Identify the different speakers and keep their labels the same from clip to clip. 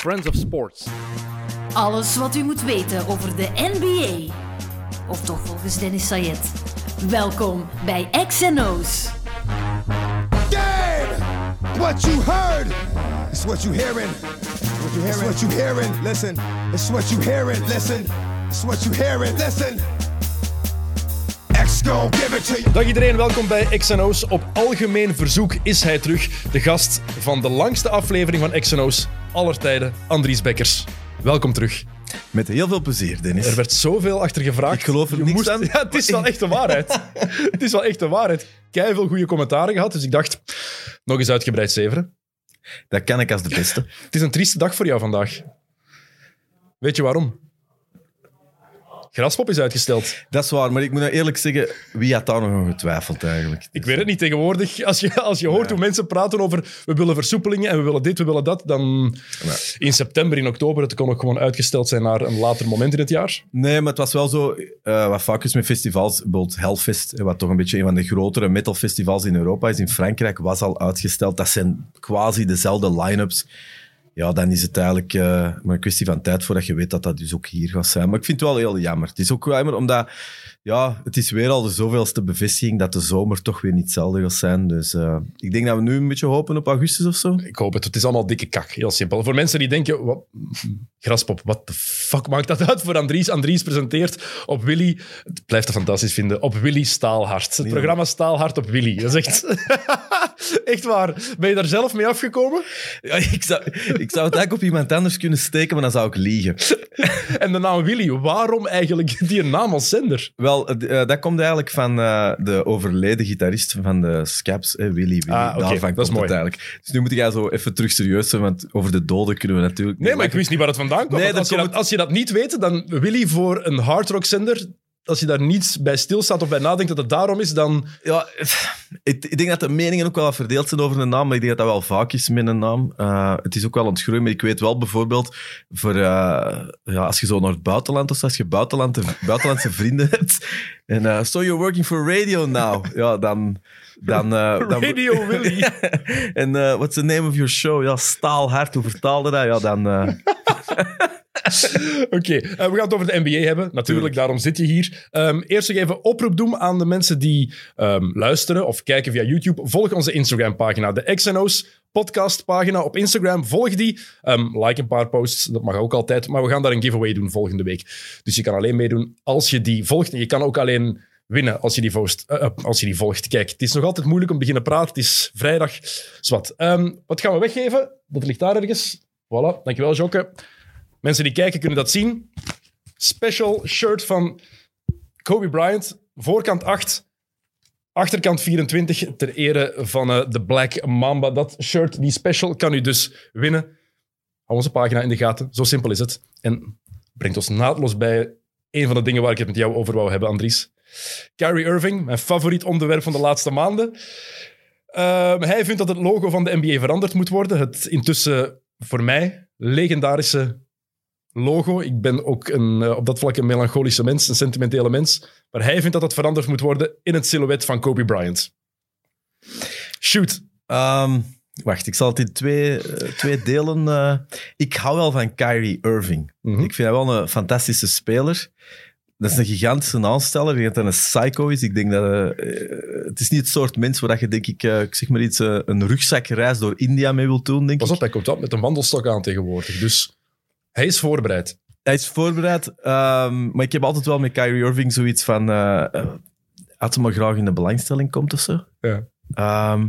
Speaker 1: Friends of Sports.
Speaker 2: Alles wat u moet weten over de NBA. Of toch volgens Dennis Sayed. Welkom bij XNO's.
Speaker 3: Dead! What you heard is what you hearing. What you hearing? It's what you hearing. Listen. It's what you hearing. Listen. It's what you hearing. Listen. X gon' give it to you.
Speaker 4: Dag iedereen, welkom bij XNO's. Op algemeen verzoek is hij terug, de gast van de langste aflevering van XNO's aller tijden, Andries Bekkers. Welkom terug.
Speaker 5: Met heel veel plezier, Dennis.
Speaker 4: Er werd zoveel achter gevraagd.
Speaker 5: Ik geloof er
Speaker 4: Je
Speaker 5: niks aan.
Speaker 4: Ja, het is wel echt de waarheid. het is wel echt de waarheid. Kei veel goede commentaren gehad, dus ik dacht, nog eens uitgebreid zeveren.
Speaker 5: Dat kan ik als de beste.
Speaker 4: Het is een trieste dag voor jou vandaag. Weet je waarom? Graspop is uitgesteld.
Speaker 5: Dat is waar, maar ik moet nou eerlijk zeggen, wie had daar nog aan getwijfeld eigenlijk?
Speaker 4: Ik weet het niet tegenwoordig. Als je, als je hoort hoe mensen praten over we willen versoepelingen en we willen dit, we willen dat, dan in september, in oktober, het kon ook gewoon uitgesteld zijn naar een later moment in het jaar.
Speaker 5: Nee, maar het was wel zo, eh, wat vaak is met festivals, bijvoorbeeld Hellfest, eh, wat toch een beetje een van de grotere metalfestivals in Europa is, in Frankrijk, was al uitgesteld. Dat zijn quasi dezelfde line-ups. Ja, dan is het eigenlijk eh, maar een kwestie van tijd voordat je weet dat dat dus ook hier gaat zijn. Maar ik vind het wel heel jammer. Het is ook jammer omdat, ja, het is weer al de zoveelste bevestiging dat de zomer toch weer niet hetzelfde gaat zijn. Dus eh, ik denk dat we nu een beetje hopen op augustus of zo.
Speaker 4: Ik hoop het. Het is allemaal dikke kak. Heel simpel. Voor mensen die denken, wat, graspop, wat de fuck maakt dat uit voor Andries? Andries presenteert op Willy, het blijft het fantastisch vinden, op Willy Staalhart. Het programma Staalhart op Willy. Dat is echt, echt waar. Ben je daar zelf mee afgekomen?
Speaker 5: Ja, ik, zou, ik zou het eigenlijk op iemand anders kunnen steken, maar dan zou ik liegen.
Speaker 4: En de naam Willy, waarom eigenlijk die naam als zender?
Speaker 5: Wel, eh, d- eh, dat komt eigenlijk van eh, de overleden gitarist van de Scaps, eh, Willy Willy.
Speaker 4: Ah, oké,
Speaker 5: Daarvan
Speaker 4: dat
Speaker 5: komt
Speaker 4: is mooi.
Speaker 5: het eigenlijk. Dus nu moet ik jij zo even terug serieus zijn, want over de doden kunnen we natuurlijk
Speaker 4: Nee,
Speaker 5: niet
Speaker 4: maar ik wist niet waar het vandaan kwam. Want
Speaker 5: Nee, dat
Speaker 4: als, je dat,
Speaker 5: komt-
Speaker 4: als je dat niet weet, dan Willy voor een hardrockzender, als je daar niet bij stilstaat of bij nadenkt dat het daarom is, dan...
Speaker 5: Ja, ik, ik denk dat de meningen ook wel wat verdeeld zijn over een naam, maar ik denk dat dat wel vaak is met een naam. Eh, het is ook wel ontgroeien, maar ik weet wel bijvoorbeeld, voor, eh, ja, als je zo naar het buitenland of zo, als je buitenland, buitenlandse vrienden hebt, en eh, so you're working for radio now, ja, dan... dan, eh, dan
Speaker 4: Radio Willy.
Speaker 5: en eh what's the name of your show? Ja, Staalhard, hoe vertaalde dat? Ja, dan... eh,
Speaker 4: Oké, eh, we gaan het over de NBA hebben. Natuurlijk,
Speaker 5: Tuurlijk.
Speaker 4: daarom zit je hier. Ehm, eerst nog even oproep doen aan de mensen die ehm, luisteren of kijken via YouTube. Volg onze Instagram-pagina, de XNO's podcastpagina op Instagram. Volg die. Ehm, like een paar posts, dat mag ook altijd. Maar we gaan daar een giveaway doen volgende week. Dus je kan alleen meedoen als je die volgt. En je kan ook alleen winnen als je die, volgt, eh, eh, als je die volgt. Kijk, het is nog altijd moeilijk om te beginnen praten. Het is vrijdag. Zwat. Ehm, wat gaan we weggeven? Dat ligt daar ergens. Voilà, dankjewel Jokke. Mensen die kijken kunnen dat zien. Special shirt van Kobe Bryant. Voorkant 8, achterkant 24. Ter ere van eh, de Black Mamba. Dat shirt, die special, kan u dus winnen. Hou onze pagina in de gaten. Zo simpel is het. En brengt ons naadloos bij een van de dingen waar ik het met jou over wou hebben, Andries. Kyrie Irving, mijn favoriet onderwerp van de laatste maanden. Ehm, hij vindt dat het logo van de NBA veranderd moet worden. Het intussen voor mij legendarische logo. Ik ben ook een, eh, op dat vlak een melancholische mens, een sentimentele mens. Maar hij vindt dat dat veranderd moet worden in het silhouet van Kobe Bryant. Shoot.
Speaker 5: Ehm, wacht, ik zal het in twee, eh, twee delen. eh. ik hou wel van Kyrie Irving.
Speaker 4: Mhm.
Speaker 5: Ik vind hij wel een fantastische speler. Dat is een gigantische aansteller. Ik denk dat hij een psycho is. Ik denk dat eh, eh, het is niet het soort mens waar dat je, denk ik, eh, ik zeg maar iets, eh, een rugzakreis door India mee wilt doen. Denk
Speaker 4: Pas
Speaker 5: ik.
Speaker 4: op, hij komt op met een wandelstok aan tegenwoordig. Dus hij is voorbereid.
Speaker 5: Hij is voorbereid, ehm, maar ik heb altijd wel met Kyrie Irving zoiets van. eh eh, had hij maar graag in de belangstelling komt of zo.
Speaker 4: Ja.
Speaker 5: Ehm,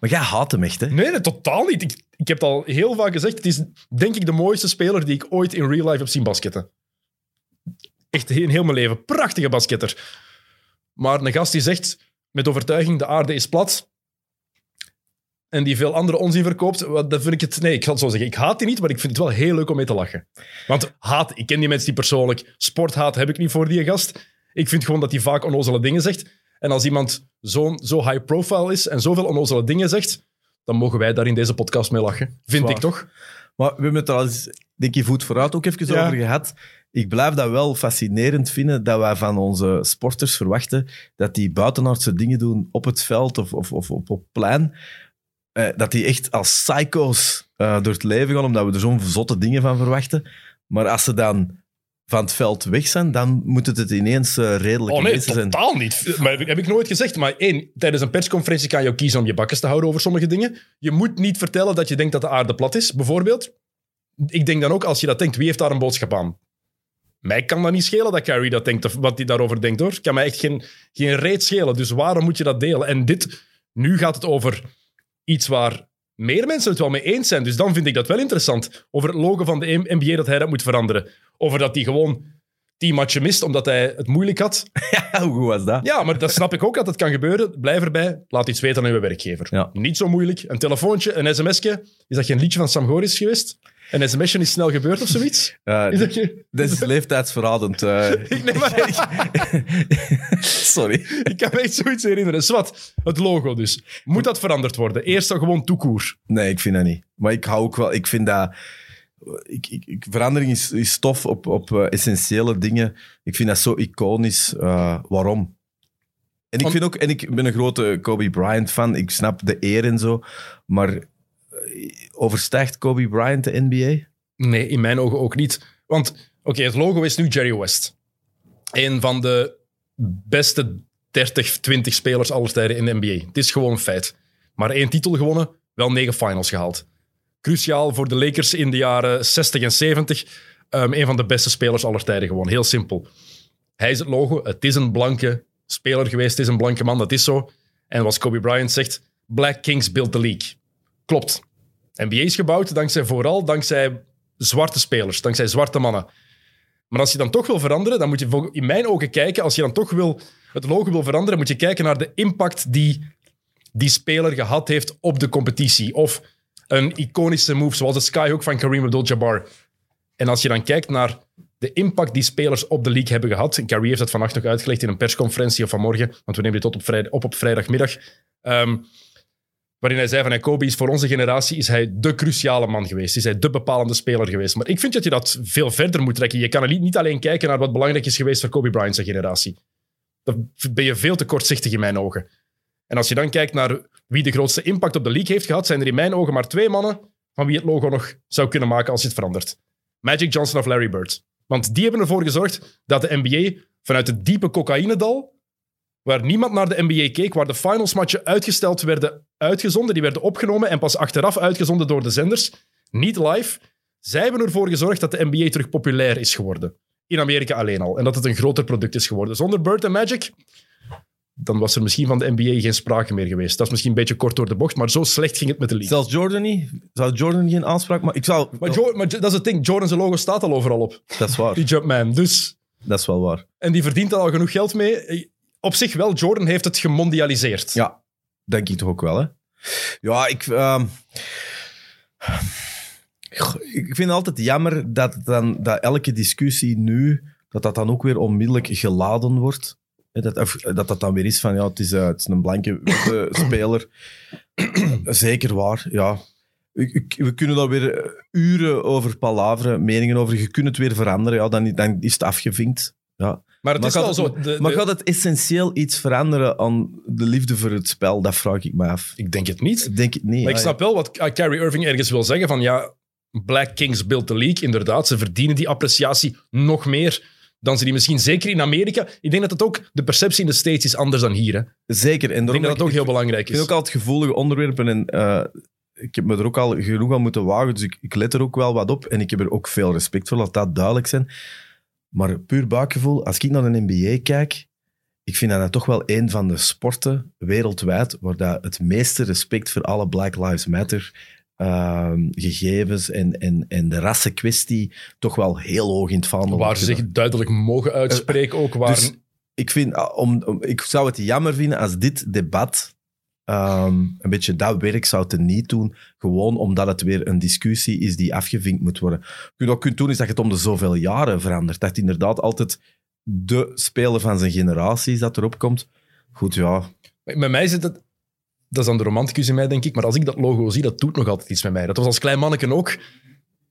Speaker 5: maar jij haat hem echt, hè?
Speaker 4: Nee, nee, totaal niet. Ik, ik heb het al heel vaak gezegd. Het is denk ik de mooiste speler die ik ooit in real life heb zien basketten. Echt in heel mijn leven. Prachtige basketter. Maar een gast die zegt met overtuiging de aarde is plat en die veel andere onzin verkoopt, wat- dat vind ik het... Nee, ik ga het zo zeggen. Ik haat die niet, maar ik vind het wel heel leuk om mee te lachen. Want haat, ik ken die mensen die persoonlijk. Sporthaat heb ik niet voor die gast. Ik vind gewoon dat hij vaak onnozele dingen zegt. En als iemand zo, zo high profile is en zoveel onnozele dingen zegt, dan mogen wij daar in deze podcast mee lachen. Vind
Speaker 5: Zwaar.
Speaker 4: ik toch?
Speaker 5: Maar we hebben het er al eens, denk je, voet vooruit ook even
Speaker 4: Ja.
Speaker 5: over gehad. Ik blijf dat wel fascinerend vinden dat wij van onze sporters verwachten dat die buitenaardse dingen doen op het veld of, of, of, op op plein. eh, dat die echt als psycho's eh, door het leven gaan, omdat we er zo'n zotte dingen van verwachten. Maar als ze dan van het veld weg zijn, dan moet het het ineens eh, redelijk
Speaker 4: Oh nee,
Speaker 5: mensen zijn.
Speaker 4: totaal niet. Maar heb ik nooit gezegd. Maar één, tijdens een persconferentie kan je kiezen om je bakkes te houden over sommige dingen. Je moet niet vertellen dat je denkt dat de aarde plat is, bijvoorbeeld. Ik denk dan ook, als je dat denkt, wie heeft daar een boodschap aan? Mij kan dat niet schelen dat Carrie dat denkt, of wat hij daarover denkt, hoor. Kan mij echt geen, geen reet schelen. Dus waarom moet je dat delen? En dit, nu gaat het over iets waar meer mensen het wel mee eens zijn. Dus dan vind ik dat wel interessant. Over het logo van de NBA, dat hij dat moet veranderen. Over dat hij gewoon tien matchen mist, omdat hij het moeilijk had.
Speaker 5: Hoe goed was dat?
Speaker 4: Ja, maar dat snap ik ook dat het kan gebeuren. Blijf erbij. Laat iets weten aan uw werkgever.
Speaker 5: Ja.
Speaker 4: Niet zo moeilijk. Een telefoontje, een sms'je. Is dat geen liedje van Sam Goris geweest? Een sms'je is snel gebeurd of zoiets?
Speaker 5: Eh,
Speaker 4: Is dat je...
Speaker 5: dit is leeftijdsverradend. eh.
Speaker 4: Ik, nee, maar,
Speaker 5: sorry.
Speaker 4: ik kan me echt zoiets herinneren. Zwat, het logo dus. Moet dat veranderd worden? Eerst dan gewoon toekoer.
Speaker 5: Nee, ik vind dat niet. Maar ik hou ook wel, ik vind dat. Ik, ik, ik- verandering is, is tof op, op eh, essentiële dingen. Ik vind dat zo iconisch. Eh, waarom? En ik,
Speaker 4: Om-
Speaker 5: vind ook, en ik ben een grote Kobe Bryant fan. Ik snap de eer en zo. Maar eh, overstijgt Kobe Bryant de NBA?
Speaker 4: Nee, in mijn ogen ook niet. Want, oké, het logo is nu Jerry West. Een van de beste 30, 20 spelers aller tijden in de NBA. Het is gewoon een feit. Maar één titel gewonnen, wel negen finals gehaald. Cruciaal voor de Lakers in de jaren 60 en 70. Ehm, een van de beste spelers aller tijden gewoon. Heel simpel. Hij is het logo. Het is een blanke speler geweest. Het is een blanke man. Dat is zo. En wat Kobe Bryant zegt, Black Kings built the league. Klopt. NBA is gebouwd dankzij vooral dankzij zwarte spelers, dankzij zwarte mannen. Maar als je dan toch wil veranderen, dan moet je vol- in mijn ogen kijken, als je dan toch wil, het logo wil veranderen, moet je kijken naar de impact die die speler gehad heeft op de competitie. Of een iconische move zoals de skyhook van Kareem Abdul-Jabbar. En als je dan kijkt naar de impact die spelers op de league hebben gehad, en Kareem heeft dat vannacht nog uitgelegd in een persconferentie of vanmorgen, want we nemen dit tot op, vrij- op op vrijdagmiddag, ehm, waarin hij zei van hey, Kobe is voor onze generatie is hij de cruciale man geweest. Is hij de bepalende speler geweest. Maar ik vind dat je dat veel verder moet trekken. Je kan niet- niet alleen kijken naar wat belangrijk is geweest voor Kobe Bryant zijn generatie. Dan ben je veel te kortzichtig in mijn ogen. En als je dan kijkt naar wie de grootste impact op de league heeft gehad, zijn er in mijn ogen maar twee mannen van wie het logo nog zou kunnen maken als je het verandert. Magic Johnson of Larry Bird. Want die hebben ervoor gezorgd dat de NBA vanuit het diepe cocaïnedal waar niemand naar de NBA keek, waar de finalsmatchen uitgesteld werden, uitgezonden, die werden opgenomen en pas achteraf uitgezonden door de zenders, niet live. Zij hebben ervoor gezorgd dat de NBA terug populair is geworden. In Amerika alleen al. En dat het een groter product is geworden. Zonder Bird en Magic, dan was er misschien van de NBA geen sprake meer geweest. Dat is misschien een beetje kort door de bocht, maar zo slecht ging het met de league.
Speaker 5: Zelfs Jordan niet? Zou Jordan geen aanspraak maken? Ik zou,
Speaker 4: Maar, Jo- maar Jo- dat is het ding, Jordan's logo staat al overal op.
Speaker 5: dat is waar.
Speaker 4: Die Jumpman. Dus,
Speaker 5: Dat is wel waar.
Speaker 4: en die verdient daar al genoeg geld mee. Op zich wel, Jordan heeft het gemondialiseerd.
Speaker 5: Ja, denk ik toch ook wel, hè? Ja, ik... ehm, Goh, ik vind het altijd jammer dat, dan, dat elke discussie nu... Dat dat dan ook weer onmiddellijk geladen wordt. Hè, Dat, of dat dat dan weer is van... Ja, het is, eh, het is een blanke witte speler. Zeker waar, ja. Ik- ik- We kunnen daar weer eh, uren over palaveren, meningen over. Je kunt het weer veranderen, ja, dan, dan is het afgevinkt. Ja.
Speaker 4: Maar het
Speaker 5: Maar
Speaker 4: is wel
Speaker 5: gaat
Speaker 4: zo.
Speaker 5: het-
Speaker 4: de-
Speaker 5: maar
Speaker 4: de-
Speaker 5: gaat het essentieel iets veranderen aan de liefde voor het spel? Dat vraag ik me af.
Speaker 4: Ik denk het niet.
Speaker 5: Ik denk het niet.
Speaker 4: Maar ik
Speaker 5: Ja,
Speaker 4: snap wel wat eh, Kyrie Irving ergens wil zeggen. Van ja, Black Kings built the league. Inderdaad, ze verdienen die appreciatie nog meer dan ze die misschien zeker in Amerika. Ik denk dat dat ook de perceptie in de States is anders dan hier. Hè. Ik
Speaker 5: ja. Zeker. En
Speaker 4: denk
Speaker 5: daarom
Speaker 4: dat dat ook heel belangrijk
Speaker 5: Ik vind
Speaker 4: is.
Speaker 5: ook altijd gevoelige onderwerpen en eh, ik heb me er ook al genoeg aan moeten wagen, dus ik, ik let er ook wel wat op en ik heb er ook veel respect voor, laat dat duidelijk zijn. Maar puur buikgevoel, als ik naar de NBA kijk, ik vind dat dat toch wel een van de sporten wereldwijd waar dat het meeste respect voor alle Black Lives Matter ehm, gegevens en, en, en de rassenkwestie toch wel heel hoog in het vaandel
Speaker 4: Waar
Speaker 5: wordt
Speaker 4: ze
Speaker 5: gedaan.
Speaker 4: zich duidelijk mogen uitspreken. Ook waar.
Speaker 5: Eh, Dus ik, vind, ah, om, om- ik zou het jammer vinden als dit debat ehm, een beetje dat werk zou niet doen. Gewoon omdat het weer een discussie is die afgevinkt moet worden. Wat je ook kunt doen is dat je het om de zoveel jaren verandert. Dat het inderdaad altijd de speler van zijn generatie is dat erop komt. Goed, ja.
Speaker 4: Met mij zit het... Dat is dan de romanticus in mij, denk ik. Maar als ik dat logo zie, dat doet nog altijd iets met mij. Dat was als klein manneken ook.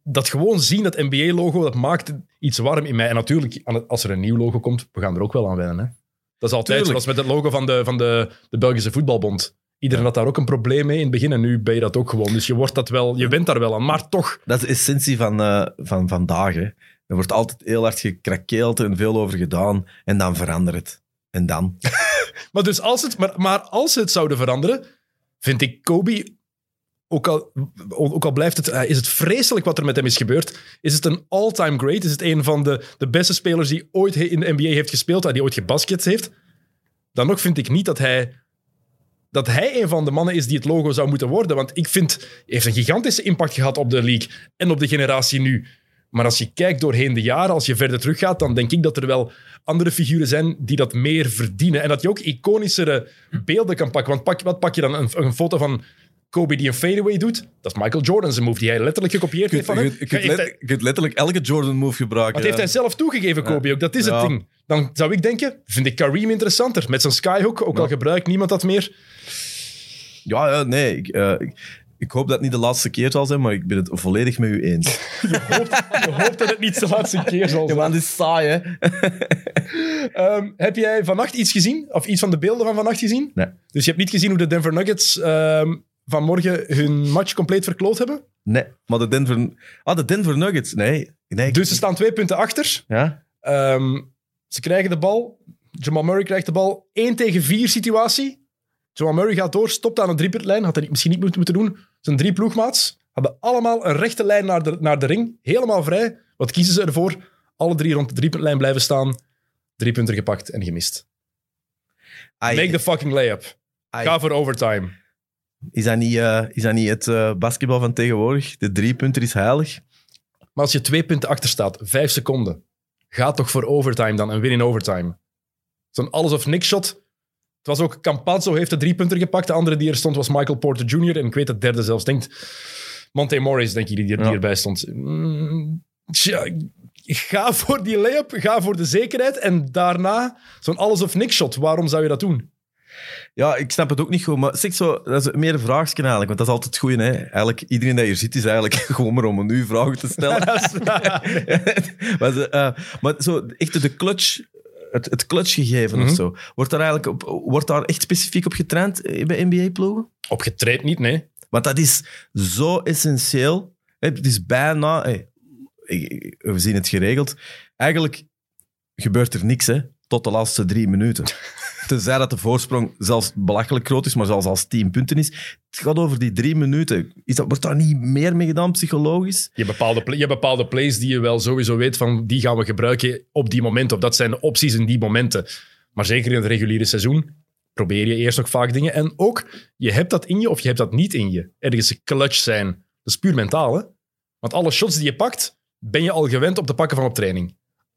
Speaker 4: Dat gewoon zien, dat NBA-logo, dat maakt iets warm in mij. En natuurlijk, aan het- als er een nieuw logo komt, we gaan er ook wel aan wennen. Hè? Dat is altijd
Speaker 5: Tuurlijk.
Speaker 4: zoals met het logo van de, van de, de Belgische Voetbalbond. Iedereen had daar ook een probleem mee in het begin en nu ben je dat ook gewoon. Dus je, wordt dat wel, je bent daar wel aan, maar toch.
Speaker 5: Dat is de essentie van, eh, van vandaag. Hè. Er wordt altijd heel hard gekrakeeld en veel over gedaan. En dan verandert het. En dan?
Speaker 4: Maar, dus als het, maar, maar als ze het zouden veranderen, vind ik Kobe, ook al, ook al blijft het, eh, is het vreselijk wat er met hem is gebeurd, is het een all-time great, is het een van de, de beste spelers die ooit he- in de NBA heeft gespeeld, eh, die ooit gebasket heeft, dan nog vind ik niet dat hij, dat hij een van de mannen is die het logo zou moeten worden. Want ik vind, hij heeft een gigantische impact gehad op de league en op de generatie nu. Maar als je kijkt doorheen de jaren, als je verder teruggaat, dan denk ik dat er wel andere figuren zijn die dat meer verdienen. En dat je ook iconischere beelden kan pakken. Want pak, wat pak je dan? Een, een foto van Kobe die een fadeaway doet? Dat is Michael Jordan's move, die hij letterlijk gekopieerd
Speaker 5: Je
Speaker 4: heeft
Speaker 5: kunt,
Speaker 4: van hem.
Speaker 5: je, je kunt
Speaker 4: Heeft
Speaker 5: let-
Speaker 4: hij-
Speaker 5: je kunt letterlijk elke Jordan move gebruiken.
Speaker 4: maar het heeft
Speaker 5: ja.
Speaker 4: hij zelf toegegeven, Kobe ook. Dat is
Speaker 5: Ja.
Speaker 4: het ding. Dan zou ik denken, vind ik Kareem interessanter. Met zijn skyhook, ook al gebruikt niemand dat meer.
Speaker 5: Ja, ja, nee. Ik, eh, ik, ik hoop dat het niet de laatste keer zal zijn, maar ik ben het volledig met u eens.
Speaker 4: Je hoopt dat het niet de laatste keer zal zijn.
Speaker 5: dit is saai, hè?
Speaker 4: Ehm, heb jij vannacht iets gezien? Of iets van de beelden van vannacht gezien?
Speaker 5: Nee.
Speaker 4: Dus je hebt niet gezien hoe de Denver Nuggets ehm, vanmorgen hun match compleet verkloot hebben?
Speaker 5: Nee, maar de Denver... Ah, de Denver Nuggets. Nee. nee ik-
Speaker 4: Dus ze staan twee punten achter.
Speaker 5: Ja?
Speaker 4: Ehm, ze krijgen de bal. Jamal Murray krijgt de bal. 1 tegen 4 situatie. Jamal Murray gaat door, stopt aan een driepuntlijn. Had hij misschien niet moeten- moeten doen. Zijn drie ploegmaats hadden allemaal een rechte lijn naar de, naar de ring. Helemaal vrij. Wat kiezen ze ervoor? Alle drie rond de driepuntlijn blijven staan. Drie punten gepakt en gemist.
Speaker 5: Ai,
Speaker 4: Make the fucking layup.
Speaker 5: ai.
Speaker 4: Ga voor overtime.
Speaker 5: Is dat niet, eh, is dat niet het eh, basketbal van tegenwoordig? De driepunter is heilig.
Speaker 4: Maar als je twee punten achter staat, vijf seconden, ga toch voor overtime dan en win in overtime. Zo'n alles of niks shot. Het was ook Campazzo heeft de drie punter gepakt. De andere die er stond was Michael Porter Jr. En ik weet dat derde zelfs denkt. Monte Morris, denk je, die, er- die
Speaker 5: Ja.
Speaker 4: erbij stond. Mm, tja, ga voor die layup, ga voor de zekerheid. En daarna zo'n alles of niks shot. Waarom zou je dat doen?
Speaker 5: Ja, ik snap het ook niet goed, maar zeg zo, dat is meer een vraagje eigenlijk, want dat is altijd goed, hè. Eigenlijk, iedereen die hier zit is eigenlijk gewoon maar om een uur vragen te stellen. maar, ze, eh, maar zo, echt de clutch, het, het clutchgegeven
Speaker 4: Mhm.
Speaker 5: of zo, wordt daar eigenlijk op, wordt daar echt specifiek op getraind eh, bij NBA-ploegen?
Speaker 4: Opgetraind niet, nee.
Speaker 5: Want dat is zo essentieel. Hè, Het is bijna... hé, ik- ik- we zien het geregeld. Eigenlijk gebeurt er niks, hè. Tot de laatste drie minuten. Tenzij dat de voorsprong zelfs belachelijk groot is, maar zelfs als tien punten is. Het gaat over die drie minuten. Is dat, wordt daar niet meer mee gedaan, psychologisch?
Speaker 4: Je hebt, bepaalde, pla- je hebt bepaalde plays die je wel sowieso weet van die gaan we gebruiken op die momenten. Of dat zijn de opties in die momenten. Maar zeker in het reguliere seizoen probeer je eerst nog vaak dingen. En ook, je hebt dat in je of je hebt dat niet in je. Ergens een clutch zijn. Dat is puur mentaal, hè? Want alle shots die je pakt, ben je al gewend op te pakken van op training.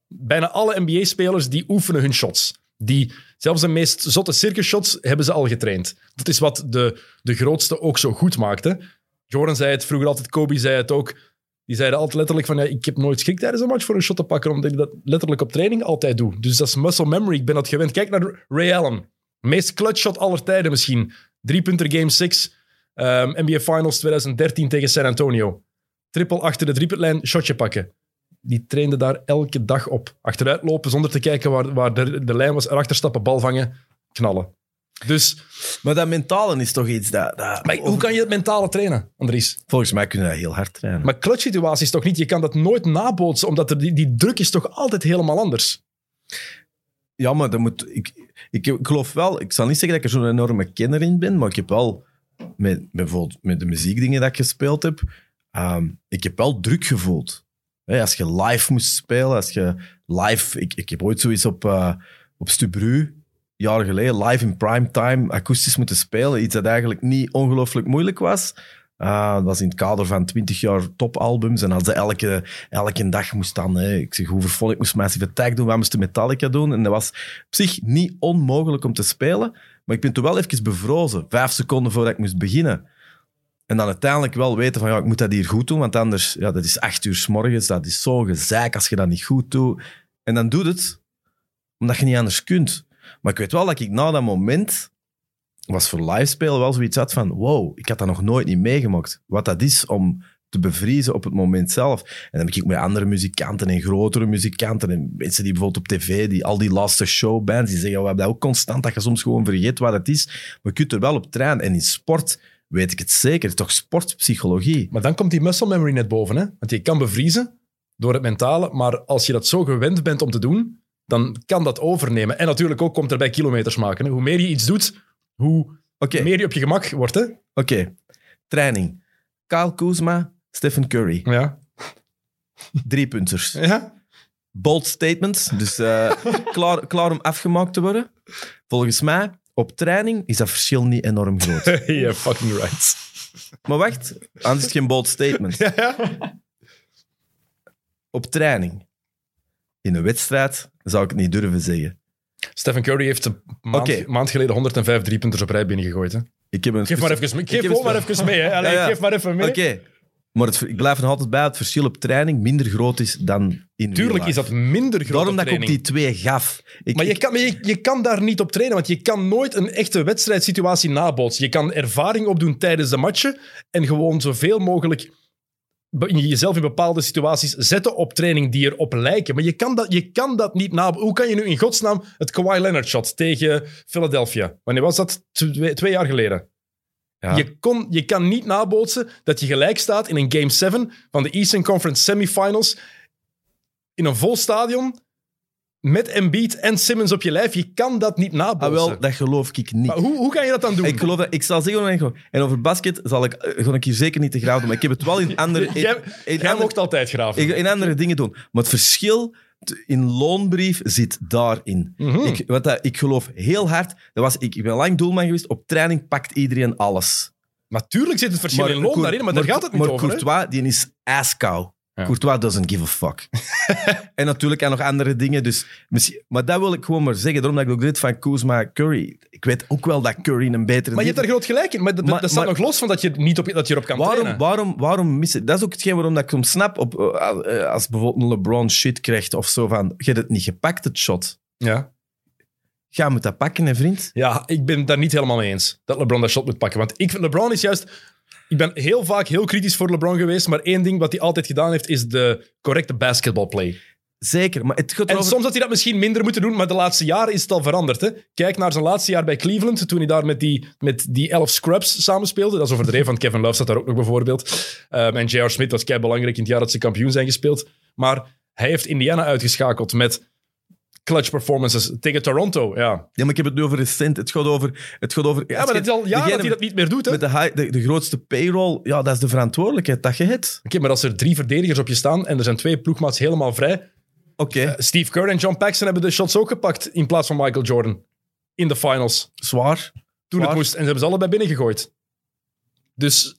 Speaker 4: Bijna alle NBA-spelers die oefenen hun shots. Die, zelfs de meest zotte circusshots hebben ze al getraind. Dat is wat de, de grootste ook zo goed maakte. Jordan zei het vroeger altijd, Kobe zei het ook. Die zeiden altijd letterlijk van, ja, ik heb nooit schrik tijdens een match voor een shot te pakken, omdat ik dat letterlijk op training altijd doe. Dus dat is muscle memory, ik ben dat gewend. Kijk naar Ray Allen, meest clutch shot aller tijden misschien. Driepunter game 6, ehm, NBA Finals 2013 tegen San Antonio. Triple achter de driepuntlijn, shotje pakken. Die trainde daar elke dag op. Achteruit lopen zonder te kijken waar, waar de, de lijn was, erachter stappen, bal vangen, knallen. Dus
Speaker 5: Maar dat mentale is toch iets dat... dat-
Speaker 4: maar hoe kan je het mentale trainen, Andries?
Speaker 5: Volgens mij kunnen dat heel hard trainen.
Speaker 4: Maar clutch-situaties toch niet? Je kan dat nooit nabootsen, omdat er die, die druk is toch altijd helemaal anders.
Speaker 5: Ja, maar dat moet, ik, ik, ik geloof wel, ik zal niet zeggen dat ik er zo'n enorme kenner in ben, maar ik heb wel, met, met bijvoorbeeld met de muziekdingen dat ik gespeeld heb, ehm, ik heb wel druk gevoeld. Hè, als je live moest spelen, als je live, ik, ik heb ooit zoiets op, eh op Stubru, jaren geleden, live in primetime, akoestisch moeten spelen, iets dat eigenlijk niet ongelooflijk moeilijk was. Ah, dat was in het kader van 20 jaar topalbums. En als ze elke, elke dag moest dan... Hè, ik zeg, hoeveel ik moest Massive Attack doen, wij moesten Metallica doen. En dat was op zich niet onmogelijk om te spelen. Maar ik ben toen wel even bevrozen. Vijf seconden voordat ik moest beginnen. En dan uiteindelijk wel weten van, ja, ik moet dat hier goed doen. Want anders, ja, dat is acht uur s morgens. Dat is zo gezeik als je dat niet goed doet. En dan doet het. Omdat je niet anders kunt. Maar ik weet wel dat ik na dat moment was voor live spelen wel zoiets had van wow, ik had dat nog nooit niet meegemaakt. Wat dat is om te bevriezen op het moment zelf. En dan heb ik met andere muzikanten en grotere muzikanten en mensen die bijvoorbeeld op tv, die al die laatste showbands, die zeggen, "Ja, we hebben dat ook constant, dat je soms gewoon vergeet wat het is. Maar je kunt er wel op trainen. En in sport weet ik het zeker. Toch sportpsychologie.
Speaker 4: Maar dan komt die muscle memory net boven. Hè? Want je kan bevriezen door het mentale, maar als je dat zo gewend bent om te doen, dan kan dat overnemen. En natuurlijk ook komt erbij kilometers maken. Hè? Hoe meer je iets doet, hoe
Speaker 5: Oké,
Speaker 4: meer je op je gemak wordt. Hè?
Speaker 5: oké. Training. Kyle Kuzma, Stephen Curry.
Speaker 4: Ja.
Speaker 5: Drie punters.
Speaker 4: ja.
Speaker 5: bold statements. Dus eh, klaar, klaar om afgemaakt te worden. Volgens mij, op training is dat verschil niet enorm groot.
Speaker 4: yeah, fucking right.
Speaker 5: Maar wacht, anders is het geen bold statement. Op training. In een wedstrijd zou ik het niet durven zeggen.
Speaker 4: Stephen Curry heeft een maand,
Speaker 5: Oké.
Speaker 4: maand geleden 105 driepunters op rij binnengegooid. Hè? Dus-
Speaker 5: Ik heb een
Speaker 4: Geef maar even mee.
Speaker 5: heb
Speaker 4: Geef
Speaker 5: een
Speaker 4: gewoon maar
Speaker 5: spec-
Speaker 4: even mee. Hè? Allee,
Speaker 5: Ja, ja.
Speaker 4: Geef maar even mee.
Speaker 5: Oké. Maar het, ver- ik blijf er nog altijd bij, het verschil op training minder groot is dan in
Speaker 4: Tuurlijk is dat minder groot
Speaker 5: Daarom
Speaker 4: op
Speaker 5: dat ik op
Speaker 4: training.
Speaker 5: die twee gaf. Ik,
Speaker 4: Maar je
Speaker 5: ik-
Speaker 4: kan, maar je, je kan daar niet op trainen, want je kan nooit een echte wedstrijdsituatie nabootsen. Je kan ervaring opdoen tijdens de matchen en gewoon zoveel mogelijk be- jezelf in bepaalde situaties zetten op training die erop lijken. Maar je kan dat, je kan dat niet nabootsen. Hoe kan je nu in godsnaam het Kawhi Leonard shot tegen Philadelphia? Wanneer was dat? Twee, twee jaar geleden.
Speaker 5: Ja.
Speaker 4: Je, kon, je kan niet nabootsen dat je gelijk staat in een Game 7 van de Eastern Conference Semifinals in een vol stadion met Embiid en Simmons op je lijf. Je kan dat niet
Speaker 5: ah,
Speaker 4: nabootsen.
Speaker 5: wel, dat geloof ik niet.
Speaker 4: maar hoe, hoe kan je dat dan doen?
Speaker 5: Ik geloof dat. Ik zal zeggen, en gewoon- en over basket zal ik, eh, ga ik hier zeker niet te graven doen. Maar ik heb het wel in andere, in,
Speaker 4: jij
Speaker 5: in
Speaker 4: jij
Speaker 5: andere,
Speaker 4: mocht altijd graven.
Speaker 5: ik- in andere dingen doen. Maar het verschil t- in loonbrief zit daarin.
Speaker 4: Mhm.
Speaker 5: Ik, wat dat, ik geloof heel hard. Dat was, ik, ik ben lang doelman geweest. Op training pakt iedereen alles.
Speaker 4: Natuurlijk zit het verschil in loon
Speaker 5: Cour-
Speaker 4: daarin, maar, daar gaat het niet
Speaker 5: maar
Speaker 4: over. hè?
Speaker 5: Courtois, die is ijskou.
Speaker 4: Ja.
Speaker 5: Courtois doesn't give a fuck. en natuurlijk en nog andere dingen. Dus misschien, maar dat wil ik gewoon maar zeggen. Daarom dat ik ook dit van Kuzma Curry. Ik weet ook wel dat Curry een betere
Speaker 4: Maar je hebt daar groot gelijk in. Maar dat, dat-
Speaker 5: Maar-
Speaker 4: dat staat
Speaker 5: maar-
Speaker 4: nog los van dat je, niet op, dat je erop kan
Speaker 5: Waarom,
Speaker 4: trainen.
Speaker 5: waarom, waarom missen? Dat is ook hetgeen waarom dat ik soms snap. Op, eh, eh, als bijvoorbeeld een LeBron shit krijgt of zo van... Je hebt het niet gepakt, het shot.
Speaker 4: Ja.
Speaker 5: Ga moet dat pakken, hè, vriend?
Speaker 4: Ja, ik ben het daar niet helemaal mee eens dat LeBron dat shot moet pakken. Want ik vind LeBron is juist. Ik ben heel vaak heel kritisch voor LeBron geweest, maar één ding wat hij altijd gedaan heeft, is de correcte basketballplay.
Speaker 5: Zeker, maar het gaat
Speaker 4: En
Speaker 5: erover...
Speaker 4: soms had hij dat misschien minder moeten doen, maar de laatste jaren is het al veranderd. Hè? Kijk naar zijn laatste jaar bij Cleveland, toen hij daar met die, met die elf scrubs samenspeelde. Dat is overdreven, want Kevin Love zat daar ook nog bijvoorbeeld. Ehm, en J.R. Smith was kei belangrijk in het jaar dat ze kampioen zijn gespeeld. Maar hij heeft Indiana uitgeschakeld met clutch performances tegen Toronto. Ja,
Speaker 5: Ja, maar ik heb het nu over recent. Het gaat over... Het gaat over
Speaker 4: ja maar dat is al jaren dat hij dat niet meer doet. Hè?
Speaker 5: Met de, high- de, de grootste payroll, ja, dat is de verantwoordelijkheid dat je hebt.
Speaker 4: Oké, maar als er drie verdedigers op je staan en er zijn twee ploegmaats helemaal vrij. eh,
Speaker 5: Oké,
Speaker 4: Steve Kerr en John Paxson hebben de shots ook gepakt in plaats van Michael Jordan. In de finals.
Speaker 5: zwaar.
Speaker 4: Toen het
Speaker 5: Waar?
Speaker 4: moest. En ze hebben ze allebei binnengegooid. Dus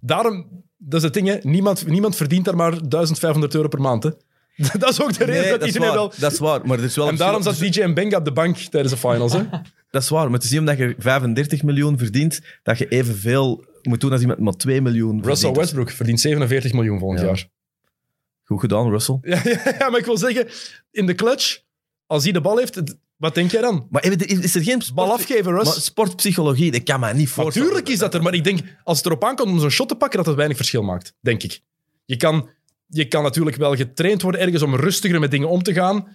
Speaker 4: daarom, dat is het ding, hè. Niemand, niemand verdient daar maar 1500 euro per maand. Hè. Dat is ook de reden
Speaker 5: Nee,
Speaker 4: dat,
Speaker 5: dat, is
Speaker 4: iedereen
Speaker 5: waar,
Speaker 4: wel.
Speaker 5: dat is waar, maar er is wel...
Speaker 4: En
Speaker 5: een
Speaker 4: daarom
Speaker 5: verschil-
Speaker 4: zat DJ Benga op de bank tijdens de finals. Hè.
Speaker 5: Dat is waar, maar te zien omdat je 35 miljoen verdient, dat je evenveel moet doen als iemand maar 2 miljoen
Speaker 4: Russell
Speaker 5: verdient.
Speaker 4: Westbrook verdient 47 miljoen volgend
Speaker 5: Ja.
Speaker 4: jaar.
Speaker 5: Goed gedaan, Russell.
Speaker 4: Ja, ja, ja, maar ik wil zeggen, in de clutch, als hij de bal heeft, het- wat denk jij dan?
Speaker 5: Maar is- is er geen
Speaker 4: Bal
Speaker 5: sport...
Speaker 4: afgeven, Russ.
Speaker 5: Maar sportpsychologie, dat kan mij niet voorstellen.
Speaker 4: Natuurlijk is dat er, maar ik denk, als het erop aankomt om zo'n shot te pakken, dat het weinig verschil maakt, denk ik. Je kan, je kan natuurlijk wel getraind worden ergens om rustiger met dingen om te gaan,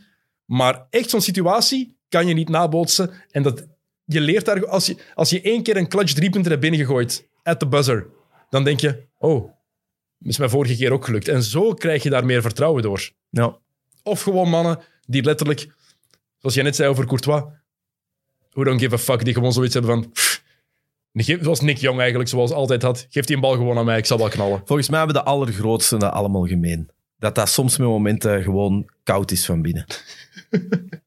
Speaker 4: maar echt zo'n situatie kan je niet nabootsen. En dat, je leert daar, als je, als je één keer een clutch driepunter hebt binnengegooid, at the buzzer, dan denk je, oh, is mij vorige keer ook gelukt. En zo krijg je daar meer vertrouwen door.
Speaker 5: Ja.
Speaker 4: Of gewoon mannen die letterlijk, zoals jij net zei over Courtois, who don't give a fuck, die gewoon zoiets hebben van... "Pff, geef- Zoals Nick Jong eigenlijk, zoals altijd had. Geef die een bal gewoon aan mij, ik zal wel knallen.
Speaker 5: Volgens mij hebben de allergrootste dat allemaal gemeen. Dat dat soms met momenten gewoon koud is van binnen.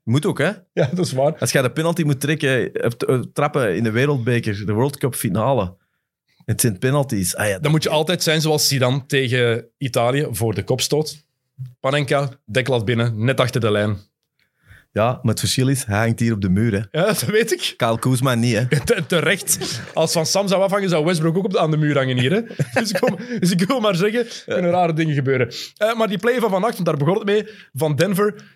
Speaker 5: Moet ook, hè?
Speaker 4: Ja, dat is waar.
Speaker 5: Als jij de penalty moet trekken, op de- eh, trappen in de wereldbeker, de World Cup finale. Het zijn penalties. Ah ja,
Speaker 4: Dan moet je altijd zijn zoals Zidane tegen Italië voor de kopstoot. Panenka, deklat binnen, net achter de lijn.
Speaker 5: ja, maar het verschil is, hij hangt hier op de muur, hè.
Speaker 4: Ja, dat weet ik.
Speaker 5: Kaal Koesma niet, hè.
Speaker 4: Te- terecht. Als Van Sam zou afhangen, zou Westbrook ook op de, aan de muur hangen hier. Hè? Dus, ik wil, dus ik wil maar zeggen, er kunnen rare dingen gebeuren. Eh, maar die play van vannacht, want daar begon het mee, van Denver.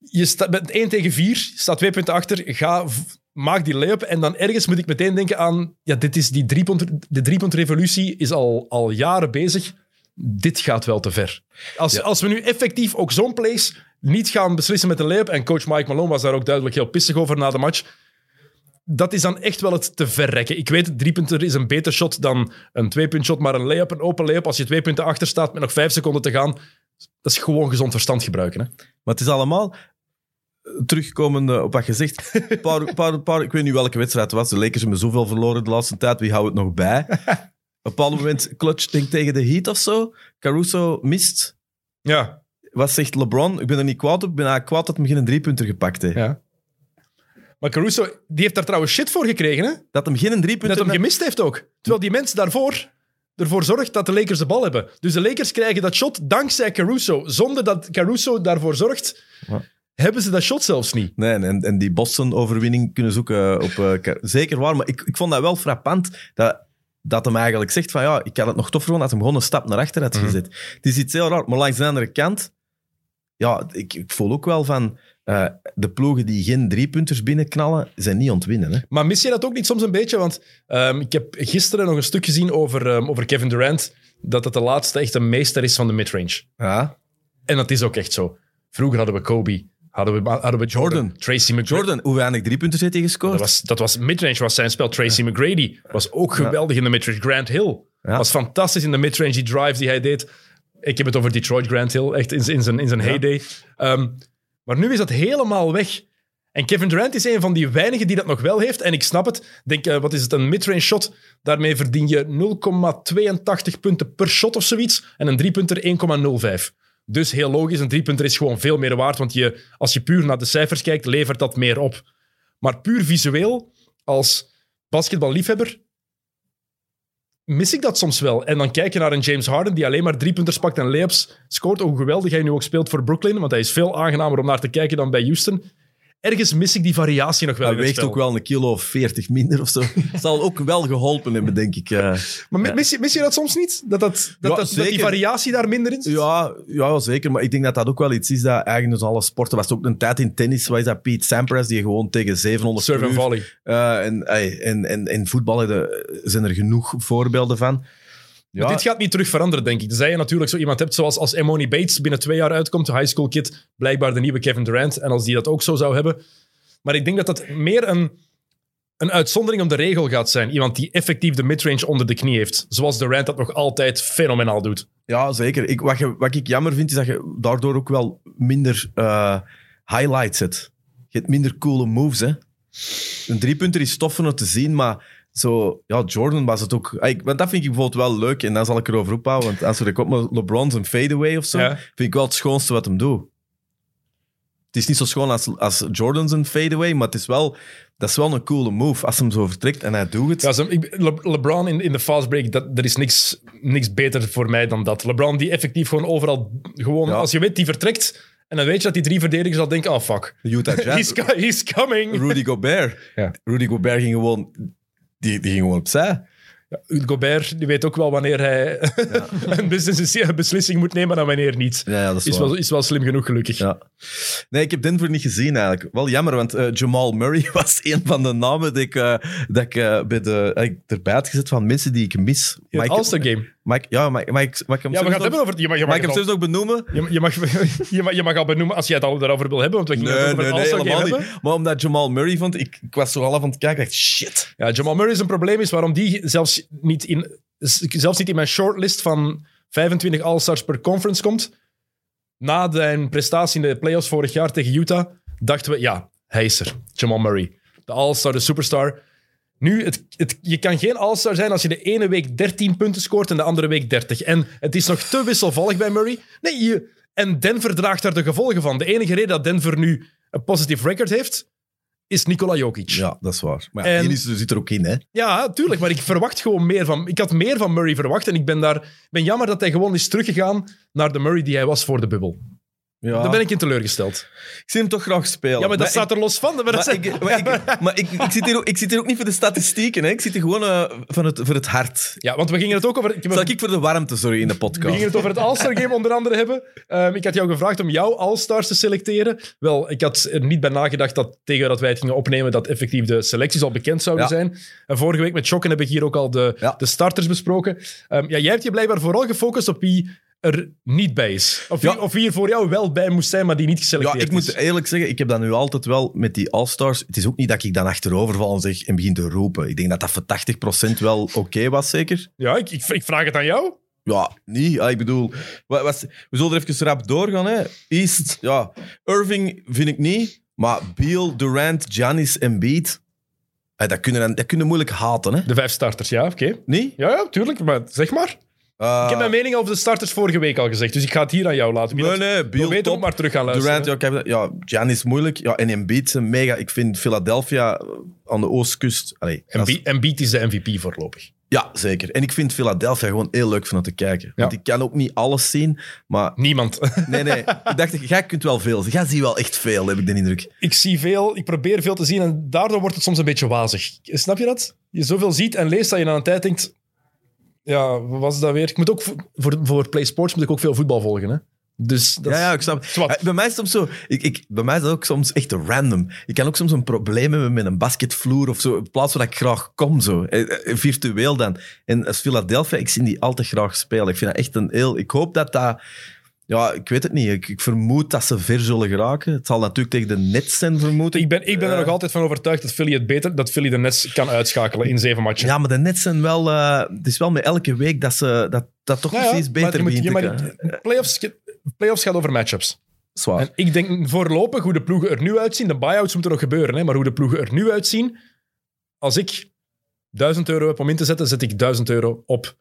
Speaker 4: Je sta, met 1 tegen 4, staat 2 punten achter. Ga v- maak die lay-up. En dan ergens moet ik meteen denken aan... Ja, dit is die driepunt, de driepuntrevolutie is al, al jaren bezig. Dit gaat wel te ver. Als, als we nu effectief ook zo'n place niet gaan beslissen met de lay-up... En coach Mike Malone was daar ook duidelijk heel pissig over na de match. Dat is dan echt wel het te ver rekken. Ik weet, driepunter is een beter shot dan een tweepuntshot, maar een lay-up, een open lay-up, als je twee punten achter staat met nog vijf seconden te gaan, dat is gewoon gezond verstand gebruiken. Hè?
Speaker 5: Maar het is allemaal eh, terugkomende op wat je zegt. Paar, paar, paar, ik weet niet welke wedstrijd het was. De Lakers hebben zoveel verloren de laatste tijd. Wie houdt het nog bij? Op een bepaald moment clutch denk ik, tegen de Heat of zo. Caruso mist.
Speaker 4: Ja,
Speaker 5: Wat zegt LeBron? Ik ben er niet kwaad op. Ik ben eigenlijk kwaad dat hij geen driepunter gepakt heeft.
Speaker 4: Ja. Maar Caruso, die heeft daar trouwens shit voor gekregen, hè?
Speaker 5: Dat hem geen
Speaker 4: Dat
Speaker 5: driepunter...
Speaker 4: hem gemist heeft ook. Terwijl die mens daarvoor ervoor zorgt dat de Lakers de bal hebben. Dus de Lakers krijgen dat shot dankzij Caruso. Zonder dat Caruso daarvoor zorgt,
Speaker 5: Ja.
Speaker 4: hebben ze dat shot zelfs niet.
Speaker 5: Nee, en, en die Boston-overwinning kunnen zoeken op... eh, Car- zeker waar, maar ik, ik vond dat wel frappant dat, dat hem eigenlijk zegt van ja, ik had het nog toffer gevonden als hem gewoon een stap naar achter had gezet. Het is iets heel raar, maar langs de andere kant, ja, ik, ik voel ook wel van eh, de ploegen die geen driepunters binnenknallen, zijn niet ontwinnen. Hè?
Speaker 4: Maar mis je dat ook niet soms een beetje? Want ehm, ik heb gisteren nog een stuk gezien over, ehm, over Kevin Durant. Dat het de laatste echte meester is van de midrange.
Speaker 5: Ja.
Speaker 4: En dat is ook echt zo. Vroeger hadden we Kobe, hadden we, hadden we Jordan,
Speaker 5: Jordan.
Speaker 4: Tracy McGrady.
Speaker 5: Jordan, hoe weinig driepunters heeft hij gescoord?
Speaker 4: Dat was, dat was midrange was zijn spel. Tracy McGrady was ook geweldig in de midrange. Grant Hill
Speaker 5: Ja.
Speaker 4: was fantastisch in de midrange. Die drive die hij deed. Ik heb het over Detroit Grant Hill. Echt in, zijn- in zijn, in zijn heyday. Ehm, maar nu is dat helemaal weg. En Kevin Durant is een van die weinigen die dat nog wel heeft. En ik snap het. Denk, eh, wat is het, een midrange shot? Daarmee verdien je 0,82 punten per shot of zoiets. En een driepunter 1,05. Dus heel logisch, een driepunter is gewoon veel meer waard. Want je, als je puur naar de cijfers kijkt, levert dat meer op. Maar puur visueel, als basketballiefhebber, mis ik dat soms wel. En dan kijk je naar een James Harden die alleen maar driepunters pakt en layups scoort. Hoe geweldig hij nu ook speelt voor Brooklyn, want hij is veel aangenamer om naar te kijken dan bij Houston. Ergens mis ik die variatie nog wel.
Speaker 5: Hij
Speaker 4: in het
Speaker 5: weegt
Speaker 4: spel.
Speaker 5: ook wel een kilo of veertig minder of zo. Zal ook wel geholpen hebben, denk ik. eh.
Speaker 4: Maar mi- mis je, mis je dat soms niet? Dat, dat, dat,
Speaker 5: Ja,
Speaker 4: dat, dat die
Speaker 5: zeker.
Speaker 4: variatie daar minder in zit?
Speaker 5: Ja, ja, zeker. Maar ik denk dat dat ook wel iets is dat eigenlijk dus alle sporten... was ook een tijd in tennis, wat is dat, Pete Sampras, die gewoon tegen 700
Speaker 4: Serve
Speaker 5: per
Speaker 4: en
Speaker 5: uur-
Speaker 4: volley.
Speaker 5: Eh, en, ey, en, en, en voetbal eh, de- zijn er genoeg voorbeelden van. Ja,
Speaker 4: Maar dit gaat niet terug veranderen, denk ik. Tenzij je natuurlijk zo iemand hebt zoals als Emoni Bates binnen twee jaar uitkomt, high school kid, blijkbaar de nieuwe Kevin Durant. En als die dat ook zo zou hebben. Maar ik denk dat dat meer een, een uitzondering om de regel gaat zijn. Iemand die effectief de midrange onder de knie heeft. Zoals Durant dat nog altijd fenomenaal doet.
Speaker 5: ja zeker. Ik, wat, je- wat ik jammer vind, is dat je daardoor ook wel minder eh, highlights hebt. Je hebt minder coole moves, hè. Een driepunter is tof om het te zien, maar zo... Ja, Jordan was het ook... Ey, ik- want dat vind ik bijvoorbeeld wel leuk, en dan zal ik erover ophouden. Want als er komt, maar LeBron een fadeaway of zo,
Speaker 4: Ja.
Speaker 5: vind ik wel het schoonste wat hem doet. Het is niet zo schoon als, als Jordan zijn fadeaway, maar het is wel, dat is wel een coole move als hem zo vertrekt en hij doet het.
Speaker 4: Ja, zo- ik- Le- LeBron in, in de fast break, dat, er is niks, niks beter voor mij dan dat. LeBron die effectief gewoon overal, gewoon,
Speaker 5: Ja.
Speaker 4: als je weet, die vertrekt. En dan weet je dat die drie verdedigers al denken, oh fuck,
Speaker 5: De Utah
Speaker 4: he's,
Speaker 5: Jazz.
Speaker 4: co- he's coming.
Speaker 5: Rudy Gobert.
Speaker 4: Ja.
Speaker 5: Rudy Gobert ging gewoon, die, die ging gewoon opzij.
Speaker 4: Gobert die weet ook wel wanneer hij een business- een beslissing moet nemen en wanneer niet.
Speaker 5: Ja, dat
Speaker 4: Is wel, is wel slim genoeg, gelukkig.
Speaker 5: Ja. Nee, ik heb Denver niet gezien eigenlijk. Wel jammer, want eh, Jamal Murray was een van de namen die ik, eh, dat ik, eh, bij de, dat ik erbij had gezet van mensen die ik mis.
Speaker 4: In
Speaker 5: Maar
Speaker 4: het
Speaker 5: ik-
Speaker 4: All-Star Game.
Speaker 5: maar ik- ja, maar, maar ik, maar ik hem
Speaker 4: Ja, we gaan het
Speaker 5: zelfs
Speaker 4: hebben
Speaker 5: nog-
Speaker 4: over... Je mag, je mag,
Speaker 5: Maar ik heb
Speaker 4: het al-
Speaker 5: zelfs ook benoemen.
Speaker 4: je, je mag, je, mag, je mag al benoemen als jij het al daarover wil hebben, want we gingen het
Speaker 5: Nee,
Speaker 4: over
Speaker 5: nee,
Speaker 4: het
Speaker 5: nee,
Speaker 4: All-Star Game
Speaker 5: helemaal
Speaker 4: hebben.
Speaker 5: niet. Maar omdat Jamal Murray vond, ik, ik was zo half aan het kijken, ik dacht, shit.
Speaker 4: Ja, Jamal Murray is een probleem, is waarom die zelfs niet in, zelfs niet in mijn shortlist van 25 All-Stars per conference komt. Na zijn prestatie in de playoffs vorig jaar tegen Utah, dachten we, ja, hij is er. Jamal Murray. De All-Star, de superstar. Nu, het, het, je kan geen All-Star zijn als je de ene week 13 punten scoort en de andere week 30. En het is nog te wisselvallig bij Murray. Nee, je, en Denver draagt daar de gevolgen van. De enige reden dat Denver nu een positief record heeft, is Nikola Jokic.
Speaker 5: Ja, dat is waar. Maar ja,
Speaker 4: En-
Speaker 5: die is- zit er ook in, hè.
Speaker 4: Ja, tuurlijk, maar ik verwacht gewoon meer van... Ik had meer van Murray verwacht en ik ben daar... ik ben jammer dat hij gewoon is teruggegaan naar de Murray die hij was voor de bubbel.
Speaker 5: Ja.
Speaker 4: Daar ben ik in teleurgesteld.
Speaker 5: Ik zie hem toch graag spelen.
Speaker 4: Ja, maar dat staat
Speaker 5: ik-
Speaker 4: er los van. Maar dat
Speaker 5: Maar,
Speaker 4: zijn-
Speaker 5: ik, maar, ik, maar ik, ik, zit hier ook, ik zit hier ook niet voor de statistieken. Hè. Ik zit hier gewoon eh, van het, voor het hart.
Speaker 4: Ja, want we gingen het ook over... ik heb een-
Speaker 5: Zal ik voor de warmte, sorry, in de
Speaker 4: We
Speaker 5: podcast.
Speaker 4: gingen het over het All-Star Game onder andere hebben. Ehm, ik had jou gevraagd om jouw All-Stars te selecteren. Wel, ik had er niet bij nagedacht dat tegen dat wij het gingen opnemen, dat effectief de selecties al bekend zouden
Speaker 5: Ja.
Speaker 4: zijn. En vorige week met Chokken heb ik hier ook al de,
Speaker 5: Ja.
Speaker 4: de starters besproken. Ehm, ja, jij hebt je blijkbaar vooral gefocust op wie er niet bij is. Of wie,
Speaker 5: Ja.
Speaker 4: of wie er voor jou wel bij moest zijn, maar die niet
Speaker 5: Ja,
Speaker 4: geselecteerd
Speaker 5: ik moet
Speaker 4: is.
Speaker 5: eerlijk zeggen, ik heb dat nu altijd wel met die All-Stars. Het is ook niet dat ik dan achterover val en zeg en begin te roepen. Ik denk dat dat voor 80% wel oké was, zeker.
Speaker 4: Ja, ik, ik, ik vraag het aan jou.
Speaker 5: Ja, niet. Ah, ik bedoel, wa- was, we zullen er even rap doorgaan. Hè. East, ja. Irving vind ik niet. Maar Beal, Durant, Giannis en Beat, dat kunnen, dan- dat kunnen moeilijk haten, hè?
Speaker 4: De vijf starters, ja, oké.
Speaker 5: Niet?
Speaker 4: Ja, ja, tuurlijk, maar zeg maar.
Speaker 5: Eh,
Speaker 4: ik heb mijn mening over de starters vorige week al gezegd, dus ik ga het hier aan jou laten. Wie
Speaker 5: Nee,
Speaker 4: dat-
Speaker 5: nee, Beal
Speaker 4: probeer het
Speaker 5: top.
Speaker 4: ook maar terug gaan luisteren.
Speaker 5: Durant, ja, ik heb dat- ja, Giannis moeilijk. Ja, en Embiid, is een mega. Ik vind Philadelphia eh, aan de oostkust... Allee, dat is-
Speaker 4: Embi- Embiid is de MVP voorlopig.
Speaker 5: Ja, zeker. En ik vind Philadelphia gewoon heel leuk van te kijken. Want
Speaker 4: Ja.
Speaker 5: ik kan ook niet alles zien, maar...
Speaker 4: Niemand.
Speaker 5: Nee, nee. ik dacht, jij kunt wel veel. zien. Jij ziet wel echt veel, heb ik de indruk.
Speaker 4: ik zie veel, ik probeer veel te zien en daardoor wordt het soms een beetje wazig. Snap je dat? Je zoveel ziet en leest dat je na een tijd denkt... Ja, wat was dat weer? Ik moet ook vo- voor, voor Play Sports moet ik ook veel voetbal volgen, hè? Dus dat
Speaker 5: Ja,
Speaker 4: is-
Speaker 5: ja, ik snap.
Speaker 4: Zwat.
Speaker 5: Eh, Bij mij is het soms zo... Ik, ik, bij mij is dat ook soms echt random. Ik kan ook soms een probleem hebben met een basketvloer of zo, een plaats waar ik graag kom, zo. Eh, eh, Virtueel dan. En als Philadelphia, ik zie die altijd graag spelen. Ik vind dat echt een heel... Ik hoop dat dat... Ja, ik weet het niet. Ik, ik vermoed dat ze ver zullen geraken. Het zal natuurlijk tegen de Nets zijn, vermoed
Speaker 4: Ik ben, ik ben er
Speaker 5: Eh.
Speaker 4: nog altijd van overtuigd dat Philly het beter... Dat Philly de Nets kan uitschakelen in zeven matchen.
Speaker 5: Ja, maar de Nets zijn wel... eh, het is wel met elke week dat ze dat, dat toch
Speaker 4: Ja, ja,
Speaker 5: precies
Speaker 4: maar je
Speaker 5: beter eh.
Speaker 4: moet-
Speaker 5: begint
Speaker 4: je
Speaker 5: te
Speaker 4: maar-
Speaker 5: gaan.
Speaker 4: playoffs, playoffs gaat over matchups.
Speaker 5: Zwaar.
Speaker 4: En ik denk voorlopig hoe de ploegen er nu uitzien. De buyouts moeten nog gebeuren, hè, maar hoe de ploegen er nu uitzien. Als ik 1000 euro heb om in te zetten, zet ik 1000 euro op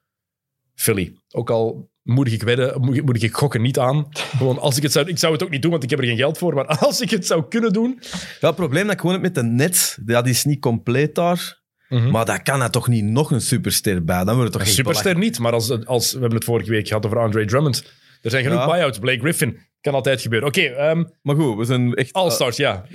Speaker 4: Philly. Ook al moedig ik wedden, moedig moedig ik gokken niet aan. Gewoon als ik het zou, ik zou het ook niet doen, want ik heb er geen geld voor. Maar als ik het zou kunnen doen.
Speaker 5: Ja, het probleem dat ik gewoon heb met de Nets, dat is niet compleet daar.
Speaker 4: Mhm.
Speaker 5: Maar dat kan er toch niet nog een superster bij. Dan wordt het toch echt
Speaker 4: Superster niet, maar als, als, we hebben het vorige week gehad over Andre Drummond. Er zijn genoeg
Speaker 5: Ja.
Speaker 4: buyouts. Blake Griffin kan altijd gebeuren. Oké, ehm,
Speaker 5: belachelijk. Maar goed, we zijn echt...
Speaker 4: All-Stars, ja.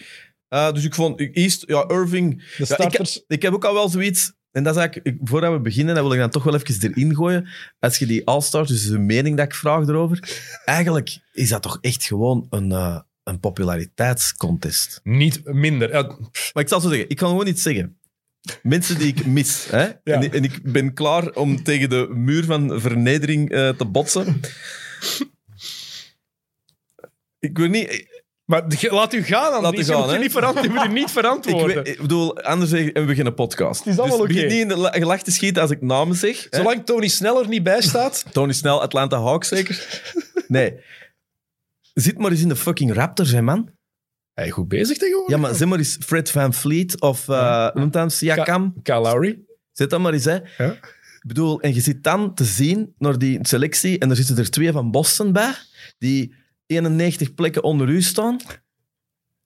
Speaker 5: Eh, eh, dus ik vond East, ja, Irving...
Speaker 4: De
Speaker 5: Ja, ik,
Speaker 4: starters.
Speaker 5: heb- ik heb ook al wel zoiets... En dat is eigenlijk, ik- voordat we beginnen, dat wil ik dan toch wel even erin gooien. Als je die All-Stars, dus de mening dat ik vraag erover. Eigenlijk is dat toch echt gewoon een, eh, een populariteitscontest.
Speaker 4: Niet minder. Eh, Ja,
Speaker 5: Maar ik zal zo zeggen, ik kan gewoon iets zeggen. Mensen die ik mis. Hè? En, en ik ben klaar om tegen de muur van vernedering eh, te botsen. Ik wil niet... Ik,
Speaker 4: maar ge- laat u gaan, Andries.
Speaker 5: u gaan,
Speaker 4: je moet je
Speaker 5: hè.
Speaker 4: niet verantwoorden. Je moet je niet verantwoorden.
Speaker 5: weet- ik bedoel, anders zeggen- hebben we geen podcast.
Speaker 4: Het is allemaal
Speaker 5: dus
Speaker 4: oké.
Speaker 5: begin niet in de la- gelach te schieten als ik namen zeg. hè.
Speaker 4: Zolang Tony Sneller niet bij staat.
Speaker 5: Tony Snell, Atlanta Hawks zeker? Nee. Zit maar eens in de fucking Raptors, hè, man.
Speaker 4: Hij goed bezig tegenwoordig.
Speaker 5: Ja, maar zit maar eens Fred Van Vliet of... eh noemt dat hem Siakam?
Speaker 4: Kyle Lowry.
Speaker 5: Zet dat maar eens, hè. Ik bedoel, en je zit dan te zien naar die selectie en er zitten er twee van Boston bij, die 91 plekken onder u staan.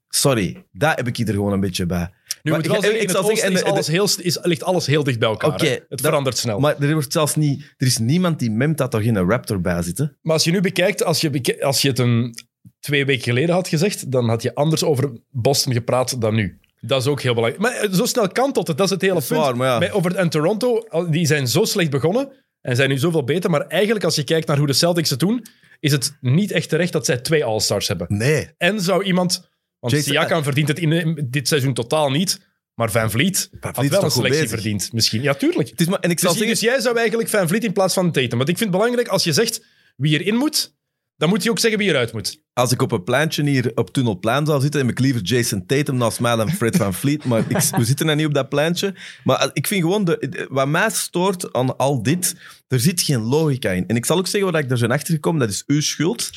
Speaker 5: Sorry, daar heb ik hier gewoon een beetje bij.
Speaker 4: Nu
Speaker 5: Maar
Speaker 4: moet ik wel
Speaker 5: ik-
Speaker 4: zeggen,
Speaker 5: ik
Speaker 4: in het
Speaker 5: zal zeggen,
Speaker 4: oosten is
Speaker 5: en de-
Speaker 4: alles heel, is, ligt alles heel dicht bij elkaar.
Speaker 5: Oké,
Speaker 4: hè. het
Speaker 5: dat-
Speaker 4: verandert snel. Maar,
Speaker 5: Maar er wordt zelfs niet... Er is niemand die memt dat er geen Raptor bij zit, hè.
Speaker 4: als je nu bekijkt, als je, beke- als je het een, twee weken geleden had gezegd, dan had je anders over Boston gepraat dan nu. Dat is ook heel belangrijk. Maar eh, zo snel kantelt het, dat is het hele
Speaker 5: Dat is
Speaker 4: punt.
Speaker 5: waar, maar ja.
Speaker 4: Bij- over, en Toronto, al- die zijn zo slecht begonnen en zijn nu zoveel beter. Maar eigenlijk, als je kijkt naar hoe de Celtics het doen, is het niet echt terecht dat zij twee All-Stars hebben.
Speaker 5: Nee.
Speaker 4: En zou iemand... Want
Speaker 5: Jason-
Speaker 4: Siakam verdient het in, in dit seizoen totaal niet. Maar Van Vliet,
Speaker 5: Vliet
Speaker 4: had
Speaker 5: is
Speaker 4: wel
Speaker 5: toch
Speaker 4: een
Speaker 5: goed
Speaker 4: selectie
Speaker 5: bezig?
Speaker 4: verdiend, misschien. Ja, tuurlijk.
Speaker 5: Het is maar, en ik zal
Speaker 4: dus,
Speaker 5: zeggen...
Speaker 4: dus jij zou eigenlijk Van Vliet in plaats van Tatum. Want ik vind het belangrijk, als je zegt wie erin moet, dan moet je ook zeggen wie eruit moet.
Speaker 5: als ik op een pleintje hier op Tunnelplein zou zitten, heb ik liever Jason Tatum naast mij dan Fred van Vliet. Maar ik, we zitten dan niet op dat pleintje. Maar eh, ik vind gewoon, de, de- wat mij stoort aan al dit, er zit geen logica in. En ik zal ook zeggen waar ik er zijn achter gekomen, dat is uw schuld.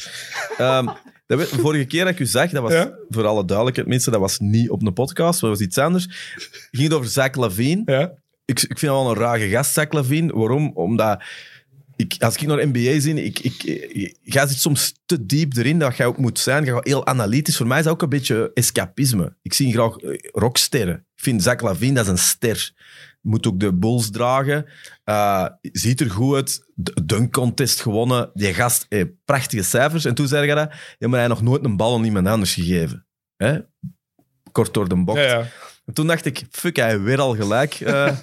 Speaker 5: Ehm, dat we- vorige keer dat ik u zag, dat was
Speaker 4: Ja.
Speaker 5: voor alle duidelijkheid mensen, dat was niet op een podcast, maar dat was iets anders. Ging het over Zach Lavine
Speaker 4: Ja.
Speaker 5: ik, ik vind hem wel een rage gast, Zach Lavine. Waarom? Omdat ik, als ik naar NBA zie, ik, ik, ik, jij zit soms te diep erin dat jij ook moet zijn. Je gaat heel analytisch. Voor mij is dat ook een beetje escapisme. Ik zie graag eh, rocksterren. Ik vind Zach Lavine, dat is een ster. moet ook de Bulls dragen. Eh, ziet er goed uit. D- Dunk contest gewonnen. Die gast, eh, prachtige cijfers. En toen zei hij dat, ja, maar hij heeft nog nooit een bal aan iemand anders gegeven. Hè? Kort door de bocht.
Speaker 4: Ja, ja.
Speaker 5: En toen dacht ik, fuck, hij heeft weer al gelijk. Eh,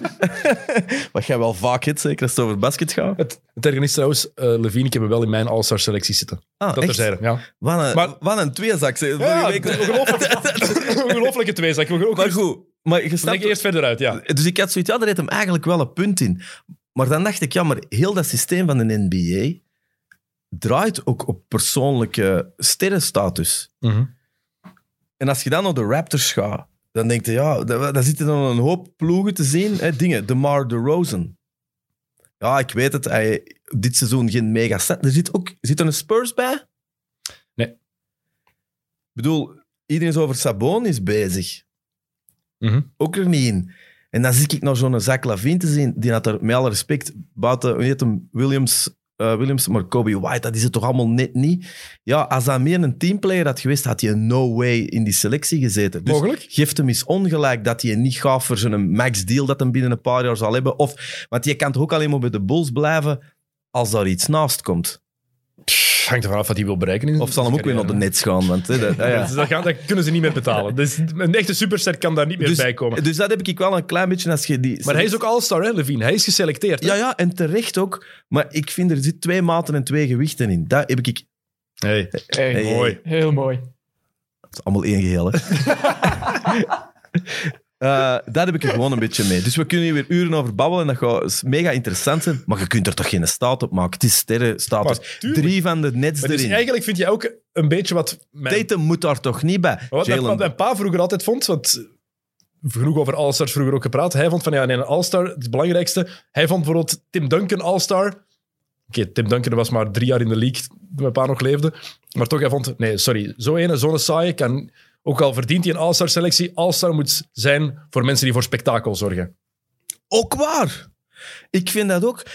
Speaker 5: wat jij wel vaak hebt, zeker als het over basket gaat.
Speaker 4: Het, het ergste is trouwens, eh Levine, ik heb hem wel in mijn All-Star selectie zitten.
Speaker 5: Ah,
Speaker 4: Dat
Speaker 5: echt?
Speaker 4: terzijde, ja.
Speaker 5: Wat een,
Speaker 4: Maar-
Speaker 5: wat een tweezak. zeg. Vorige
Speaker 4: Ja,
Speaker 5: week-
Speaker 4: ongelooflijk. Ongelooflijke tweezak. We gaan ook
Speaker 5: Maar
Speaker 4: eerst-
Speaker 5: goed, maar je
Speaker 4: Dan denk
Speaker 5: snapt...
Speaker 4: ik eerst verder uit, ja.
Speaker 5: Dus ik had zoiets, ja, daar heeft hem eigenlijk wel een punt in. Maar dan dacht ik, ja, maar heel dat systeem van de NBA draait ook op persoonlijke sterrenstatus.
Speaker 4: Mhm.
Speaker 5: En als je dan naar de Raptors gaat, dan denk je, ja, da- daar zitten dan een hoop ploegen te zien. Hè, dingen, DeMar DeRozan. Ja, ik weet het, hij, dit seizoen geen mega set. Er zit ook zit er een Spurs bij?
Speaker 4: Nee.
Speaker 5: Ik bedoel, iedereen is over Sabonis bezig.
Speaker 4: Mhm.
Speaker 5: Ook er niet in. En dan zit ik naar zo'n Zach Lavine te zien, die had er, met alle respect, buiten, hoe heet hem, Williams, eh, Williams, maar Kobe White, dat is het toch allemaal net niet. Ja, als dat meer een teamplayer had geweest, had hij no way in die selectie gezeten. Dus
Speaker 4: Mogelijk.
Speaker 5: geeft hem eens ongelijk dat hij niet gaat voor zijn max deal dat hem binnen een paar jaar zal hebben. Of, want je kan toch ook alleen maar bij de Bulls blijven als daar iets naast komt.
Speaker 4: Pff, hangt ervan af wat hij wil bereiken. In
Speaker 5: Of zal hem ook weer naar de nets gaan. Want, hè, dat, ja, ja.
Speaker 4: Dus dat, gaan, dat kunnen ze niet meer betalen. Dus een echte superster kan daar niet meer bij komen.
Speaker 5: dus dat heb ik wel een klein beetje als je die...
Speaker 4: Maar hij is ook all-star, hè, Levine? Hij is geselecteerd. hè?
Speaker 5: Ja, ja, en terecht ook. Maar ik vind er zit twee maten en twee gewichten in. Daar heb ik...
Speaker 4: Hey,
Speaker 1: Hey,
Speaker 5: Hey,
Speaker 4: mooi.
Speaker 1: Heel mooi.
Speaker 5: Het is allemaal één geheel, hè. Eh, daar heb ik er gewoon een beetje mee. Dus we kunnen hier weer uren over babbelen en dat gaat is mega interessant zijn. Maar je kunt er toch geen staat op maken? Het is
Speaker 4: Maar
Speaker 5: sterrenstatus.
Speaker 4: tuurlijk.
Speaker 5: Drie van de nets
Speaker 4: Maar dus
Speaker 5: erin.
Speaker 4: eigenlijk vind je ook een beetje wat mijn,
Speaker 5: Tatum moet daar toch niet bij?
Speaker 4: wat mijn- wat
Speaker 5: Jalen-
Speaker 4: mijn pa vroeger altijd vond, want genoeg over all-stars vroeger ook gepraat. Hij vond van, ja, nee, een all-star, het belangrijkste. Hij vond bijvoorbeeld Tim Duncan all-star. Oké, Tim Duncan was maar drie jaar in de league toen mijn pa nog leefde. Maar toch, hij vond, nee, sorry, zo'n ene, zo'n saaie kan... Ook al verdient hij een all-star selectie, all-star moet zijn voor mensen die voor spektakel zorgen.
Speaker 5: Ook waar. Ik vind dat ook.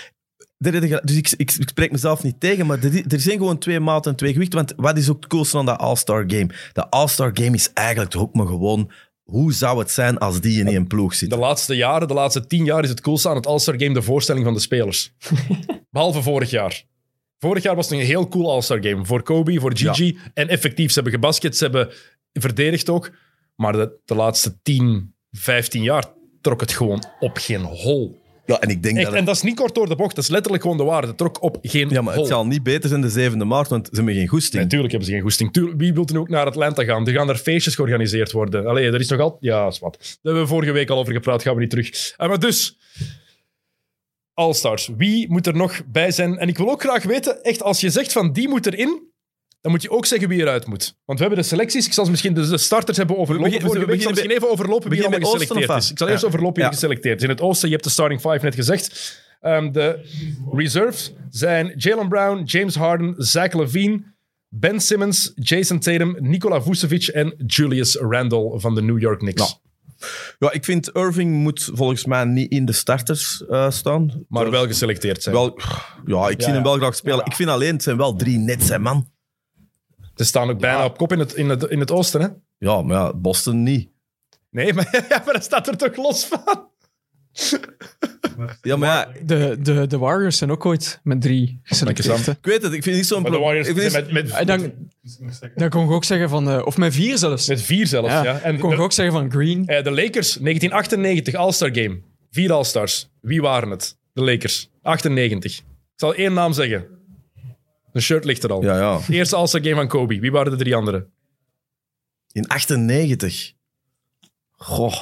Speaker 5: Er is een- Dus ik, ik, ik spreek mezelf niet tegen, maar er, i- er zijn gewoon twee maten en twee gewichten. Want wat is ook het coolste aan dat All-Star Game? Dat All-Star Game is eigenlijk toch ook maar gewoon... Hoe zou het zijn als die in één ploeg zit?
Speaker 4: De laatste jaren, de laatste tien jaar, is het coolste aan het All-Star Game de voorstelling van de spelers. Behalve vorig jaar. Vorig jaar was het een heel cool All-Star Game. Voor Kobe, voor Gigi. En effectief, ze hebben gebasket, ze hebben verdedigd ook. Maar de, de laatste 10, 15 jaar trok het gewoon op geen hol.
Speaker 5: Ja, en ik denk
Speaker 4: Echt,
Speaker 5: dat...
Speaker 4: en
Speaker 5: het-
Speaker 4: dat is niet kort door de bocht, dat is letterlijk gewoon de waarde. Het trok op geen
Speaker 5: ja, maar
Speaker 4: hol.
Speaker 5: het zal niet beter zijn de 7e maart, want ze hebben geen goesting.
Speaker 4: Natuurlijk hebben ze geen goesting. Tuur- wie wil er nu ook naar Atlanta gaan? Er gaan daar feestjes georganiseerd worden. Allee, er is nog altijd... Ja, is wat. Daar hebben we vorige week al over gepraat. Gaan we niet terug. Eh, maar dus... All-Stars. Wie moet er nog bij zijn? En ik wil ook graag weten, echt, als je zegt van die moet erin, dan moet je ook zeggen wie eruit moet. Want we hebben de selecties. Ik zal ze misschien de, de starters hebben overlopen.
Speaker 5: Begin-
Speaker 4: vorige
Speaker 5: we
Speaker 4: week. Ik zal
Speaker 5: beginnen
Speaker 4: misschien even overlopen wie
Speaker 5: begin
Speaker 4: er allemaal
Speaker 5: bij Oosten
Speaker 4: geselecteerd
Speaker 5: of
Speaker 4: is.
Speaker 5: wat?
Speaker 4: Ik zal eerst
Speaker 5: Ja.
Speaker 4: overlopen wie er
Speaker 5: Ja.
Speaker 4: geselecteerd is. In het oosten, je hebt de starting five net gezegd. Ehm, de reserves zijn Jalen Brown, James Harden, Zach Levine, Ben Simmons, Jason Tatum, Nikola Vucevic en Julius Randle van de New York Knicks.
Speaker 5: Ja, ik vind Irving moet volgens mij niet in de starters eh, staan.
Speaker 4: maar wel geselecteerd zijn.
Speaker 5: Wel, ja, ik zie
Speaker 4: ja.
Speaker 5: hem wel graag spelen. Ik vind alleen, het zijn wel drie nets, hè, man.
Speaker 4: Ze staan ook bijna op kop in het, in het, in het oosten, hè?
Speaker 5: Ja, maar ja, Boston niet.
Speaker 4: Nee, maar, ja, maar dat staat er toch los van?
Speaker 5: Ja, maar ja,
Speaker 1: De, de, de Warriors zijn ook ooit met drie
Speaker 4: Dank je,
Speaker 1: geselecteerd. hè.
Speaker 5: ik weet het, ik vind het niet zo'n
Speaker 4: Maar de
Speaker 5: probleem.
Speaker 4: Warriors
Speaker 5: Ik vind het-
Speaker 4: zijn met, met,
Speaker 1: En dan, dan kon je ook zeggen van... eh, of met vier zelfs.
Speaker 4: met vier zelfs. Ja.
Speaker 1: ja.
Speaker 4: En
Speaker 1: kon
Speaker 4: de-
Speaker 1: je ook zeggen van Green.
Speaker 4: Eh, de Lakers, 1998, All-Star Game. Vier All-Stars. Wie waren het? De Lakers. 98. Ik zal één naam zeggen. Een shirt ligt er al.
Speaker 5: Ja, ja.
Speaker 4: De eerste All-Star Game van Kobe. Wie waren de drie anderen?
Speaker 5: In 98. Goh.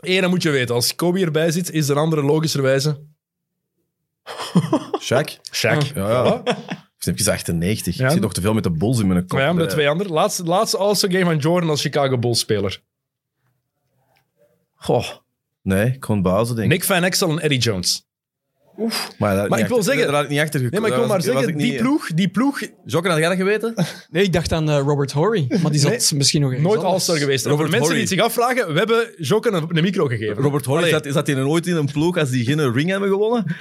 Speaker 4: Eén dat moet je weten. Als Kobe erbij zit, is de andere logischerwijze Ah.
Speaker 5: Shaq?
Speaker 4: Shaq.
Speaker 5: Ja, ja. Ik heb 98.
Speaker 4: Ja.
Speaker 5: Ik zit nog te veel met de Bulls in mijn kop.
Speaker 4: Maar ja, de
Speaker 5: Eh,
Speaker 4: twee anderen. Laatste, laatste All-Star Game van Jordan als Chicago Bulls-speler.
Speaker 5: Goh. Nee, ik kon Bowser denk ik.
Speaker 4: Nick Van Exel en Eddie Jones.
Speaker 5: Maar, daar
Speaker 4: Maar
Speaker 5: had niet
Speaker 4: ik wil
Speaker 5: achter-
Speaker 4: zeggen-
Speaker 5: Daar had ik niet achter gekomen.
Speaker 4: Nee, maar ik wil maar zeggen, die ploeg, die ploeg
Speaker 5: Jokken, had jij dat geweten?
Speaker 1: Nee, ik dacht aan eh, Robert Horry. Maar die zat
Speaker 4: Nee,
Speaker 1: misschien nog ergens
Speaker 4: nooit
Speaker 1: anders.
Speaker 4: All-Star geweest. En voor
Speaker 5: Robert
Speaker 4: de mensen die
Speaker 5: Horry.
Speaker 4: het zich afvragen, we hebben Jokken een, een micro gegeven.
Speaker 5: Robert Horry,
Speaker 4: Allee,
Speaker 5: zat, zat hij ooit in een ploeg als die geen ring hebben gewonnen?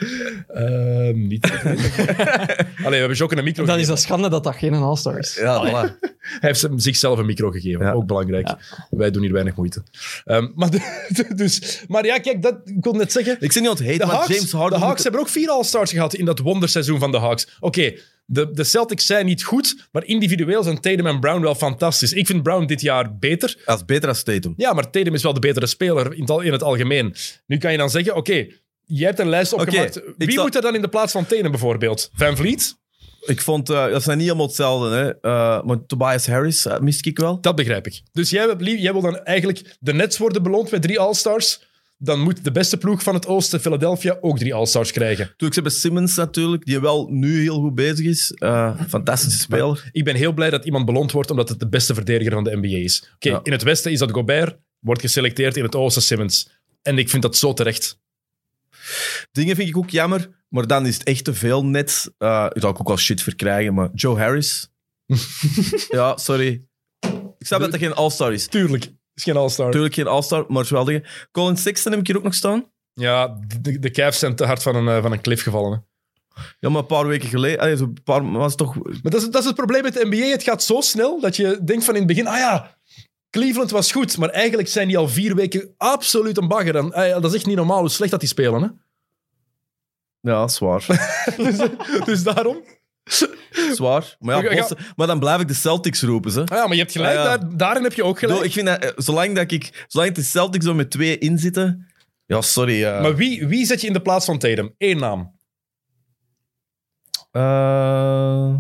Speaker 4: ehm, niet. Allee, we hebben Jokken een micro
Speaker 1: Dan is
Speaker 4: gegeven.
Speaker 1: dat schande dat dat geen een All-Star is.
Speaker 5: Ja, voilà.
Speaker 4: Hij heeft hem- zichzelf een micro gegeven,
Speaker 5: Ja.
Speaker 4: ook belangrijk. Wij doen hier weinig moeite. Ehm, maar, de- dus, maar ja, kijk, dat, ik wil net zeggen...
Speaker 5: Ik zit niet aan het
Speaker 4: De
Speaker 5: hate, maar
Speaker 4: Hawks,
Speaker 5: James Harden...
Speaker 4: de Hawks
Speaker 5: moet-
Speaker 4: hebben ook vier All-Stars gehad in dat wonderseizoen van de Hawks. Oké, de, de Celtics zijn niet goed, maar individueel zijn Tatum en Brown wel fantastisch. Ik vind Brown dit jaar beter.
Speaker 5: Dat is beter als Tatum.
Speaker 4: Ja, maar Tatum is wel de betere speler in het, al- in het algemeen. Nu kan je dan zeggen, oké, jij hebt een lijst opgemaakt.
Speaker 5: ik
Speaker 4: Wie
Speaker 5: zal-
Speaker 4: moet er dan in de plaats van Tatum bijvoorbeeld? Van Vliet?
Speaker 5: Ik vond, eh, dat is nou niet helemaal hetzelfde, hè. Eh, maar Tobias Harris eh, miste ik wel.
Speaker 4: Dat begrijp ik. Dus jij, hebt lief- jij wil dan eigenlijk de Nets worden beloond met drie All-Stars. Dan moet de beste ploeg van het oosten, Philadelphia, ook drie All-Stars krijgen.
Speaker 5: Natuurlijk, ze hebben Simmons natuurlijk, die wel nu heel goed bezig is. Eh, fantastische speler.
Speaker 4: Ik ben heel blij dat iemand beloond wordt omdat het de beste verdediger van de NBA is. Oké,
Speaker 5: Ja.
Speaker 4: in het westen is dat Gobert, wordt geselecteerd in het oosten Simmons. En ik vind dat zo terecht.
Speaker 5: Dingen vind ik ook jammer, maar dan is het echt te veel net. Eh ik zou ik ook wel shit verkrijgen, maar Joe Harris. ja, sorry. Ik snap dat dat geen All-Star is.
Speaker 4: Tuurlijk. Is geen All-Star.
Speaker 5: Natuurlijk geen All-Star, maar wel dingen. Colin Sexton heb ik hier ook nog staan.
Speaker 4: Ja, de, de Cavs zijn te hard van een, eh, van een cliff gevallen. hè.
Speaker 5: Ja, maar een paar weken geleden. allee, zo een paar, was het toch,
Speaker 4: Maar dat is, dat is het probleem met de NBA. Het gaat zo snel dat je denkt van in het begin, ah ja, Cleveland was goed, maar eigenlijk zijn die al vier weken absoluut een bagger. En, ah ja, dat is echt niet normaal hoe slecht dat die spelen. Hè?
Speaker 5: ja, zwaar.
Speaker 4: Dus daarom...
Speaker 5: zwaar. Maar, ja,
Speaker 4: Ga- ga-
Speaker 5: Boston- maar dan blijf ik de Celtics roepen. Ze.
Speaker 4: Ah ja, maar je hebt gelijk,
Speaker 5: Ah ja.
Speaker 4: daar- daarin heb je ook gelijk.
Speaker 5: Doe, ik vind dat, eh, zolang, dat ik, zolang de Celtics zo met twee in zitten. Ja, sorry. eh,
Speaker 4: Maar wie, wie zet je in de plaats van Tatum? Eén naam.
Speaker 5: eh,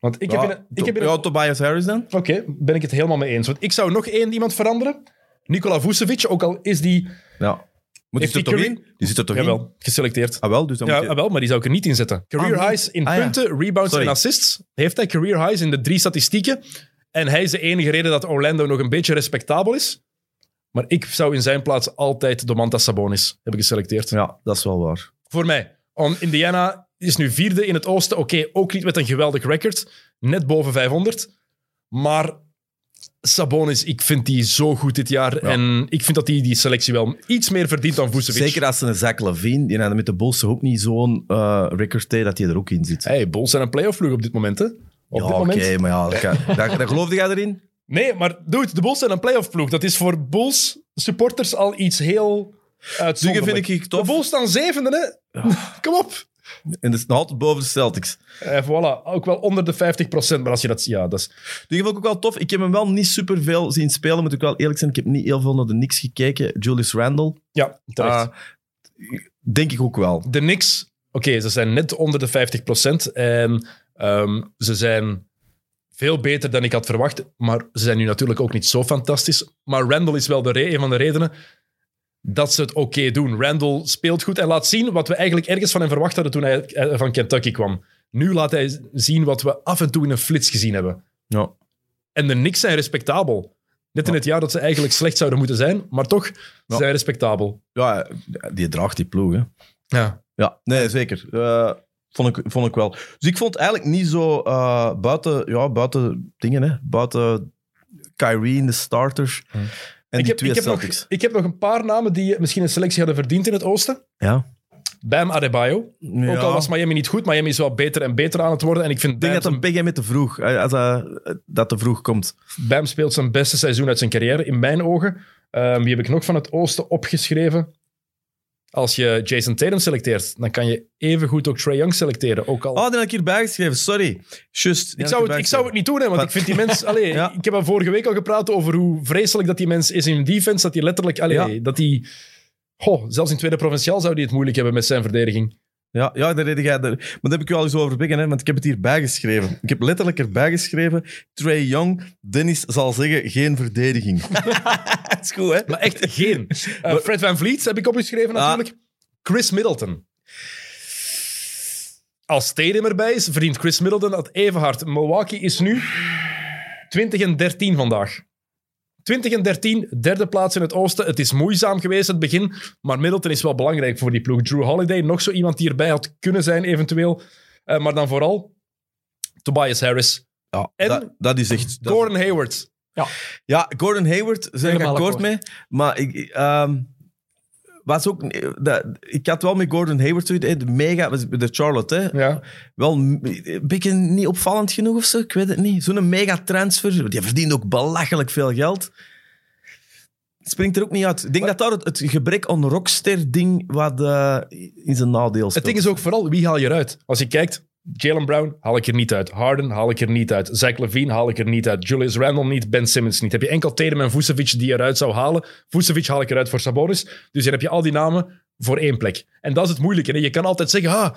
Speaker 4: Want ik
Speaker 5: ja,
Speaker 4: heb in... Ik heb in
Speaker 5: ja, Tobias Harris dan?
Speaker 4: Oké, ben ik het helemaal mee eens. Want ik zou nog één iemand veranderen. Nikola Vucevic, ook al is die...
Speaker 5: Ja. Maar die
Speaker 4: Heeft
Speaker 5: zit er
Speaker 4: die
Speaker 5: toch
Speaker 4: Curry-
Speaker 5: in? Die zit er toch in?
Speaker 4: Jawel, geselecteerd.
Speaker 5: Ah, wel, dus dan
Speaker 4: Ja,
Speaker 5: moet je...
Speaker 4: wel, maar die zou ik er niet in zetten. Career
Speaker 5: Ah, nee.
Speaker 4: highs in
Speaker 5: Ah, ja.
Speaker 4: punten, rebounds
Speaker 5: Sorry.
Speaker 4: en assists. Heeft hij career highs in de drie statistieken. En hij is de enige reden dat Orlando nog een beetje respectabel is. Maar ik zou in zijn plaats altijd Domantas Sabonis hebben geselecteerd.
Speaker 5: ja, dat is wel waar.
Speaker 4: Voor mij. Om Indiana is nu vierde in het oosten. Oké, ook niet met een geweldig record. Net boven 500. Maar Sabonis, ik vind die zo goed dit jaar. En ik vind dat hij die selectie wel iets meer verdient dan Vucevic.
Speaker 5: Zeker als ze een Zach Levine, die had met de Bulls toch ook niet zo'n eh record deed dat hij er ook in zit.
Speaker 4: Hey, Bulls zijn een playoff-vloer op dit moment, hè? Op
Speaker 5: ja,
Speaker 4: dit
Speaker 5: oké,
Speaker 4: moment.
Speaker 5: maar ja, dat, kan- dat, dat geloofde jij erin?
Speaker 4: Nee, maar dude, de Bulls zijn een playoff-ploeg. Dat is voor Bulls supporters al iets heel
Speaker 5: Dingen
Speaker 4: uitzonderlijk.
Speaker 5: vind ik tof.
Speaker 4: De Bulls staan zevende, hè? Kom op.
Speaker 5: En dat is nog altijd boven de Celtics.
Speaker 4: Eh, voilà, ook wel onder de 50%. Maar als je dat... Ja, dat is...
Speaker 5: Dingen vond Dus ik ook wel tof. Ik heb hem wel niet superveel zien spelen, moet ik wel eerlijk zijn. Ik heb niet heel veel naar de Knicks gekeken. Julius Randle.
Speaker 4: Ja, terecht.
Speaker 5: eh, denk ik ook wel.
Speaker 4: De Knicks, oké, ze zijn net onder de 50%. En ehm, ze zijn veel beter dan ik had verwacht. Maar ze zijn nu natuurlijk ook niet zo fantastisch. Maar Randall is wel de re- een van de redenen dat ze het oké doen. Randall speelt goed en laat zien wat we eigenlijk ergens van hem verwacht hadden toen hij eh, van Kentucky kwam. Nu laat hij zien wat we af en toe in een flits gezien hebben.
Speaker 5: Ja.
Speaker 4: En de Knicks zijn respectabel. Net in het jaar dat ze eigenlijk slecht zouden moeten zijn, maar toch, ze
Speaker 5: Ja.
Speaker 4: zijn respectabel.
Speaker 5: ja, die draagt die ploeg, hè.
Speaker 4: Ja.
Speaker 5: Ja, nee, zeker. Eh, vond, ik, vond ik wel. Dus ik vond eigenlijk niet zo eh, buiten, ja, buiten dingen, hè. Buiten Kyrie in de starters en die
Speaker 4: ik, heb,
Speaker 5: twee
Speaker 4: ik, heb nog,
Speaker 5: Celtics.
Speaker 4: ik heb nog een paar namen die eh, misschien een selectie hadden verdiend in het oosten.
Speaker 5: Ja.
Speaker 4: Bam Adebayo.
Speaker 5: Ja.
Speaker 4: Ook al was Miami niet goed, Miami is wel beter en beter aan het worden. En ik vind
Speaker 5: ik denk
Speaker 4: Bam,
Speaker 5: dat een
Speaker 4: zijn-
Speaker 5: big met te vroeg, eh, als eh, dat te vroeg komt.
Speaker 4: Bam speelt zijn beste seizoen uit zijn carrière, in mijn ogen. Ehm wie heb ik nog van het oosten opgeschreven? Als je Jason Tatum selecteert, dan kan je evengoed ook Trae Young selecteren. Ook al...
Speaker 5: Oh, die had ik hier bijgeschreven, sorry. Just.
Speaker 4: ik, zou het, ik zou het niet doen, hè, want
Speaker 5: Wat?
Speaker 4: ik vind die mens... Allee,
Speaker 5: Ja.
Speaker 4: Ik heb al vorige week al gepraat over hoe vreselijk dat die mens is in defense. Dat hij letterlijk... Allee, dat hij... Goh, zelfs in tweede provinciaal zou hij het moeilijk hebben met zijn verdediging.
Speaker 5: Ja, ja daar reden jij. daar- Maar dat heb ik je al eens over beginnen, hè, want ik heb het hier bijgeschreven. Ik heb letterlijk erbij geschreven: Trey Young, Dennis zal zeggen geen verdediging. dat is goed, hè?
Speaker 4: Maar echt geen. Eh, Fred Van Vliet heb ik opgeschreven
Speaker 5: Ah.
Speaker 4: natuurlijk. Chris Middleton. Als Tatum erbij is, verdient Chris Middleton dat even hard. Milwaukee is nu 20 en 13 vandaag. 20 en 13, derde plaats in het oosten. Het is moeizaam geweest het begin, maar Middleton is wel belangrijk voor die ploeg. Drew Holiday, nog zo iemand die erbij had kunnen zijn eventueel. Eh, maar dan vooral Tobias Harris.
Speaker 5: Ja,
Speaker 4: En-
Speaker 5: dat, dat is echt. dat-
Speaker 4: Gordon Hayward.
Speaker 5: ja, Gordon Hayward, zijn ik
Speaker 1: Helemaal
Speaker 5: akkoord mee. Maar ik, ehm, was ook... Dat, ik had wel met Gordon Hayward zoiets, hè, de mega... De Charlotte, hè.
Speaker 4: Ja.
Speaker 5: Wel m- een beetje niet opvallend genoeg of zo. Ik weet het niet. Zo'n mega transfer. Die verdient ook belachelijk veel geld. Springt er ook niet uit. Ik denk dat daar het, het gebrek aan rockster-ding wat eh, in zijn nadeel
Speaker 4: Het
Speaker 5: speelt.
Speaker 4: ding is ook vooral, wie haal je eruit? Als je kijkt, Jalen Brown haal ik er niet uit. Harden haal ik er niet uit. Zach Levine haal ik er niet uit. Julius Randle niet. Ben Simmons niet. Heb je enkel Tatum en Vucevic die je eruit zou halen. Vucevic haal ik eruit voor Sabonis. Dus dan heb je al die namen voor één plek. En dat is het moeilijke. Hè? Je kan altijd zeggen, ah,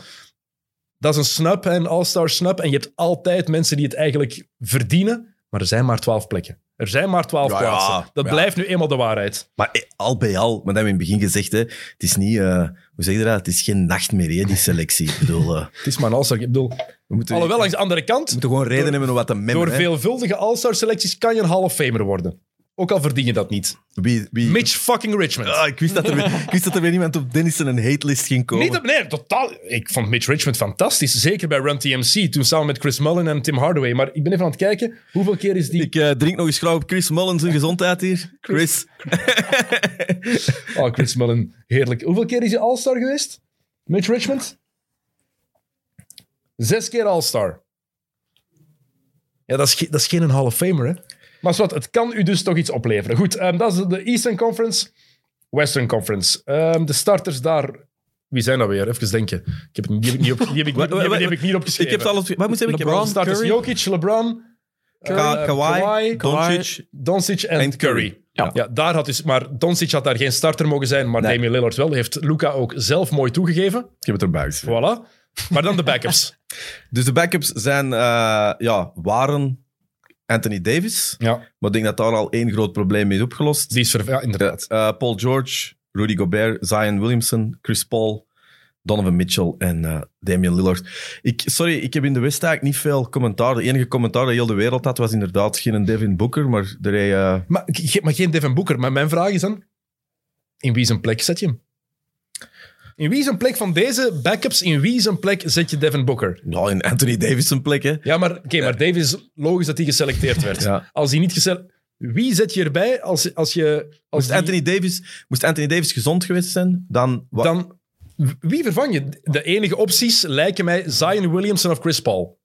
Speaker 4: dat is een snap, hè, een all-star snap. En je hebt altijd mensen die het eigenlijk verdienen. Maar er zijn maar twaalf plekken. Er zijn maar twaalf
Speaker 5: Ja, ja,
Speaker 4: plaatsen. dat
Speaker 5: ja.
Speaker 4: blijft nu eenmaal de waarheid.
Speaker 5: Maar eh, al bij al, maar dat hebben we in het begin gezegd, hè, het is niet... eh, hoe zeg je dat? Het is geen nacht meer, hè, die selectie. Ik bedoel, eh,
Speaker 4: Het is maar een all-star. Ik bedoel,
Speaker 5: we moeten,
Speaker 4: alhoewel
Speaker 5: we
Speaker 4: langs de andere kant...
Speaker 5: moeten gewoon reden hebben om wat te memmen.
Speaker 4: Door
Speaker 5: hè.
Speaker 4: veelvuldige All-Star selecties kan je een Hall of Famer worden. Ook al verdien je dat niet.
Speaker 5: Wie, wie,
Speaker 4: Mitch fucking Richmond.
Speaker 5: Ah, ik, wist dat er weer, ik wist dat er weer iemand op Dennison een hatelist ging komen.
Speaker 4: niet op, nee, totaal. Ik vond Mitch Richmond fantastisch. Zeker bij Run TMC, toen samen met Chris Mullen en Tim Hardaway. Maar ik ben even aan het kijken, hoeveel keer is die...
Speaker 5: Ik eh, drink nog eens grauw op Chris Mullins zijn gezondheid hier. Chris.
Speaker 4: Oh, Chris Mullen, heerlijk. Hoeveel keer is hij All-Star geweest? Mitch Richmond? Zes keer All-Star. Ja, dat is, ge- dat is geen Hall of Famer, hè? Maar wat, het kan u dus toch iets opleveren. Goed, ehm, dat is de Eastern Conference, Western Conference. Ehm, de starters daar... Wie zijn dat weer? Even denken. Ik heb, het- die heb ik niet, op, die heb ik, niet- die heb ik- die heb ik niet
Speaker 5: Eh, Ik
Speaker 4: opgeschreven.
Speaker 5: heb het al op- Wat moet ik hebben? Ik heb
Speaker 1: LeBron,
Speaker 5: alles staan.
Speaker 4: Starters
Speaker 1: Curry.
Speaker 4: Jokic, LeBron,
Speaker 5: dus- Ka-
Speaker 4: eh,
Speaker 5: Kawhi,
Speaker 4: Kawhi,
Speaker 5: Doncic.
Speaker 4: Doncic en,
Speaker 5: En Curry.
Speaker 4: Curry. Ja. daar had dus, maar Doncic had daar geen starter mogen zijn, maar
Speaker 5: Nee.
Speaker 4: Damian Lillard wel. Heeft Luca ook zelf mooi toegegeven.
Speaker 5: Ik heb het erbij gezet.
Speaker 4: Voilà. Maar dan de backups.
Speaker 5: Dus de backups zijn, eh, ja, waren Anthony Davis.
Speaker 4: ja,
Speaker 5: Maar ik denk dat daar al één groot probleem mee is opgelost.
Speaker 4: die is ver... ja, inderdaad.
Speaker 5: Eh, Paul George, Rudy Gobert, Zion Williamson, Chris Paul, Donovan Mitchell en eh, Damian Lillard. Ik, sorry, ik heb in de West eigenlijk niet veel commentaar. De enige commentaar dat heel de wereld had, was inderdaad geen Devin Booker, maar er hij, eh,
Speaker 4: Maar, ge- maar geen Devin Booker. Maar mijn vraag is dan, in wie zijn plek zet je hem? In wie zijn plek van deze backups, in wie zijn plek zet je Devin Booker?
Speaker 5: ja, nou, in Anthony Davis zijn plek, hè.
Speaker 4: Ja, maar, oké, maar Davis, is logisch dat hij geselecteerd werd.
Speaker 5: Ja.
Speaker 4: Als hij niet geselecteerd... Wie zet je erbij als, als je... Als
Speaker 5: Moest
Speaker 4: die-
Speaker 5: Anthony, Davis, moest Anthony Davis gezond geweest zijn, dan... wa-
Speaker 4: dan wie vervang je? De enige opties lijken mij Zion Williamson of Chris Paul.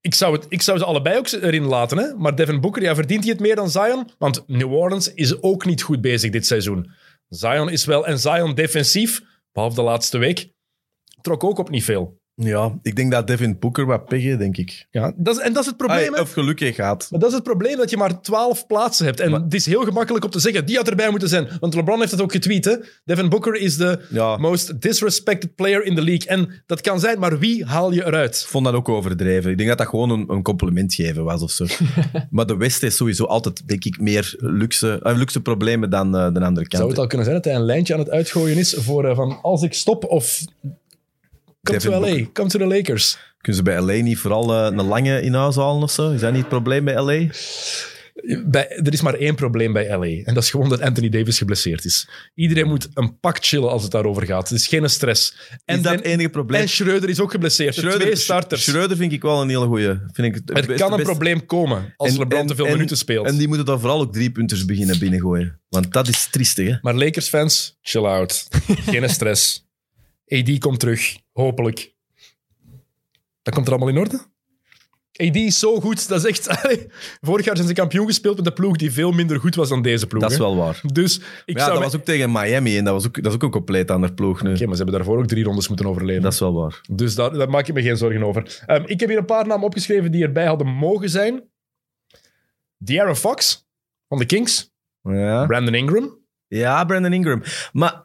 Speaker 4: Ik zou, het, ik zou ze allebei ook erin laten, hè? maar Devin Booker, ja, verdient hij het meer dan Zion? Want New Orleans is ook niet goed bezig dit seizoen. Zion is wel, en Zion defensief, behalve de laatste week, trok ook op niet veel.
Speaker 5: ja, ik denk dat Devin Booker wat piggen, denk ik.
Speaker 4: Ja, dat is, en dat is het probleem,
Speaker 5: Ah,
Speaker 4: hè?
Speaker 5: of gelukkig gaat.
Speaker 4: Maar dat is het probleem, dat je maar twaalf plaatsen hebt. En het is heel gemakkelijk om te zeggen, die had erbij moeten zijn. Want LeBron heeft het ook getweet, hè. Devin Booker is de
Speaker 5: Ja.
Speaker 4: most disrespected player in the league. En dat kan zijn, maar wie haal je eruit?
Speaker 5: Ik vond dat ook overdreven. Ik denk dat dat gewoon een, een compliment geven was of zo. maar de West heeft sowieso altijd, denk ik, meer luxe, eh, luxe problemen dan eh, de andere kant.
Speaker 4: Zou het al kunnen zijn dat hij een lijntje aan het uitgooien is voor eh, van als ik stop of... Come
Speaker 5: Devin
Speaker 4: to LA,
Speaker 5: Booker.
Speaker 4: come to the Lakers.
Speaker 5: Kunnen ze bij LA niet vooral eh, een lange in huis halen of zo? Is dat niet het probleem bij LA?
Speaker 4: Bij, er is maar één probleem bij LA. En dat is gewoon dat Anthony Davis geblesseerd is. Iedereen moet een pak chillen als het daarover gaat. Het is geen stress. En,
Speaker 5: Is dat
Speaker 4: en,
Speaker 5: het enige probleem?
Speaker 4: en Schreuder is ook geblesseerd. Schreuder, Twee starters.
Speaker 5: Schreuder vind ik wel een hele goeie. Vind ik het
Speaker 4: Er
Speaker 5: beste-
Speaker 4: kan een
Speaker 5: beste-
Speaker 4: probleem komen als
Speaker 5: En-
Speaker 4: LeBron
Speaker 5: en-
Speaker 4: te veel
Speaker 5: en-
Speaker 4: minuten speelt.
Speaker 5: En die moeten dan vooral ook drie punters beginnen binnengooien. Want dat is triestig, hè?
Speaker 4: Maar Lakers-fans, chill out. Geen stress. AD komt terug, hopelijk. Dat komt er allemaal in orde. AD is zo goed, dat is echt... Allee, Vorig jaar zijn ze kampioen gespeeld met een ploeg die veel minder goed was dan deze ploeg.
Speaker 5: Dat is
Speaker 4: hè.
Speaker 5: wel waar.
Speaker 4: Dus ik
Speaker 5: Maar ja,
Speaker 4: zou...
Speaker 5: dat was ook tegen Miami en dat, was ook, dat is ook een compleet ander ploeg nu.
Speaker 4: Oké, maar ze hebben daarvoor ook drie rondes moeten overleven.
Speaker 5: Dat is wel waar.
Speaker 4: Dus daar, daar maak ik me geen zorgen over. Ehm, ik heb hier een paar namen opgeschreven die erbij hadden mogen zijn. De'Aaron Fox van de Kings.
Speaker 5: Ja.
Speaker 4: Brandon Ingram.
Speaker 5: Ja, Brandon Ingram. Maar,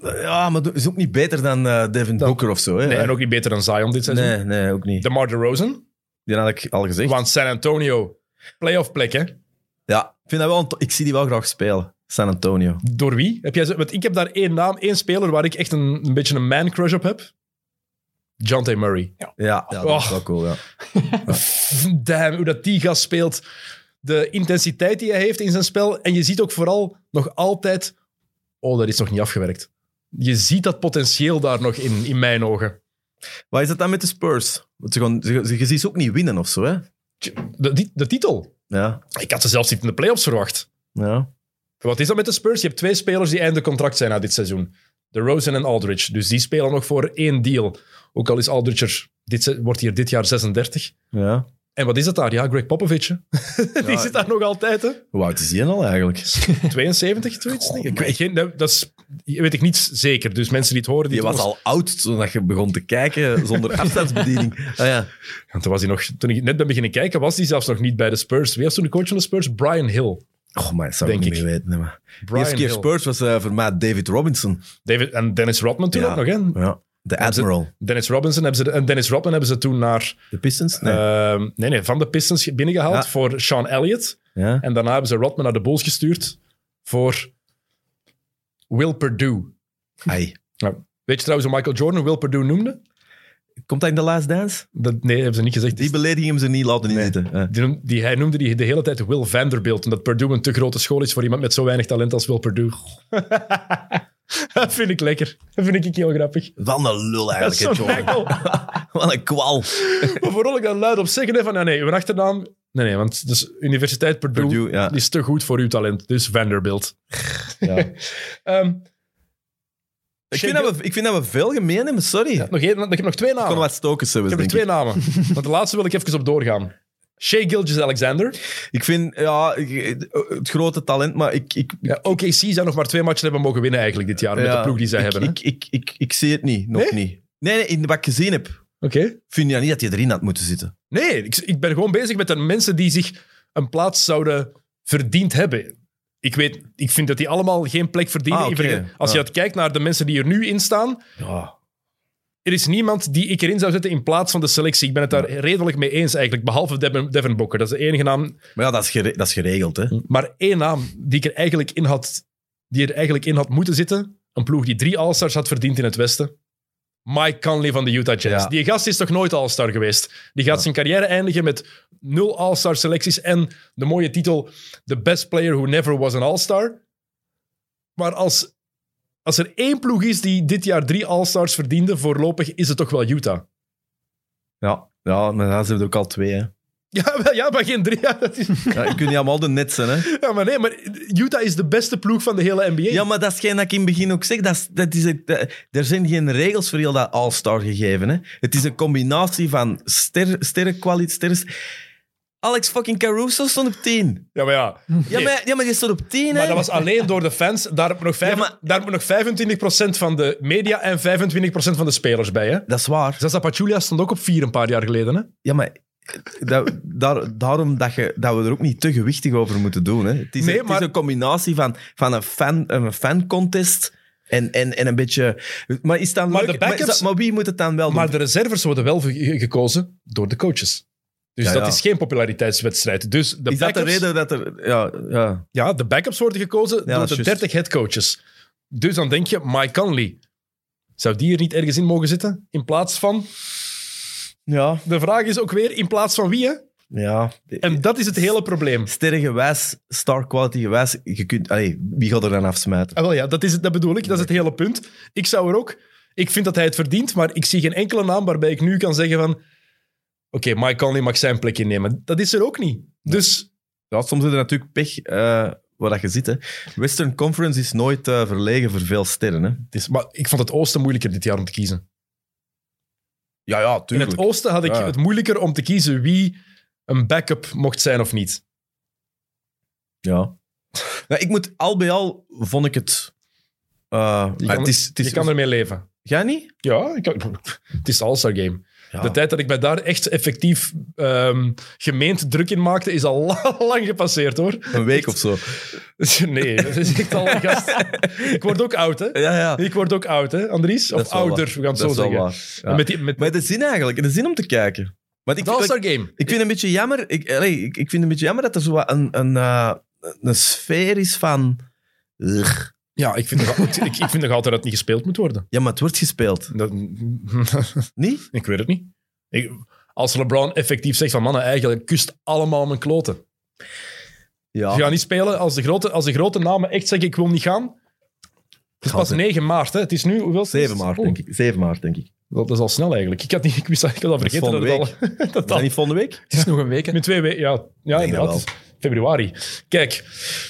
Speaker 5: ja, maar is ook niet beter dan eh, Devin Booker of zo. Hè?
Speaker 4: Nee, en ook niet beter dan Zion dit seizoen.
Speaker 5: nee, nee, ook niet.
Speaker 4: DeMar DeRozan.
Speaker 5: Die had ik al gezegd.
Speaker 4: Want San Antonio, playoff plek, hè?
Speaker 5: Ja, ik, vind dat wel een to- ik zie die wel graag spelen. San Antonio.
Speaker 4: Door wie? Heb jij, zo- want ik heb daar één naam, één speler waar ik echt een, een beetje een man-crush op heb. Jonte Murray.
Speaker 5: Ja, ja dat is
Speaker 4: Och.
Speaker 5: wel cool. Ja.
Speaker 4: Damn, hoe dat die gast speelt. De intensiteit die hij heeft in zijn spel. En je ziet ook vooral nog altijd... Oh, dat is nog niet afgewerkt. Je ziet dat potentieel daar nog in, in mijn ogen.
Speaker 5: Wat is dat dan met de Spurs? Want ze gaan, ze, ze- je ziet ze ook niet winnen of zo, hè?
Speaker 4: De, de titel.
Speaker 5: Ja,
Speaker 4: Ik had ze zelfs niet in de playoffs verwacht.
Speaker 5: ja.
Speaker 4: Wat is dat met de Spurs? Je hebt twee spelers die einde contract zijn na dit seizoen. De Rosen en Aldridge. Dus die spelen nog voor één deal. Ook al is Aldridge er, dit, se- wordt hier dit jaar 36.
Speaker 5: Ja.
Speaker 4: En wat is dat daar? Ja, Greg Popovich. hè. die zit daar nog altijd, hè?
Speaker 5: Hoe oud is die al eigenlijk?
Speaker 4: 72, zoiets? denk ik weet, geen, dat, dat is, weet ik niet zeker. Dus mensen die het horen... Die
Speaker 5: Je was al oud toen dat je begon te kijken zonder afstandsbediening. Ah ja.
Speaker 4: Want toen, was hij nog, toen ik net ben beginnen kijken, was hij zelfs nog niet bij de Spurs. Wie was toen de coach van de Spurs? Brian Hill.
Speaker 5: Oh, maar dat zou
Speaker 4: Denk
Speaker 5: ik niet
Speaker 4: ik.
Speaker 5: meer weten. hè, Maar. De
Speaker 4: Brian
Speaker 5: eerste keer
Speaker 4: Hill.
Speaker 5: Spurs was eh, voor mij David Robinson.
Speaker 4: David, en Dennis Rodman toen
Speaker 5: Ja.
Speaker 4: ook nog, hè?
Speaker 5: Ja. De
Speaker 4: Hebben ze-
Speaker 5: Admiral.
Speaker 4: Dennis Robinson hebben ze, en Dennis Rodman hebben ze toen naar...
Speaker 5: De Pistons? Nee.
Speaker 4: ehm, nee, nee, van de Pistons binnengehaald
Speaker 5: Ja.
Speaker 4: voor Sean Elliott.
Speaker 5: ja.
Speaker 4: En daarna hebben ze Rodman naar de Bulls gestuurd voor Will Perdue.
Speaker 5: Ai.
Speaker 4: Nou, weet je trouwens hoe Michael Jordan Will Perdue noemde?
Speaker 5: Komt dat in de Last Dance?
Speaker 4: Dat, nee, hebben ze niet gezegd.
Speaker 5: Die belediging hebben ze niet laten inzitten. Ja.
Speaker 4: Die noem- die, hij noemde die de hele tijd Will Vanderbilt, omdat Purdue een te grote school is voor iemand met zo weinig talent als Will Purdue. dat vind ik lekker. Dat vind ik heel grappig.
Speaker 5: Wat een lul
Speaker 4: Dat is
Speaker 5: eigenlijk,
Speaker 4: zo'n
Speaker 5: hè, Jordan.
Speaker 4: hengel.
Speaker 5: Wat een kwal.
Speaker 4: Maar vooral ik dat luid op zeggen hè, van, ja, nee, uw achternaam... Nee, nee, want dus Universiteit Purdue,
Speaker 5: Purdue, ja.
Speaker 4: die is te goed voor uw talent. Dus Vanderbilt.
Speaker 5: Ja.
Speaker 4: Ehm,
Speaker 5: Ik, vind dat we, ik vind dat we veel gemeen hebben, sorry. Ik
Speaker 4: nog één, ik heb nog twee namen.
Speaker 5: kon wat stokers hebben,
Speaker 4: Ik heb nog
Speaker 5: denk
Speaker 4: twee
Speaker 5: ik.
Speaker 4: namen. Want de laatste wil ik even op doorgaan. Shea Gilgis-Alexander.
Speaker 5: Ik vind, ja, ik- het grote talent, maar ik, ik,
Speaker 4: Ja, OKC zou nog maar twee matchen hebben mogen winnen eigenlijk dit jaar, met
Speaker 5: ja,
Speaker 4: de ploeg die zij
Speaker 5: ik,
Speaker 4: hebben. hè.
Speaker 5: Ik, ik, ik, ik zie het niet, nog
Speaker 4: Nee?
Speaker 5: niet. Nee, nee, in wat ik gezien heb,
Speaker 4: Oké.
Speaker 5: vind je niet dat je erin had moeten zitten.
Speaker 4: Nee, ik, ik ben gewoon bezig met de mensen die zich een plaats zouden verdiend hebben. Ik, weet, ik vind dat die allemaal geen plek verdienen.
Speaker 5: Ah,
Speaker 4: in
Speaker 5: oké.
Speaker 4: vergelijking- Als je
Speaker 5: Ja.
Speaker 4: dat kijkt naar de mensen die er nu in staan,
Speaker 5: Ja.
Speaker 4: er is niemand die ik erin zou zetten in plaats van de selectie. Ik ben het daar redelijk mee eens eigenlijk, behalve Devin, Devin Booker. Dat is de enige naam.
Speaker 5: Maar ja, dat is, gere- dat is geregeld, hè.
Speaker 4: Maar één naam die ik er eigenlijk in had, die er eigenlijk in had moeten zitten, een ploeg die drie All-Stars had verdiend in het Westen. Mike Conley van de Utah Jazz.
Speaker 5: Ja.
Speaker 4: Die gast is toch nooit All-Star geweest? Die gaat zijn carrière eindigen met nul All-Star selecties en de mooie titel The Best Player Who Never Was an All-Star. Maar als, als er één ploeg is die dit jaar drie All-Stars verdiende, voorlopig is het toch wel Utah.
Speaker 5: Ja. Ja, maar daar hebben we ook al twee, hè.
Speaker 4: Ja, wel, ja maar geen drie. Ja, dat is,
Speaker 5: Ja, je kunt niet allemaal de net zijn, hè.
Speaker 4: ja, maar nee, maar Utah is de beste ploeg van de hele NBA.
Speaker 5: Ja, maar dat is geen dat ik in het begin ook zeg. Dat is, dat is, het, eh, er zijn geen regels voor heel dat All-Star gegeven. Hè. Het is een combinatie van ster, sterrenkwaliteit, sterren... Alex fucking Caruso stond op 10.
Speaker 4: ja, maar ja.
Speaker 5: Ja,
Speaker 4: Nee.
Speaker 5: maar, ja, maar die stond op 10,
Speaker 4: Maar
Speaker 5: hè.
Speaker 4: dat was alleen door de fans. Daar moet nog, vijf,
Speaker 5: Ja, maar-
Speaker 4: daar moet nog 25% van de media en 25% van de spelers bij. Hè?
Speaker 5: Dat is waar.
Speaker 4: Zaza Pachulia stond ook op vier een paar jaar geleden. Hè?
Speaker 5: Ja, maar eh, dat, daar, daarom dat, je, dat we er ook niet te gewichtig over moeten doen. Hè. Het, is,
Speaker 4: Nee,
Speaker 5: het is
Speaker 4: maar-
Speaker 5: een combinatie van, van een, fan, een fancontest en, en, en een beetje... Maar, is het dan
Speaker 4: Maar
Speaker 5: leuk-
Speaker 4: de
Speaker 5: maar, is
Speaker 4: backups-
Speaker 5: dat- maar wie moet het dan wel
Speaker 4: Maar
Speaker 5: doen?
Speaker 4: de reservers worden wel ge- gekozen door de coaches. Dus
Speaker 5: Ja,
Speaker 4: dat
Speaker 5: ja.
Speaker 4: is geen populariteitswedstrijd. Dus de
Speaker 5: Is dat de
Speaker 4: backups,
Speaker 5: reden dat er... Ja, ja.
Speaker 4: Ja, de backups worden gekozen door
Speaker 5: dat
Speaker 4: de
Speaker 5: is
Speaker 4: 30 headcoaches. Dus dan denk je, Mike Conley. Zou die er niet ergens in mogen zitten? In plaats van...
Speaker 5: ja.
Speaker 4: De vraag is ook weer, in plaats van wie, hè?
Speaker 5: Ja.
Speaker 4: En dat is het hele probleem.
Speaker 5: Sterrengewijs, star quality gewijs, je kunt... Allee, wie gaat er dan afsmijten?
Speaker 4: Ah, wel ja, dat, is het, dat bedoel ik. Dat is het hele punt. Ik zou er ook... Ik vind dat hij het verdient, maar ik zie geen enkele naam waarbij ik nu kan zeggen van... Oké, Mike Conley mag zijn plek innemen. Dat is er ook niet. Dus
Speaker 5: Ja, soms is er natuurlijk pech eh waar dat je zit. Hè. Western Conference is nooit eh, verlegen voor veel sterren. Hè.
Speaker 4: het is, maar ik vond het Oosten moeilijker dit jaar om te kiezen.
Speaker 5: Ja, ja,
Speaker 4: In het Oosten had ik
Speaker 5: Ja.
Speaker 4: het moeilijker om te kiezen wie een backup mocht zijn of niet.
Speaker 5: Ja. Nou, ik moet al bij al, vond ik het... eh,
Speaker 4: Je
Speaker 5: maar
Speaker 4: kan,
Speaker 5: het is, het is,
Speaker 4: je kan ermee leven.
Speaker 5: Jij niet?
Speaker 4: Ja, ik kan- het is de All-Star Game.
Speaker 5: Ja.
Speaker 4: De tijd dat ik mij daar echt effectief ehm, gemeend druk in maakte, is al lang gepasseerd, hoor.
Speaker 5: Een week of zo.
Speaker 4: Nee, dat is echt al een gast. Ik word ook oud, hè?
Speaker 5: Ja, ja.
Speaker 4: Ik word ook oud, hè, Andries? Of
Speaker 5: Dat is wel waar.
Speaker 4: ouder, we gaan het
Speaker 5: Dat
Speaker 4: zo
Speaker 5: is wel
Speaker 4: zeggen.
Speaker 5: waar, ja.
Speaker 4: En Met die, met
Speaker 5: Maar de zin eigenlijk, de zin om te kijken. Want ik,
Speaker 4: de
Speaker 5: ik,
Speaker 4: All-Star Game.
Speaker 5: Ik vind het een beetje jammer. Ik, allee, ik, ik vind het een beetje jammer dat er zo wat een, een, eh, een sfeer is van. "Ugh."
Speaker 4: Ja, ik vind, nog, al- ik, ik vind nog altijd dat het niet gespeeld moet worden.
Speaker 5: Ja, maar het wordt gespeeld.
Speaker 4: Dat,
Speaker 5: Niet?
Speaker 4: ik weet het niet. Ik- als LeBron effectief zegt van mannen, eigenlijk kust allemaal mijn kloten.
Speaker 5: Ja.
Speaker 4: Ze gaan niet spelen als de, grote, als de grote namen echt zeggen ik wil niet gaan. Het is
Speaker 5: Gaat
Speaker 4: pas
Speaker 5: het.
Speaker 4: 9 maart, hè? Het is nu, hoeveel?
Speaker 5: 7 maart, denk ik. 7 maart, denk ik.
Speaker 4: Dat is al snel eigenlijk. Ik had, niet, ik wist, ik had al
Speaker 5: is
Speaker 4: vergeten dat het al...
Speaker 5: volgende
Speaker 4: dat het
Speaker 5: Is dat
Speaker 4: al-
Speaker 5: niet volgende week?
Speaker 1: Het is nog een week. hè.
Speaker 4: met twee weken, ja. Ja,
Speaker 5: denk dat
Speaker 4: inderdaad. februari. Kijk,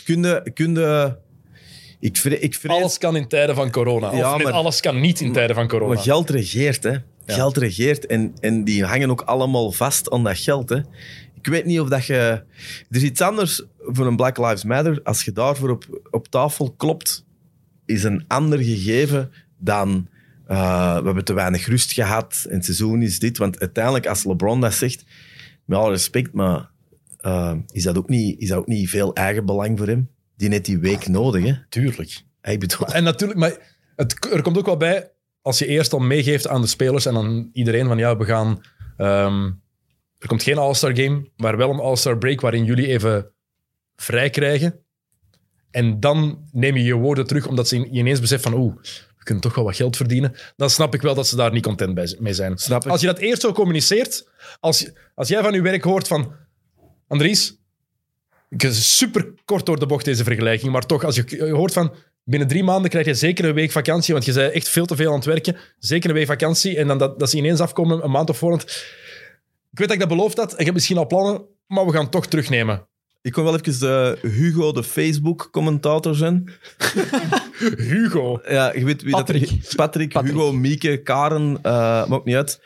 Speaker 5: Kunde, kunde, ik, vre, ik vrees...
Speaker 4: alles kan in tijden van corona. Of
Speaker 5: Ja,
Speaker 4: net
Speaker 5: maar-
Speaker 4: alles kan niet in tijden van corona.
Speaker 5: Maar geld regeert, hè. Geld regeert. En, en die hangen ook allemaal vast aan dat geld, hè. Ik weet niet of dat je... Er is iets anders voor een Black Lives Matter. Als je daarvoor op, op tafel klopt, is een ander gegeven dan... eh, we hebben te weinig rust gehad en het seizoen is dit. Want uiteindelijk, als LeBron dat zegt, met alle respect, maar eh, is, dat ook niet, is dat ook niet veel eigen belang voor hem? Die net die week nodig, hè?
Speaker 4: Tuurlijk.
Speaker 5: Ik bedoel,
Speaker 4: En natuurlijk, maar het, er komt ook wel bij, als je eerst al meegeeft aan de spelers en aan iedereen van ja, we gaan... ehm, er komt geen All-Star Game, maar wel een All-Star Break waarin jullie even vrij krijgen. En dan neem je je woorden terug, omdat ze ineens beseffen van oeh, we kunnen toch wel wat geld verdienen. Dan snap ik wel dat ze daar niet content bij- mee zijn.
Speaker 5: Snap ik.
Speaker 4: Als je dat eerst zo communiceert, als, je- als jij van je werk hoort van... Andries, ik is super kort door de bocht deze vergelijking, maar toch, als je je hoort van... Binnen drie maanden krijg je zeker een week vakantie, want je bent echt veel te veel aan het werken. Zeker een week vakantie. En dan dat, dat ze ineens afkomen, een maand of voorhand. Ik weet dat ik dat beloofd had. Ik heb misschien al plannen, maar we gaan het toch terugnemen.
Speaker 5: ik kon wel even de Hugo, de Facebook-commentator zijn.
Speaker 4: Hugo.
Speaker 5: Ja, je weet wie dat
Speaker 1: Patrick.
Speaker 5: er... Patrick, Hugo, Mieke, Karen, eh, maakt niet uit.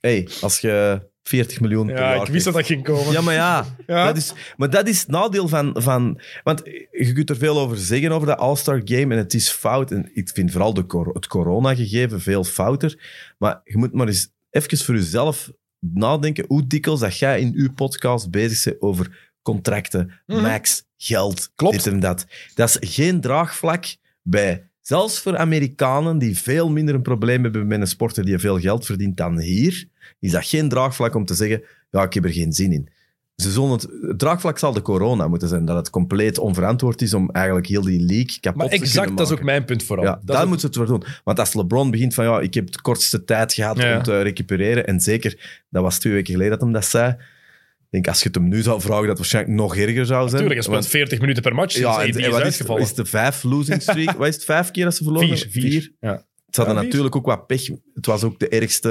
Speaker 5: hey, als je 40 miljoen per
Speaker 4: Ja,
Speaker 5: jaar
Speaker 4: ik wist dat dat ging komen.
Speaker 5: Ja, maar ja.
Speaker 4: Ja.
Speaker 5: Dat is, maar dat is het nadeel van, van... Want je kunt er veel over zeggen, over dat All-Star Game, en het is fout. En ik vind vooral de, cor- het corona-gegeven veel fouter. Maar je moet maar eens even voor jezelf nadenken hoe dikwijls dat jij in uw podcast bezig bent over contracten,
Speaker 4: Mhm.
Speaker 5: max, geld,
Speaker 4: Klopt.
Speaker 5: dit en dat. Dat is geen draagvlak bij... Zelfs voor Amerikanen die veel minder een probleem hebben met een sporter die veel geld verdient dan hier, is dat geen draagvlak om te zeggen, ja, ik heb er geen zin in. Ze zullen het, het draagvlak zal de corona moeten zijn. Dat het compleet onverantwoord is om eigenlijk heel die league kapot
Speaker 4: Maar
Speaker 5: te kunnen
Speaker 4: exact, dat is ook
Speaker 5: maken.
Speaker 4: mijn punt vooral.
Speaker 5: Ja,
Speaker 4: Dat is
Speaker 5: daar
Speaker 4: ook-
Speaker 5: moeten ze het voor doen. Want als LeBron begint van, ja, ik heb de kortste tijd gehad
Speaker 4: Ja.
Speaker 5: om te recupereren. En zeker, dat was twee weken geleden dat hem dat zei. Ik denk, als je het hem nu zou vragen, dat het waarschijnlijk nog erger zou zijn.
Speaker 4: Tuurlijk, je speelt
Speaker 5: Want-
Speaker 4: 40 minuten per match.
Speaker 5: ja,
Speaker 4: Ja,
Speaker 5: en,
Speaker 4: die
Speaker 5: en
Speaker 4: is
Speaker 5: wat is,
Speaker 4: uitgevallen.
Speaker 5: is de vijf losing streak? wat is het, vijf keer dat ze verloren
Speaker 4: vier,
Speaker 5: hebben?
Speaker 4: vier. Ja.
Speaker 5: Ze
Speaker 4: Ja,
Speaker 5: hadden
Speaker 4: vier.
Speaker 5: natuurlijk ook wat pech. Het was ook de ergste...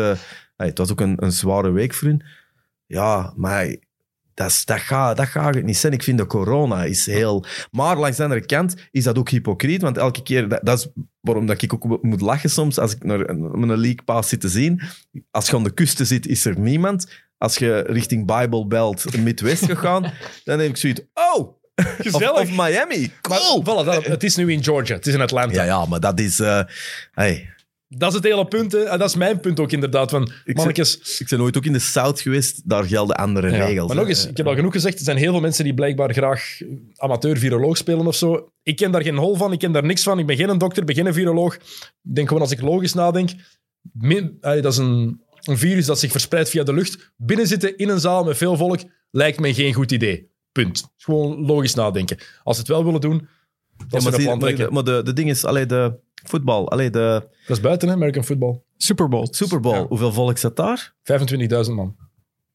Speaker 5: Allee, het was ook een, een zware week voor hun. Ja, maar dat, is- dat, gaat, dat gaat het niet zijn. Ik vind de corona is heel... Maar langs de andere kant is dat ook hypocriet, want elke keer... Dat, dat is waarom dat ik ook moet lachen soms als ik naar een, om een league pass zit te zien. Als je aan de kusten zit, is er niemand. Als je richting Bible Belt Midwest gegaan, dan heb ik zoiets... Oh!
Speaker 4: Gezellig.
Speaker 5: Of, of Miami.
Speaker 4: Maar,
Speaker 5: Cool.
Speaker 4: voilà, dat- het is nu in Georgia, het is in Atlanta.
Speaker 5: Ja, ja, maar dat is... eh, hey,
Speaker 4: Dat is het hele punt. hè. En dat is mijn punt ook inderdaad. Van, mannetjes,
Speaker 5: ik ben ooit ook in de South geweest, daar gelden andere
Speaker 4: Ja.
Speaker 5: regels.
Speaker 4: Maar nog
Speaker 5: hè.
Speaker 4: eens, ik heb al genoeg gezegd, er zijn heel veel mensen die blijkbaar graag amateur-viroloog spelen of zo. Ik ken daar geen hol van, ik ken daar niks van. Ik ben geen dokter, ik ben geen viroloog. Ik denk gewoon als ik logisch nadenk, min- eh, dat is een, een virus dat zich verspreidt via de lucht. Binnenzitten in een zaal met veel volk lijkt me geen goed idee. Punt. Gewoon logisch nadenken. Als ze het wel willen doen,
Speaker 5: Ja,
Speaker 4: dan
Speaker 5: maar
Speaker 4: zijn ze
Speaker 5: zie-
Speaker 4: plan
Speaker 5: maar,
Speaker 4: trekken.
Speaker 5: maar de, de ding is, alleen de voetbal, alleen de
Speaker 4: Dat is buiten, hè, American football.
Speaker 1: Super Bowl.
Speaker 5: Super Bowl,
Speaker 4: Ja.
Speaker 5: hoeveel volk zat daar?
Speaker 4: 25.000 man.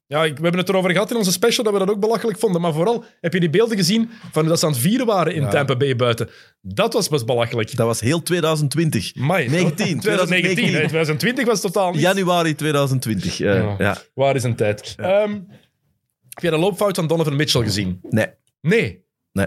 Speaker 4: Ja, ik- we hebben het erover gehad in onze special dat we dat ook belachelijk vonden. Maar vooral, heb je die beelden gezien van hoe dat ze aan het vieren waren in Tampa Bay buiten? Dat was pas belachelijk.
Speaker 5: Dat was heel 2020.
Speaker 4: Amai,
Speaker 5: 19,
Speaker 4: 2019.
Speaker 5: 2019.
Speaker 4: hè. 2020 was het totaal niet.
Speaker 5: Januari 2020. eh,
Speaker 4: Ja.
Speaker 5: ja.
Speaker 4: Waar is een tijd? Ehm, heb jij de loopfout van Donovan Mitchell gezien?
Speaker 5: Nee,
Speaker 4: Nee.
Speaker 5: nee.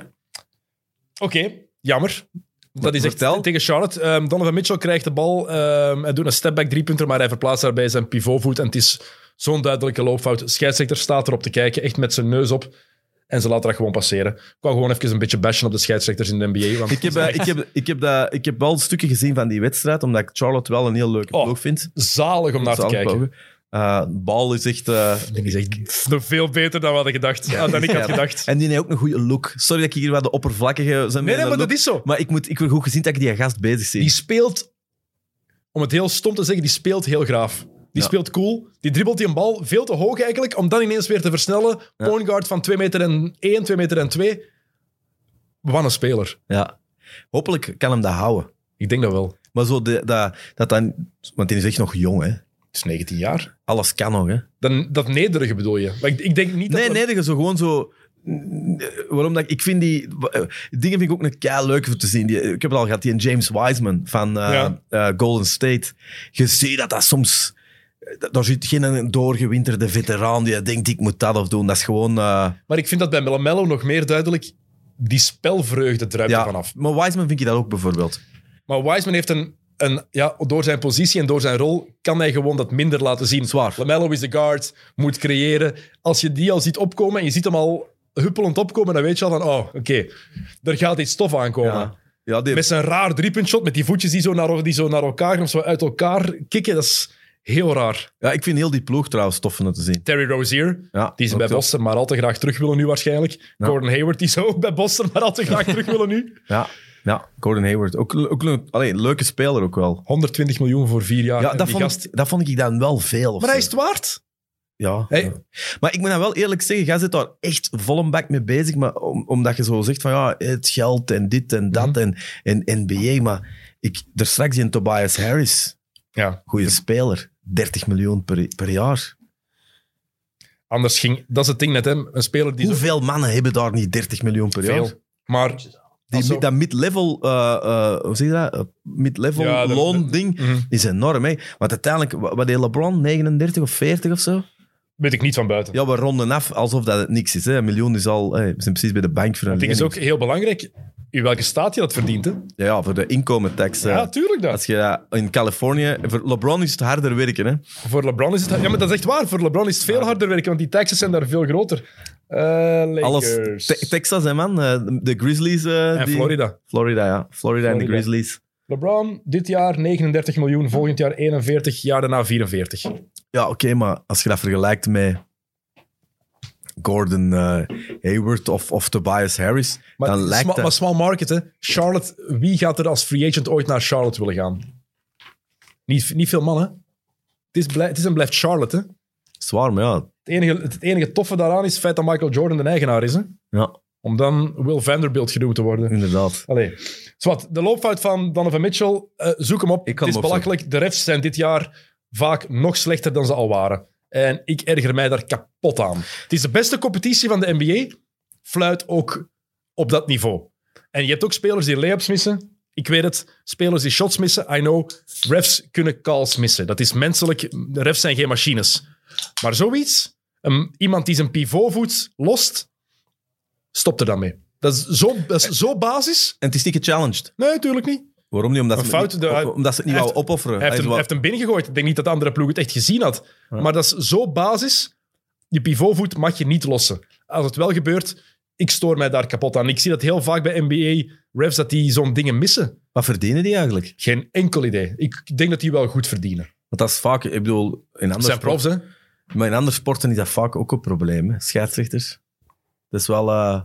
Speaker 4: Oké, jammer. Dat is echt
Speaker 5: vertel.
Speaker 4: tegen Charlotte. Ehm, Donovan Mitchell krijgt de bal. ehm hij doet een stepback driepunter, maar hij verplaatst daarbij zijn pivotvoet. En het is zo'n duidelijke loopfout. Scheidsrechter staat erop te kijken, echt met zijn neus op. En ze laten dat gewoon passeren. Ik wou gewoon even een beetje bashen op de scheidsrechters in de NBA. Want
Speaker 5: Ik heb, eh, ik, heb, ik, heb dat, ik heb wel stukken gezien van die wedstrijd, omdat ik Charlotte wel een heel leuke
Speaker 4: Oh,
Speaker 5: ploeg vind.
Speaker 4: zalig om naar te
Speaker 5: Zal ik
Speaker 4: kijken.
Speaker 5: wel. Eh, bal is echt... eh,
Speaker 4: Ik denk, is echt nog veel beter dan wat ik gedacht, ah, dan ik had
Speaker 5: ja.
Speaker 4: gedacht.
Speaker 5: En die heeft ook een goede look. Sorry dat ik hier wat de oppervlakkige... zijn
Speaker 4: Nee,
Speaker 5: met
Speaker 4: nee,
Speaker 5: een
Speaker 4: maar dat
Speaker 5: look.
Speaker 4: is zo.
Speaker 5: Maar ik, moet, ik wil goed gezien dat ik die gast bezig zie.
Speaker 4: Die speelt, om het heel stom te zeggen, die speelt heel graaf. Die
Speaker 5: Ja.
Speaker 4: speelt cool. Die dribbelt die een bal veel te hoog eigenlijk, om dan ineens weer te versnellen. Point guard van 2 meter en 1, 2 meter en 2. Wat een speler.
Speaker 5: Ja. Hopelijk kan hem dat houden.
Speaker 4: Ik denk dat wel. Het
Speaker 5: Maar zo de, dat, dat dan... Want die is echt nog jong, hè.
Speaker 4: is 19 jaar.
Speaker 5: Alles kan nog, hè.
Speaker 4: Dan, dat nederige bedoel je. Maar ik, ik denk niet dat...
Speaker 5: Nee,
Speaker 4: we-
Speaker 5: nee, dat is zo gewoon zo... Waarom dat ik... Ik vind die... eh, Dingen vind ik ook een kei leuk om te zien. Die, ik heb het al gehad, die en James Wiseman van eh,
Speaker 4: Ja.
Speaker 5: eh, Golden State. Je ziet dat dat soms... da- daar zit geen doorgewinterde veteraan die denkt, ik moet dat of doen. Dat is gewoon... eh,
Speaker 4: Maar ik vind dat bij Lamello nog meer duidelijk. Die spelvreugde druipt er
Speaker 5: ja.
Speaker 4: vanaf.
Speaker 5: Maar Wiseman vind je dat ook bijvoorbeeld.
Speaker 4: Maar Wiseman heeft een, een... Ja, door zijn positie en door zijn rol kan hij gewoon dat minder laten zien.
Speaker 5: Zwaar.
Speaker 4: Lamello is de guard, moet creëren. Als je die al ziet opkomen en je ziet hem al huppelend opkomen, dan weet je al van, oh, oké, er gaat iets stof aankomen.
Speaker 5: Ja, ja die,
Speaker 4: Met zijn raar driepuntshot, met die voetjes die zo naar, die zo naar elkaar of zo uit elkaar kikken, dat is heel raar.
Speaker 5: ja, ik vind heel die ploeg trouwens tof om dat te zien.
Speaker 4: Terry Rozier,
Speaker 5: Ja,
Speaker 4: die ze
Speaker 5: ook
Speaker 4: bij
Speaker 5: tof.
Speaker 4: Boston maar al te graag terug willen nu waarschijnlijk. Gordon Hayward, die ze ook bij Boston maar al te graag terug willen nu.
Speaker 5: Ja, ja Gordon Hayward. Ook, ook een- allee, een leuke speler ook wel.
Speaker 4: 120 miljoen voor vier jaar.
Speaker 5: Ja,
Speaker 4: Ah, En
Speaker 5: dat,
Speaker 4: die
Speaker 5: vond
Speaker 4: gast-
Speaker 5: ik, dat vond ik dan wel veel. of
Speaker 4: Maar hij
Speaker 5: zo.
Speaker 4: is het waard.
Speaker 5: Ja.
Speaker 4: Hey.
Speaker 5: ja. Maar ik moet dan wel eerlijk zeggen, jij zit daar echt vol een bak mee bezig, maar om- omdat je zo zegt van ja, het geld en dit en dat
Speaker 4: Mhm.
Speaker 5: en, en NBA, maar ik, er straks in Tobias Harris,
Speaker 4: Ja,
Speaker 5: goede speler, 30 miljoen per, per jaar.
Speaker 4: anders ging... Dat is het ding met hem. Een speler die... zo-
Speaker 5: Hoeveel mannen hebben daar niet 30 miljoen per jaar?
Speaker 4: Veel. Maar...
Speaker 5: Die,
Speaker 4: Als zo-
Speaker 5: mid- dat mid-level, eh eh, hoe zeg je dat? Eh, Mid-level
Speaker 4: Ja, dat-
Speaker 5: loonding
Speaker 4: Mhm.
Speaker 5: is enorm. Hè? Want uiteindelijk, wa- wat deed LeBron? 39 of 40 of zo?
Speaker 4: Weet ik niet van buiten.
Speaker 5: Ja, we ronden af alsof dat het niks is. Hè? Een miljoen is al... Hey, we zijn precies bij de bank voor een
Speaker 4: Het ding is
Speaker 5: lening.
Speaker 4: ook heel belangrijk in welke staat je dat verdient. Hè?
Speaker 5: Ja, ja, voor de inkomentax. eh.
Speaker 4: Ja, tuurlijk dat.
Speaker 5: Als je dat in Californië... Voor LeBron is het harder werken, hè.
Speaker 4: Voor LeBron is het... Ja, maar dat is echt waar. Voor LeBron is het veel harder werken, want die taxes zijn daar veel groter. Eh Lakers.
Speaker 5: Alles... Te- Texas, hè, man. Eh, De Grizzlies... eh,
Speaker 4: en
Speaker 5: die-
Speaker 4: Florida.
Speaker 5: Florida, ja. Florida en de
Speaker 4: Florida.
Speaker 5: Grizzlies.
Speaker 4: LeBron dit jaar 39 miljoen, volgend jaar 41, jaar daarna 44.
Speaker 5: Ja, oké, maar als je dat vergelijkt met... Gordon eh, Hayward of, of Tobias Harris,
Speaker 4: Maar,
Speaker 5: dan lijkt
Speaker 4: sma-
Speaker 5: dat...
Speaker 4: maar small market, hè. Charlotte, wie gaat er als free agent ooit naar Charlotte willen gaan? Niet, niet veel mannen. Het is, blij- het is en blijft Charlotte, hè.
Speaker 5: Zwaar, maar ja.
Speaker 4: Het enige, het enige toffe daaraan is het feit dat Michael Jordan de eigenaar is, hè.
Speaker 5: Ja,
Speaker 4: Om dan Will Vanderbilt genoemd te worden.
Speaker 5: inderdaad.
Speaker 4: Allee. Zwat, de loopfout van Donovan Mitchell, eh, zoek hem op.
Speaker 5: Ik
Speaker 4: Het
Speaker 5: kan
Speaker 4: is
Speaker 5: hem opzoeken.
Speaker 4: belachelijk. De refs zijn dit jaar vaak nog slechter dan ze al waren. En ik erger mij daar kapot aan. Het is de beste competitie van de NBA. Fluit ook op dat niveau. En je hebt ook spelers die layups missen. Ik weet het. Spelers die shots missen. I know. Refs kunnen calls missen. Dat is menselijk. De refs zijn geen machines. Maar zoiets, een- iemand die zijn pivotvoet lost, stop er dan mee. Dat is zo, dat is zo basis.
Speaker 5: En het is niet gechallenged.
Speaker 4: Nee, natuurlijk niet.
Speaker 5: Waarom niet? Omdat,
Speaker 4: Een
Speaker 5: ze,
Speaker 4: fout,
Speaker 5: het
Speaker 4: de-
Speaker 5: niet, omdat ze het niet
Speaker 4: hij
Speaker 5: wou
Speaker 4: heeft-
Speaker 5: opofferen.
Speaker 4: Hij heeft, hem,
Speaker 5: Hij
Speaker 4: hij
Speaker 5: is
Speaker 4: heeft hem binnengegooid. Ik denk niet dat de andere ploeg het echt gezien had. Maar dat is zo basis. Je pivotvoet mag je niet lossen. Als het wel gebeurt, ik stoor mij daar kapot aan. Ik zie dat heel vaak bij NBA-refs, dat die zo'n dingen missen.
Speaker 5: wel- Wat verdienen die eigenlijk?
Speaker 4: Geen enkel idee. Ik denk dat die wel goed verdienen.
Speaker 5: Want dat is vaak, ik bedoel, in
Speaker 4: Dat
Speaker 5: andere,
Speaker 4: zijn profs,
Speaker 5: sporten,
Speaker 4: hè?
Speaker 5: maar in andere sporten is dat vaak ook een probleem, hè? scheidsrechters. Dat is wel. eh,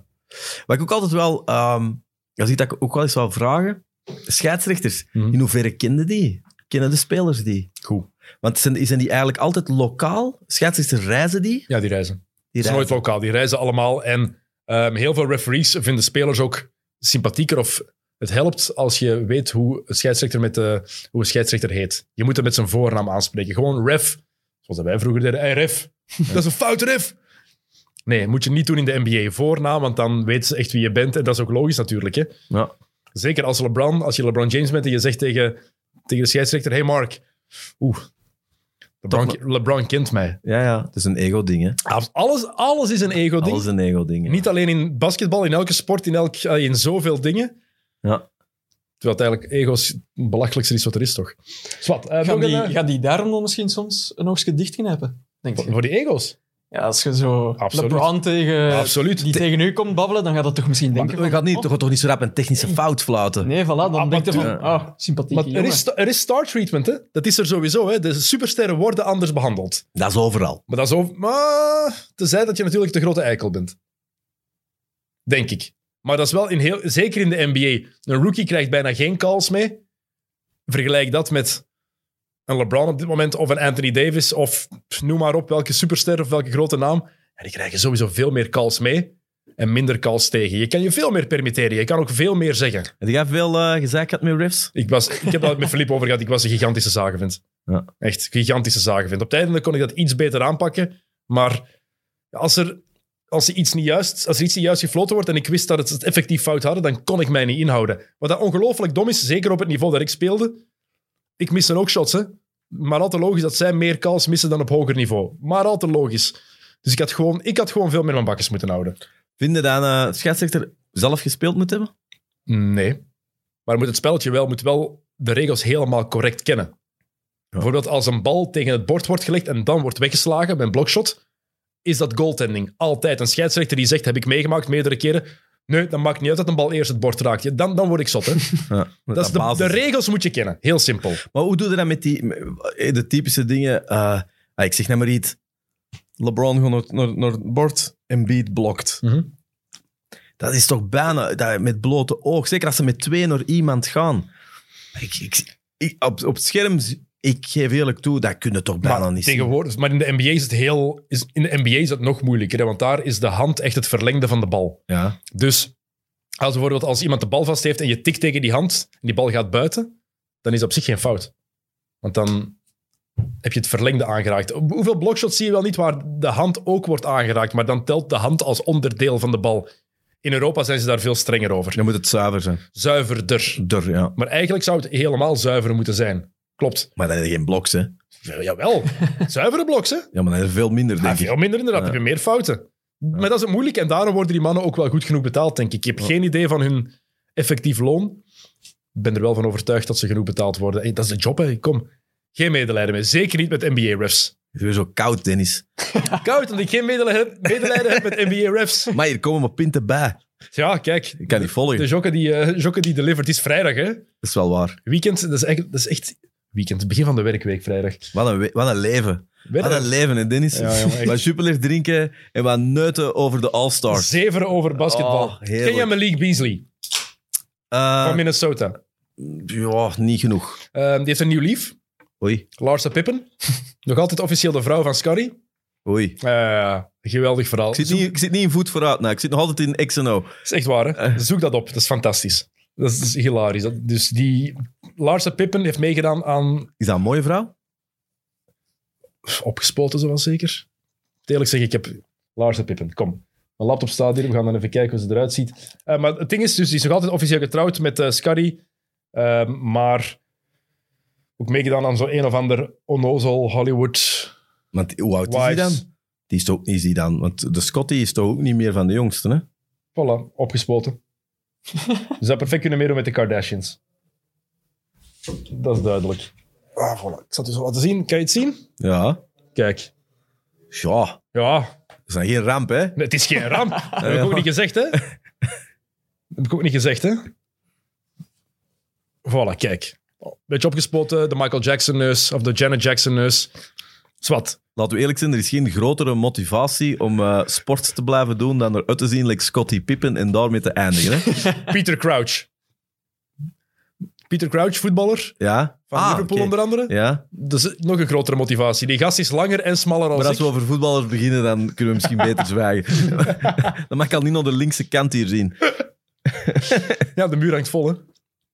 Speaker 5: wat ik ook altijd wel. ehm als ik dat ook wel eens wou vragen. Scheidsrechters,
Speaker 4: Mhm.
Speaker 5: in hoeverre kennen die? Kennen de spelers die?
Speaker 4: Goed.
Speaker 5: Want zijn, zijn die eigenlijk altijd lokaal? Scheidsrechters reizen die?
Speaker 4: Ja, die reizen.
Speaker 5: die
Speaker 4: Het is
Speaker 5: reizen.
Speaker 4: nooit lokaal. Die reizen allemaal. En ehm, heel veel referees vinden spelers ook sympathieker of het helpt als je weet hoe een scheidsrechter, met de, hoe een scheidsrechter heet. Je moet hem met zijn voornaam aanspreken. Gewoon ref, zoals dat wij vroeger deden. Hey, ref, dat is een fout ref. Nee, moet je niet doen in de NBA. Voornaam, want dan weten ze echt wie je bent. En dat is ook logisch natuurlijk. Hè?
Speaker 5: Ja.
Speaker 4: Zeker als LeBron, als je LeBron James bent en je zegt tegen, tegen de scheidsrechter, hey Mark, oeh, LeBron, LeBron kent mij.
Speaker 5: ja, ja, het is een ego-ding, hè?
Speaker 4: Alles, alles is een ego-ding.
Speaker 5: Alles een ego-ding. ja.
Speaker 4: Niet alleen in basketbal, in elke sport, in, elk, eh, in zoveel dingen.
Speaker 5: Ja.
Speaker 4: Terwijl het eigenlijk ego's het belachelijkste is wat er is, toch? Zwat, eh,
Speaker 1: Gaan
Speaker 4: nog
Speaker 1: die,
Speaker 4: een, eh,
Speaker 1: gaan die daarom dan misschien soms een oogstje dichtknijpen? Denk
Speaker 4: voor-
Speaker 1: je?
Speaker 4: voor die ego's?
Speaker 1: Ja, als je zo
Speaker 4: Absoluut.
Speaker 1: LeBron tegen,
Speaker 4: Absoluut.
Speaker 1: Eh, die
Speaker 4: Te-
Speaker 1: tegen u komt babbelen, dan gaat dat toch misschien denken
Speaker 5: We
Speaker 1: van...
Speaker 5: gaan niet,
Speaker 1: oh,
Speaker 5: toch, toch niet zo rap een technische fout fluiten?
Speaker 1: Nee, voilà, dan
Speaker 4: maar
Speaker 1: denkt hij van,
Speaker 4: tuurlijk.
Speaker 1: ah, sympathieke
Speaker 4: Maar
Speaker 1: jongen.
Speaker 4: er is, sta- er is star treatment, hè? Dat is er sowieso, hè? De supersterren worden anders behandeld.
Speaker 5: Dat is overal.
Speaker 4: Maar dat is over... Maar, tenzij dat je natuurlijk de grote eikel bent. Denk ik. Maar dat is wel in heel... Zeker in de NBA. Een rookie krijgt bijna geen calls mee. Vergelijk dat met een LeBron op dit moment, of een Anthony Davis, of pff, noem maar op welke superster of welke grote naam. En die krijgen sowieso veel meer calls mee en minder calls tegen. Je kan je veel meer permitteren. Je kan ook veel meer zeggen.
Speaker 5: Heb jij veel eh gezegd gehad met refs?
Speaker 4: Ik, was, ik heb daar met Filip over gehad. Ik was een gigantische zagenvind.
Speaker 5: Ja.
Speaker 4: Echt, gigantische zagenvind. Op het einde kon ik dat iets beter aanpakken. Maar als er, als er, iets, niet juist, als er iets niet juist gefloten wordt en ik wist dat het, het effectief fout hadden, dan kon ik mij niet inhouden. Wat dat ongelooflijk dom is, zeker op het niveau dat ik speelde. Ik miste ook shots, hè. maar al te logisch dat zij meer calls missen dan op hoger niveau. Maar al te logisch. Dus ik had gewoon, ik had gewoon veel meer mijn bakjes moeten houden.
Speaker 5: Vinden dan eh scheidsrechter zelf gespeeld moet hebben?
Speaker 4: Nee. Maar moet het spelletje wel, moet wel de regels helemaal correct kennen. Bijvoorbeeld als een bal tegen het bord wordt gelegd en dan wordt weggeslagen bij een blokshot, is dat goaltending. Altijd. Een scheidsrechter die zegt, heb ik meegemaakt meerdere keren, nee, dan maakt niet uit dat een bal eerst het bord raakt. Ja, Dan, dan word ik zot. Hè.
Speaker 5: Ja,
Speaker 4: Dat is de, de regels moet je kennen. Heel simpel.
Speaker 5: Maar hoe doe je dat met die eh, de typische dingen? eh, ah, ik zeg nou maar iets. LeBron gewoon naar, naar, naar het bord en beat blokt.
Speaker 4: Mhm.
Speaker 5: Dat is toch bijna dat, met blote oog. Zeker als ze met twee naar iemand gaan. Ik, ik, ik- op, op het scherm, zie- ik geef eerlijk toe, dat kunnen toch bijna
Speaker 4: Maar
Speaker 5: niet zien.
Speaker 4: tegenwoordig, maar in de NBA is het heel, is, in de NBA is dat nog moeilijker, hè, want daar is de hand echt het verlengde van de bal.
Speaker 5: Ja.
Speaker 4: Dus als bijvoorbeeld als iemand de bal vast heeft en je tikt tegen die hand en die bal gaat buiten, dan is dat op zich geen fout. Want dan heb je het verlengde aangeraakt. Hoeveel blockshots zie je wel niet waar de hand ook wordt aangeraakt, maar dan telt de hand als onderdeel van de bal. In Europa zijn ze daar veel strenger over.
Speaker 5: Dan moet het zuiver zijn.
Speaker 4: Zuiverder.
Speaker 5: Dur, ja.
Speaker 4: Maar eigenlijk zou het helemaal zuiver moeten zijn. Klopt.
Speaker 5: Maar dat is geen bloks, hè.
Speaker 4: Ja, jawel. Zuivere bloks, hè?
Speaker 5: Ja, maar dat is veel minder,
Speaker 4: Ja,
Speaker 5: denk
Speaker 4: Ah, veel
Speaker 5: ik.
Speaker 4: minder inderdaad.
Speaker 5: Ja.
Speaker 4: Heb je meer fouten. Maar dat is het moeilijk. En daarom worden die mannen ook wel goed genoeg betaald, denk ik. Ik heb geen idee van hun effectief loon. Ik ben er wel van overtuigd dat ze genoeg betaald worden. Hey, dat is de job, hè. Kom. Geen medelijden meer. Zeker niet met NBA-refs.
Speaker 5: Het is weer zo koud, Dennis.
Speaker 4: Koud dat ik geen medelijden heb, medelijden heb met NBA-refs.
Speaker 5: Maar hier komen wat pinten bij.
Speaker 4: Ja, kijk.
Speaker 5: Ik kan niet volgen.
Speaker 4: De jokken die, eh jokken die delivert. Het is vrijdag, hè.
Speaker 5: Dat is wel waar.
Speaker 4: Weekend, dat is echt... Dat is echt weekend, begin van de werkweek, vrijdag.
Speaker 5: Wat een, we- wat een leven. Wat een
Speaker 4: Werkdag.
Speaker 5: leven, hè, Dennis.
Speaker 4: Ja, jongen, echt.
Speaker 5: wat Jupiler drinken en wat neuten over de All-Stars.
Speaker 4: Zeveren over basketbal.
Speaker 5: Oh, heerlijk.
Speaker 4: Ken jij Malik Beasley
Speaker 5: Eh,
Speaker 4: van Minnesota?
Speaker 5: ja, niet genoeg.
Speaker 4: Eh, die heeft een nieuw lief.
Speaker 5: Oei,
Speaker 4: Larsa Pippen. Nog altijd officieel de vrouw van Scotty.
Speaker 5: oei.
Speaker 4: Eh, geweldig verhaal.
Speaker 5: Ik zit,
Speaker 4: Zoek-
Speaker 5: niet, ik zit niet in voet vooruit. Nou, ik zit nog altijd in X en O.
Speaker 4: Dat is echt waar, hè? Zoek dat op. Dat is fantastisch. Dat is, dat is hilarisch. Dat- dus die Larsa Pippen heeft meegedaan aan...
Speaker 5: Is dat een mooie vrouw?
Speaker 4: pff, Opgespoten, zo wel zeker. Ik moet Eerlijk zeggen, ik heb Larsa Pippen. Kom. Mijn laptop staat hier. We gaan dan even kijken hoe ze eruit ziet. Eh, maar het ding is, dus, die is nog altijd officieel getrouwd met eh Scotty. Eh, maar ook meegedaan aan zo een of ander onnozel Hollywood...
Speaker 5: Want hoe oud is die dan?
Speaker 4: wives.
Speaker 5: Die is, toch, ook- is die dan? Want de Scotty is toch ook niet meer van de jongste, hè?
Speaker 4: Voilà, opgespoten. Ze zou perfect kunnen meedoen met de Kardashians. Dat is duidelijk. Ah, voilà. Ik zal het dus laten zien. Kan je het zien?
Speaker 5: Ja.
Speaker 4: Kijk.
Speaker 5: Ja,
Speaker 4: Ja,
Speaker 5: dat is dan geen ramp, hè?
Speaker 4: nee, het is geen ramp. Dat heb ik ook niet gezegd, hè? Dat heb ik ook niet gezegd, hè? Voilà, kijk. Beetje opgespoten, de Michael Jackson-neus of de Janet Jackson-neus. Zwat.
Speaker 5: Laten we eerlijk zijn, er is geen grotere motivatie om eh, sport te blijven doen dan eruit te zien like Scotty Pippen en daarmee te eindigen, hè?
Speaker 4: Peter Crouch. Peter Crouch, voetballer
Speaker 5: Ja?
Speaker 4: van
Speaker 5: Ah,
Speaker 4: Liverpool
Speaker 5: oké.
Speaker 4: onder andere.
Speaker 5: Ja?
Speaker 4: Dat is nog een grotere motivatie. Die gast is langer en smaller dan
Speaker 5: Maar
Speaker 4: ik.
Speaker 5: als we over voetballers beginnen, dan kunnen we misschien beter zwijgen. dan mag ik al niet naar de linkse kant hier zien.
Speaker 4: Ja, de muur hangt vol, hè.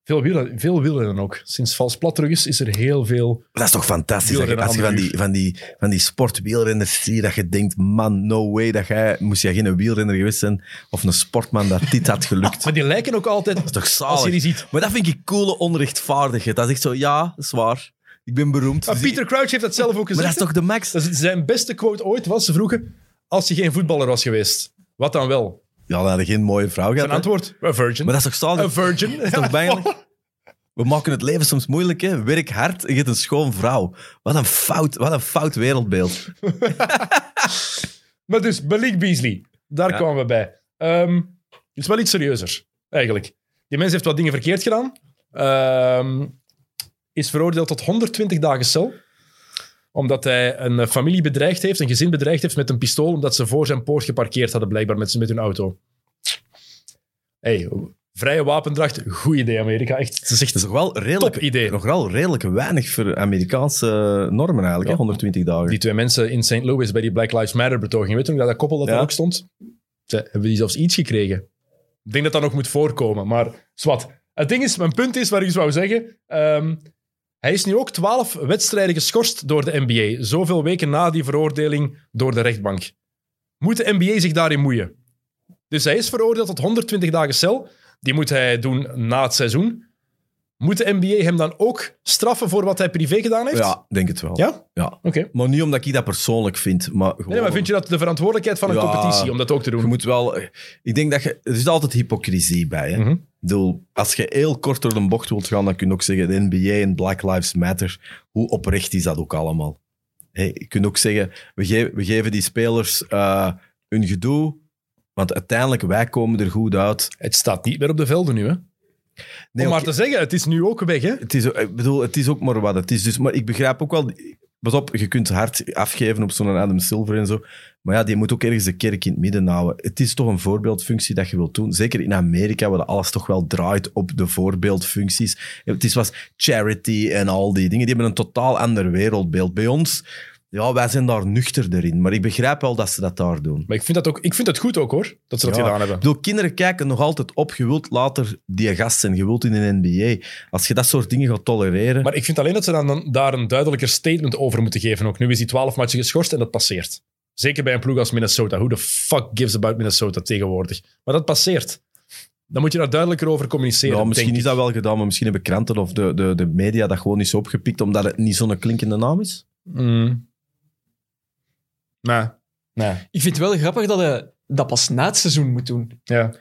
Speaker 4: Veel wielen, veel wielrennen ook. Sinds Vals plat terug is, is er heel veel...
Speaker 5: Dat is toch fantastisch. dat je-
Speaker 4: Wielrennen
Speaker 5: Als je
Speaker 4: aan
Speaker 5: van
Speaker 4: de
Speaker 5: die, van die, van die sportwielrenners ziet, dat je denkt, man, no way, dat jij, moest jij geen wielrenner geweest zijn of een sportman, dat dit had gelukt.
Speaker 4: Maar die lijken ook altijd...
Speaker 5: Dat is toch
Speaker 4: Als je die
Speaker 5: zalig.
Speaker 4: ziet.
Speaker 5: Maar dat vind ik coole onrechtvaardigheid. Dat is echt zo, ja, dat is waar. Ik ben beroemd.
Speaker 4: Maar
Speaker 5: dus
Speaker 4: Peter
Speaker 5: ik-
Speaker 4: Crouch heeft dat zelf ook
Speaker 5: maar
Speaker 4: gezegd.
Speaker 5: dat is toch de max?
Speaker 4: hè. Dat is- zijn beste quote ooit was, ze vroegen... Als je geen voetballer was geweest, wat dan wel?
Speaker 5: Ja, dan had je geen mooie vrouw gehad.
Speaker 4: Zijn
Speaker 5: hè.
Speaker 4: antwoord? A virgin.
Speaker 5: Maar dat is toch zalig?
Speaker 4: A virgin.
Speaker 5: Dat is toch pijnlijk? We maken het leven soms moeilijk, hè. Werk hard en je hebt een schoon vrouw. Wat een fout, wat een fout wereldbeeld.
Speaker 4: Maar dus, Malik Beasley. Daar
Speaker 5: Ja.
Speaker 4: kwamen we bij. Ehm het is wel iets serieuzer, eigenlijk. Die mens heeft wat dingen verkeerd gedaan. Ehm, is veroordeeld tot 120 dagen cel. Omdat hij een eh, familie bedreigd heeft, een gezin bedreigd heeft met een pistool, omdat ze voor zijn poort geparkeerd hadden, blijkbaar met, z'n- met hun auto. hey, vrije wapendracht. Goed idee, Amerika. Echt, het is echt
Speaker 5: Dat is toch dus wel redelijk,
Speaker 4: top idee.
Speaker 5: nog wel redelijk weinig voor Amerikaanse normen eigenlijk,
Speaker 4: Ja.
Speaker 5: hè? 120 dagen.
Speaker 4: Die twee mensen in St. Louis bij die Black Lives Matter betoging. Weet je nog dat dat koppel dat
Speaker 5: Ja.
Speaker 4: daar ook stond? Ze, hebben die zelfs iets gekregen? Ik denk dat dat nog moet voorkomen, maar zwart. Het ding is, mijn punt is, waar ik eens wou zeggen... ehm, hij is nu ook twaalf wedstrijden geschorst door de NBA. Zoveel weken na die veroordeling door de rechtbank. Moet de NBA zich daarin moeien? Dus hij is veroordeeld tot 120 dagen cel. Die moet hij doen na het seizoen. Moet de NBA hem dan ook straffen voor wat hij privé gedaan heeft?
Speaker 5: Ja, denk het wel.
Speaker 4: Ja? Oké.
Speaker 5: Ja. Maar niet omdat ik dat persoonlijk vind, maar gewoon...
Speaker 4: Nee, maar vind je dat de verantwoordelijkheid van een
Speaker 5: Ja.
Speaker 4: competitie om dat ook te doen?
Speaker 5: Je moet wel... eh, Ik denk dat je... Er is altijd hypocrisie bij, hè.
Speaker 4: Mhm.
Speaker 5: Ik bedoel, als je heel kort door de bocht wilt gaan, dan kun je ook zeggen de NBA en Black Lives Matter. Hoe oprecht is dat ook allemaal? Hey, je kunt ook zeggen, we, ge- we geven die spelers eh, hun gedoe, want uiteindelijk, wij komen er goed uit.
Speaker 4: Het staat niet meer op de velden nu, hè?
Speaker 5: Nee,
Speaker 4: om maar
Speaker 5: oké,
Speaker 4: te zeggen, het is nu ook weg, hè?
Speaker 5: het, is, ik bedoel, het is ook maar wat het is. Dus, maar ik begrijp ook wel... Pas op, je kunt hard afgeven op zo'n Adam Silver en zo. Maar ja, die moet ook ergens de kerk in het midden houden. Het is toch een voorbeeldfunctie dat je wilt doen. Zeker in Amerika, waar alles toch wel draait op de voorbeeldfuncties. Het is was charity en al die dingen. Die hebben een totaal ander wereldbeeld. Bij ons, ja, wij zijn daar nuchterder in. Maar ik begrijp wel dat ze dat daar doen.
Speaker 4: Maar ik vind dat, ook, ik vind dat goed ook, hoor, dat ze dat
Speaker 5: Ja.
Speaker 4: gedaan hebben.
Speaker 5: Ik bedoel, kinderen kijken nog altijd op. Je wilt later die gast zijn. Je wilt in de NBA. Als je dat soort dingen gaat tolereren...
Speaker 4: Maar ik vind alleen dat ze dan een- daar een duidelijker statement over moeten geven. Ook nu is die 12 matchen geschorst en dat passeert. Zeker bij een ploeg als Minnesota. Who the fuck gives about Minnesota tegenwoordig? Maar dat passeert. Dan moet je daar duidelijker over communiceren.
Speaker 5: Ja, misschien
Speaker 4: denk
Speaker 5: is
Speaker 4: ik.
Speaker 5: dat wel gedaan, maar misschien hebben kranten of de, de, de media dat gewoon niet zo opgepikt, omdat het niet zo'n klinkende naam is.
Speaker 4: Mm. Nee. Nee.
Speaker 1: Ik vind het wel grappig dat hij dat pas na het seizoen moet doen.
Speaker 4: Ja.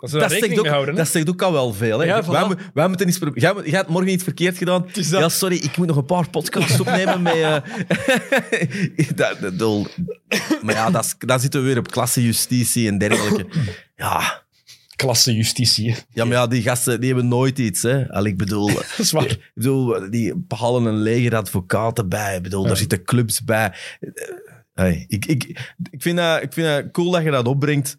Speaker 4: Dat ze daar rekening
Speaker 5: zegt
Speaker 4: mee
Speaker 5: ook,
Speaker 4: houden. hè?
Speaker 5: dat zegt ook al wel veel. Hè?
Speaker 1: Ja,
Speaker 5: wij,
Speaker 1: voilà.
Speaker 5: mo- wij moeten iets pro- jij, moet- jij hebt morgen iets verkeerd gedaan.
Speaker 1: is dat.
Speaker 5: Ja, sorry, ik moet nog een paar podcasts opnemen met... eh, dat, dat- dat- maar ja, dat is- dan zitten we weer op klassejustitie en dergelijke. Ja.
Speaker 4: Klasse justitie. hè.
Speaker 5: ja, maar ja, die gasten die hebben nooit iets. Hè? Al, ik bedoel...
Speaker 4: Dat is waar.
Speaker 5: Ik bedoel, die halen een leger advocaten bij. Ik bedoel, daar zitten clubs bij. Eh, hey, ik, ik, ik, vind dat, ik vind dat cool dat je dat opbrengt,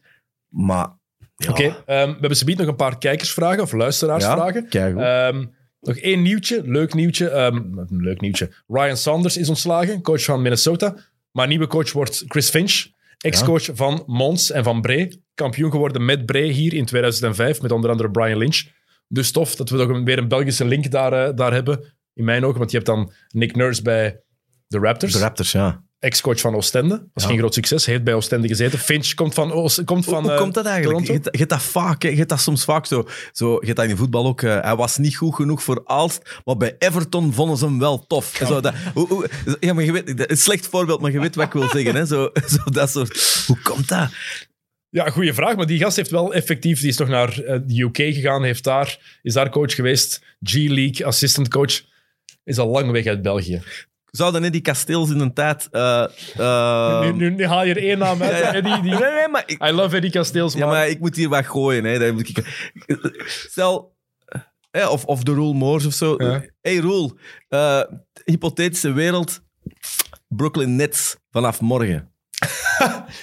Speaker 5: maar... Ja.
Speaker 4: Oké, ehm, we hebben subiet nog een paar kijkersvragen of luisteraarsvragen.
Speaker 5: Ja, kijk goed.
Speaker 4: Ehm, nog één nieuwtje, leuk nieuwtje. ehm, een leuk nieuwtje. Ryan Saunders is ontslagen, coach van Minnesota. Maar nieuwe coach wordt Chris Finch, ex-coach van Mons en van Bray. Kampioen geworden met Bray hier in 2005, met onder andere Brian Lynch. Dus tof dat we toch een- weer een Belgische link daar, eh, daar hebben. In mijn ogen, want je hebt dan Nick Nurse bij de Raptors.
Speaker 5: De Raptors, ja.
Speaker 4: ex-coach van Oostende. Was geen groot succes, heeft bij Oostende gezeten. Finch komt van... Oost- komt van
Speaker 5: Hoe, hoe
Speaker 4: eh,
Speaker 5: komt dat eigenlijk? Je
Speaker 4: Toronto.
Speaker 5: hebt- je hebt dat vaak, hè. je hebt dat soms vaak zo. zo je hebt dat in voetbal ook. eh, hij was niet goed genoeg voor Aalst, maar bij Everton vonden ze hem wel tof. Zo, dat, hoe- hoe- ja, maar je weet, dat is een slecht voorbeeld, maar je weet wat ik wil zeggen. Hè? Zo, zo, dat soort, hoe komt dat?
Speaker 4: Ja, goede vraag. Maar die gast heeft wel effectief. Die is toch naar eh, de UK gegaan, heeft daar, is daar coach geweest. G-League, assistant coach. Is al lang weg uit België.
Speaker 5: Zouden net die kasteels in een tijd... eh, eh,
Speaker 4: nu, nu, nu haal je er één naam uit.
Speaker 5: Ja, ja.
Speaker 4: Eddie, die-
Speaker 5: Nee, nee, maar ik,
Speaker 4: I love Eddie Kasteels,
Speaker 5: ja,
Speaker 4: maar-
Speaker 5: maar ik moet hier wat gooien. Hè. Dat moet ik, stel, hè, of, of de Roel Moors of zo.
Speaker 4: Ja.
Speaker 5: hey, Roel, eh, hypothetische wereld, Brooklyn Nets vanaf morgen.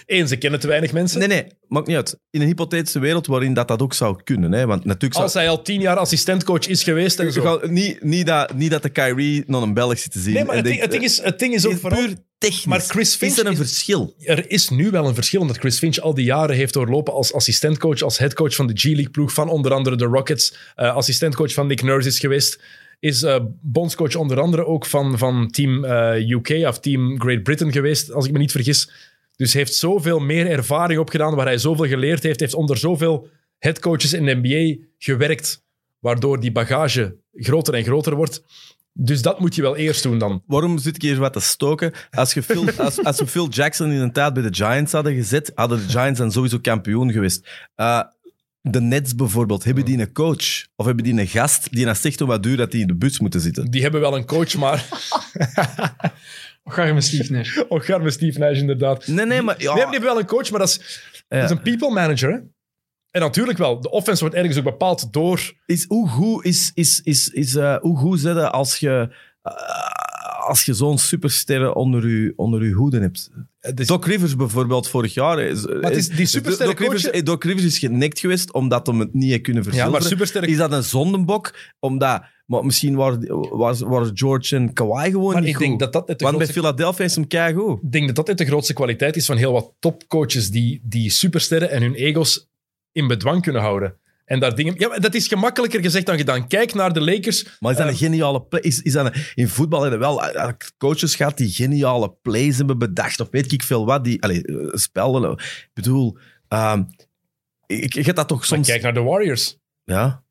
Speaker 4: Eén, ze kennen te weinig mensen.
Speaker 5: Nee, nee, maakt niet uit. In een hypothetische wereld waarin dat, dat ook zou kunnen. Hè, want natuurlijk zou...
Speaker 4: Als hij al tien jaar assistentcoach is geweest en zo.
Speaker 5: Gewoon Niet, niet, dat, niet dat de Kyrie nog een Belg zit te zien.
Speaker 4: Nee, maar
Speaker 5: en
Speaker 4: het ding,
Speaker 5: denkt, eh,
Speaker 4: het ding is, het ding is ook
Speaker 5: is
Speaker 4: vooral-
Speaker 5: puur technisch.
Speaker 4: Maar Chris Finch
Speaker 5: is er een
Speaker 4: is-
Speaker 5: verschil?
Speaker 4: er is nu wel een verschil, omdat Chris Finch al die jaren heeft doorlopen als assistentcoach, als headcoach van de G-League-ploeg van onder andere de Rockets, eh, assistentcoach van Nick Nurse is geweest, is eh, bondscoach onder andere ook van, van team eh, UK of team Great Britain geweest, als ik me niet vergis. Dus heeft zoveel meer ervaring opgedaan, waar hij zoveel geleerd heeft, heeft onder zoveel headcoaches in de NBA gewerkt, waardoor die bagage groter en groter wordt. Dus dat moet je wel eerst doen dan.
Speaker 5: Waarom zit ik hier wat te stoken? Als, je Phil, als, als we Phil Jackson in een tijd bij de Giants hadden gezet, hadden de Giants dan sowieso kampioen geweest. Eh, de Nets bijvoorbeeld, hebben die een coach? Of hebben die een gast die dan zegt om wat duur dat die in de bus moeten zitten?
Speaker 4: Die hebben wel een coach, maar...
Speaker 1: Och, arme Stiefner.
Speaker 4: Oh, garme Steve Nash, inderdaad.
Speaker 5: Nee, nee, maar... Ja,
Speaker 4: Nee, maar die hebben wel een coach, maar dat is, dat is een people manager. Hè? En natuurlijk wel, de offense wordt ergens ook bepaald door.
Speaker 5: is, hoe goed is, is, is, is, eh, hoe goed zit het als je, eh, als je zo'n supersterren onder je, onder je hoeden hebt?
Speaker 4: Eh, Het is-
Speaker 5: Doc Rivers bijvoorbeeld vorig jaar. Is, eh,
Speaker 4: het is- die supersterren
Speaker 5: Doc Rivers, eh,
Speaker 4: coachen-
Speaker 5: Doc Rivers is genekt geweest omdat hem het niet heeft kunnen
Speaker 4: ja,
Speaker 5: verzilveren.
Speaker 4: maar supersterk.
Speaker 5: Is dat een zondenbok? Omdat, maar misschien waren, was, waren George en Kawhi gewoon
Speaker 4: Maar
Speaker 5: niet
Speaker 4: ik denk
Speaker 5: goed.
Speaker 4: dat dat net de
Speaker 5: Want bij
Speaker 4: grootste,
Speaker 5: Philadelphia is hem keigoed.
Speaker 4: ik denk dat dat net de grootste kwaliteit is van heel wat topcoaches die, die supersterren en hun ego's in bedwang kunnen houden. En daar dingen... Ja, maar dat is gemakkelijker gezegd dan gedaan. Kijk naar de Lakers.
Speaker 5: Maar is dat
Speaker 4: Eh,
Speaker 5: een geniale play? Is, is dat een- in voetbal hebben we wel eh, coaches gehad die geniale plays hebben bedacht. Of weet ik veel wat. Die, allee, eh, spelden. Ik bedoel, ehm, ik, ik heb dat toch
Speaker 4: Maar
Speaker 5: soms...
Speaker 4: kijk naar de Warriors.
Speaker 5: Ja,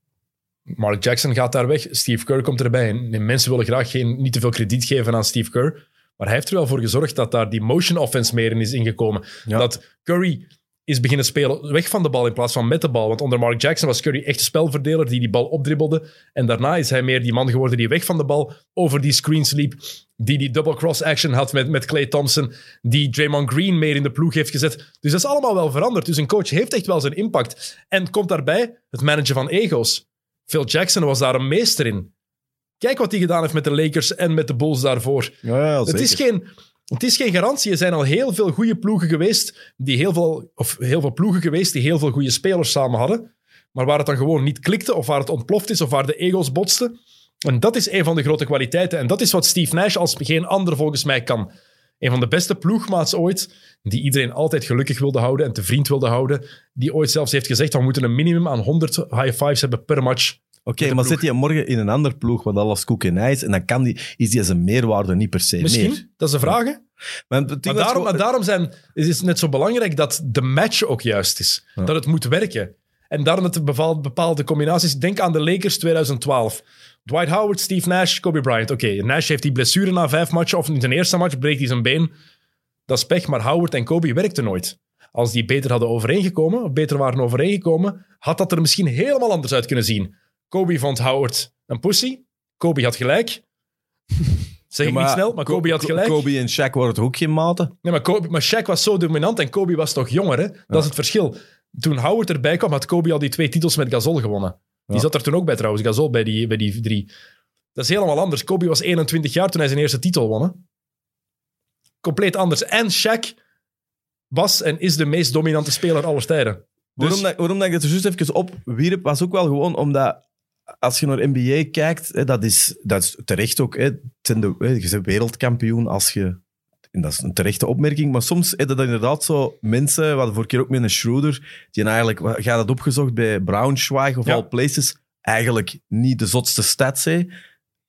Speaker 4: Mark Jackson gaat daar weg, Steve Kerr komt erbij. En de mensen willen graag geen, niet te veel krediet geven aan Steve Kerr. Maar hij heeft er wel voor gezorgd dat daar die motion offense meer in is ingekomen.
Speaker 5: Ja.
Speaker 4: Dat Curry is beginnen spelen weg van de bal in plaats van met de bal. Want onder Mark Jackson was Curry echt de spelverdeler die die bal opdribbelde. En daarna is hij meer die man geworden die weg van de bal over die screens liep. Die die double cross action had met, met Clay Thompson. Die Draymond Green meer in de ploeg heeft gezet. Dus dat is allemaal wel veranderd. Dus een coach heeft echt wel zijn impact. En komt daarbij het managen van ego's. Phil Jackson was daar een meester in. Kijk wat hij gedaan heeft met de Lakers en met de Bulls daarvoor.
Speaker 5: Ja, ja,
Speaker 4: Het is,
Speaker 5: zeker.
Speaker 4: geen, het is geen garantie. Er zijn al heel veel goede ploegen geweest, die heel veel, of heel veel ploegen geweest die heel veel goede spelers samen hadden. Maar waar het dan gewoon niet klikte, of waar het ontploft is, of waar de ego's botsten. En dat is een van de grote kwaliteiten. En dat is wat Steve Nash als geen ander volgens mij kan. Een van de beste ploegmaats ooit, die iedereen altijd gelukkig wilde houden en te vriend wilde houden. Die ooit zelfs heeft gezegd, we moeten een minimum aan 100 high fives hebben per match.
Speaker 5: Oké,
Speaker 4: de
Speaker 5: maar
Speaker 4: ploeg.
Speaker 5: zit hij morgen in een ander ploeg wat alles koek en ijs en dan kan die, is die zijn meerwaarde niet per se
Speaker 4: Misschien,
Speaker 5: meer.
Speaker 4: dat is de vraag. hè?
Speaker 5: Maar, het ding
Speaker 4: Maar
Speaker 5: was
Speaker 4: daarom,
Speaker 5: gewoon-
Speaker 4: maar daarom zijn, is het net zo belangrijk dat de match ook juist is.
Speaker 5: Ja.
Speaker 4: Dat het moet werken. En daarom dat er bepaal- bepaalde combinaties... Denk aan de Lakers 2012. Dwight Howard, Steve Nash, Kobe Bryant. Oké, Nash heeft die blessure na vijf matchen, of in zijn eerste match breekt hij zijn been. Dat is pech, maar Howard en Kobe werkten nooit. Als die beter hadden overeengekomen, of beter waren overeengekomen, had dat er misschien helemaal anders uit kunnen zien. Kobe vond Howard een pussy. Kobe had gelijk. Zeg
Speaker 5: Ja,
Speaker 4: ik niet snel, maar
Speaker 5: Ko-
Speaker 4: Kobe had
Speaker 5: Ko-
Speaker 4: gelijk.
Speaker 5: Kobe en Shaq waren het ook geen maten.
Speaker 4: Nee, maar, Kobe, maar Shaq was zo dominant en Kobe was toch jonger, hè? Dat is het verschil. Toen Howard erbij kwam, had Kobe al die twee titels met Gasol gewonnen. Die
Speaker 5: Ja.
Speaker 4: zat er toen ook bij trouwens, Gasol, bij die, bij die drie. Dat is helemaal anders. Kobe was 21 jaar toen hij zijn eerste titel won. Hè? Compleet anders. En Shaq was en is de meest dominante speler aller tijden.
Speaker 5: Waarom, dat, waarom dat ik dat er juist even opwierp, was ook wel gewoon omdat als je naar NBA kijkt, hè, dat, is, dat is terecht ook. Hè, het zijn de, hè, je bent wereldkampioen als je... En dat is een terechte opmerking, maar soms hè, dat inderdaad zo mensen, wat vorige keer ook met een Schroeder, die eigenlijk, wat- jij had dat opgezocht bij Braunschweig of
Speaker 4: Ja.
Speaker 5: All Places, eigenlijk niet de zotste stats, hè,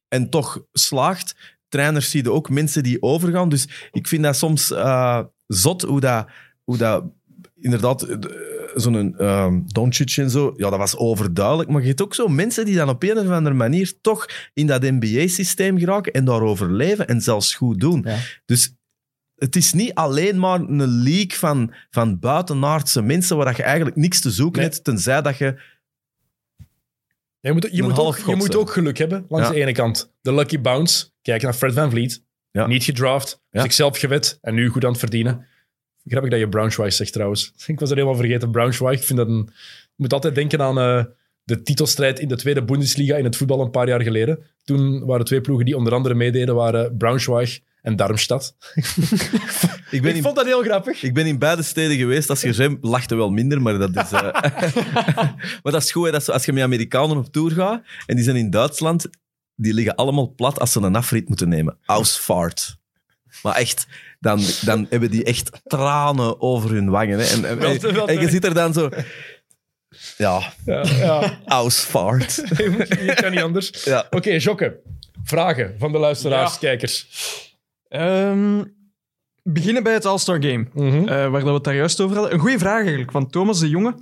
Speaker 5: en toch slaagt. Trainers zie je ook mensen die overgaan. Dus ik vind dat soms eh, zot hoe dat, hoe dat inderdaad eh, zo'n ehm Doncic en zo, ja, dat was overduidelijk. Maar je hebt ook zo mensen die dan op een of andere manier toch in dat NBA-systeem geraken en daarover leven en zelfs goed doen.
Speaker 4: Ja.
Speaker 5: Dus het is niet alleen maar een leak van, van buitenaardse mensen waar dat je eigenlijk niks te zoeken
Speaker 4: Nee.
Speaker 5: hebt, tenzij dat je...
Speaker 4: Je moet, je
Speaker 5: Een
Speaker 4: moet, ook,
Speaker 5: halfgod
Speaker 4: je moet
Speaker 5: zijn.
Speaker 4: ook geluk hebben, langs
Speaker 5: Ja.
Speaker 4: de ene kant. De lucky bounce. Kijk naar Fred Van Vliet.
Speaker 5: Ja.
Speaker 4: Niet gedraft,
Speaker 5: Ja.
Speaker 4: zichzelf gewet en nu goed aan het verdienen. Grappig dat je Braunschweig zegt trouwens. Ik was er helemaal vergeten. Braunschweig, ik vind dat een... Je moet altijd denken aan eh, de titelstrijd in de tweede Bundesliga in het voetbal een paar jaar geleden. Toen waren twee ploegen die onder andere meededen, waren Braunschweig en Darmstadt.
Speaker 5: Ik
Speaker 4: Ik
Speaker 5: ben, in,
Speaker 4: vond dat heel grappig.
Speaker 5: ik ben in beide steden geweest. Als je zei, lachte wel minder, maar dat is... eh, maar dat is goed, hè, dat is, als je met Amerikanen op tour gaat en die zijn in Duitsland, die liggen allemaal plat als ze een afrit moeten nemen. Ausfahrt. Maar echt, dan, dan hebben die echt tranen over hun wangen. Hè. En, en,
Speaker 4: Wel te- wel te-
Speaker 5: en je zit er dan zo... Ja,
Speaker 4: Ja, ja.
Speaker 5: Ausfahrt.
Speaker 4: Je moet- je kan niet anders.
Speaker 5: Ja.
Speaker 4: Oké, Jokke. Vragen van de luisteraars,
Speaker 1: Ja.
Speaker 4: kijkers.
Speaker 1: Ehm, beginnen bij het All-Star Game,
Speaker 4: Mhm.
Speaker 1: eh, waar dat we het daar juist over hadden. Een goede vraag eigenlijk, want Thomas de Jonge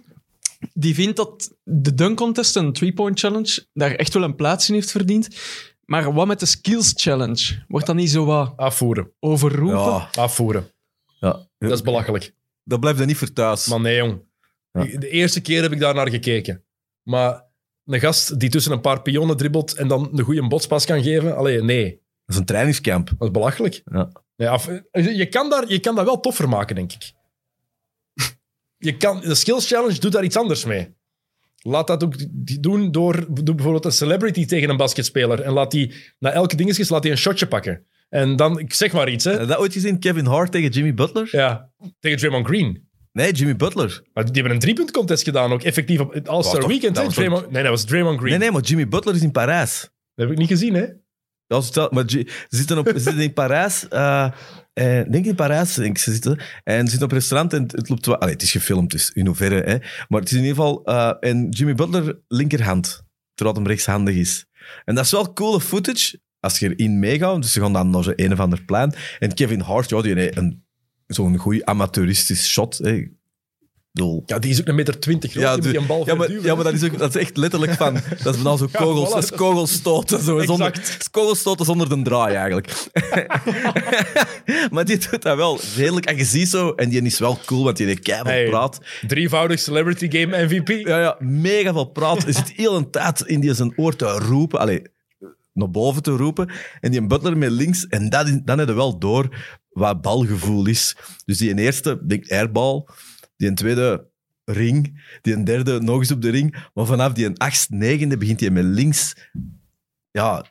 Speaker 1: die vindt dat de dunk contest en three-point challenge daar echt wel een plaats in heeft verdiend. Maar wat met de skills challenge? Wordt dat niet zo wat
Speaker 4: Afvoeren.
Speaker 1: overroepen?
Speaker 5: Ja,
Speaker 4: Afvoeren.
Speaker 5: Ah. ja.
Speaker 4: Dat is belachelijk.
Speaker 5: Dat blijft er niet voor thuis.
Speaker 4: Maar nee, jong.
Speaker 5: Ja.
Speaker 4: De eerste keer heb ik daar naar gekeken. Maar een gast die tussen een paar pionnen dribbelt en dan een goede botspas kan geven, allee, nee.
Speaker 5: Dat is een trainingskamp.
Speaker 4: Dat is belachelijk.
Speaker 5: Ja.
Speaker 4: Nee, af- je, kan daar, je kan dat wel toffer maken, denk ik. Je kan, de Skills Challenge doet daar iets anders mee. Laat dat ook die- doen door doe bijvoorbeeld een celebrity tegen een basketspeler. En laat die, na elke dingetjes, laat die een shotje pakken. En dan, ik zeg maar iets, hè.
Speaker 5: Heb je dat ooit gezien? Kevin Hart tegen Jimmy Butler?
Speaker 4: Ja, tegen Draymond Green.
Speaker 5: Nee, Jimmy Butler.
Speaker 4: Maar die hebben een driepunt contest gedaan ook, effectief op het All-Star
Speaker 5: Was toch-
Speaker 4: Weekend.
Speaker 5: dat
Speaker 4: hè?
Speaker 5: was toch-
Speaker 4: Draymond, nee, dat was Draymond Green.
Speaker 5: Nee, nee, maar Jimmy Butler is in Parijs.
Speaker 4: Dat heb ik niet gezien, hè?
Speaker 5: Ja, ze, stel- maar G- ze zitten, op, ze zitten in Parijs. eh, eh, ik denk in Parijs, denk ik, ze zitten. En ze zitten op een restaurant en het- het loopt wel... Allee, het is gefilmd, dus in hoeverre. Hè? Maar het is in ieder geval... eh, en Jimmy Butler linkerhand, terwijl hem rechtshandig is. En dat is wel coole footage, als je erin meegaat. Dus ze gaan dan naar zo'n een of ander plan. En Kevin Hart, ja, die heeft een- zo'n goeie amateuristisch shot. Hè? bedoel,
Speaker 4: Ja, die is ook een meter twintig groot. die moet die
Speaker 5: du-
Speaker 4: een bal
Speaker 5: ja, maar,
Speaker 4: verduwen.
Speaker 5: ja, maar dat is, ook, dat is echt letterlijk van... Dat is nou zo
Speaker 4: Ja,
Speaker 5: kogels,
Speaker 4: voilà,
Speaker 5: dat is kogelstoten. Zo, zonder,
Speaker 4: Exact.
Speaker 5: het is kogelstoten zonder de draai, eigenlijk. maar die doet dat wel redelijk. En je ziet zo... En die is wel cool, want die heeft keihard
Speaker 4: Hey,
Speaker 5: praat.
Speaker 4: Drievoudig Celebrity Game MVP.
Speaker 5: Ja, ja, mega veel praat. Hij zit heel een tijd in die zijn oor te roepen. Allee, naar boven te roepen. En die butler met links. En dat, in- dan heb je wel door wat balgevoel is. Dus die eerste, denk airball. Die tweede, ring. Die derde, nog eens op de ring. Maar vanaf die achtste, negende begint hij met links... Ja,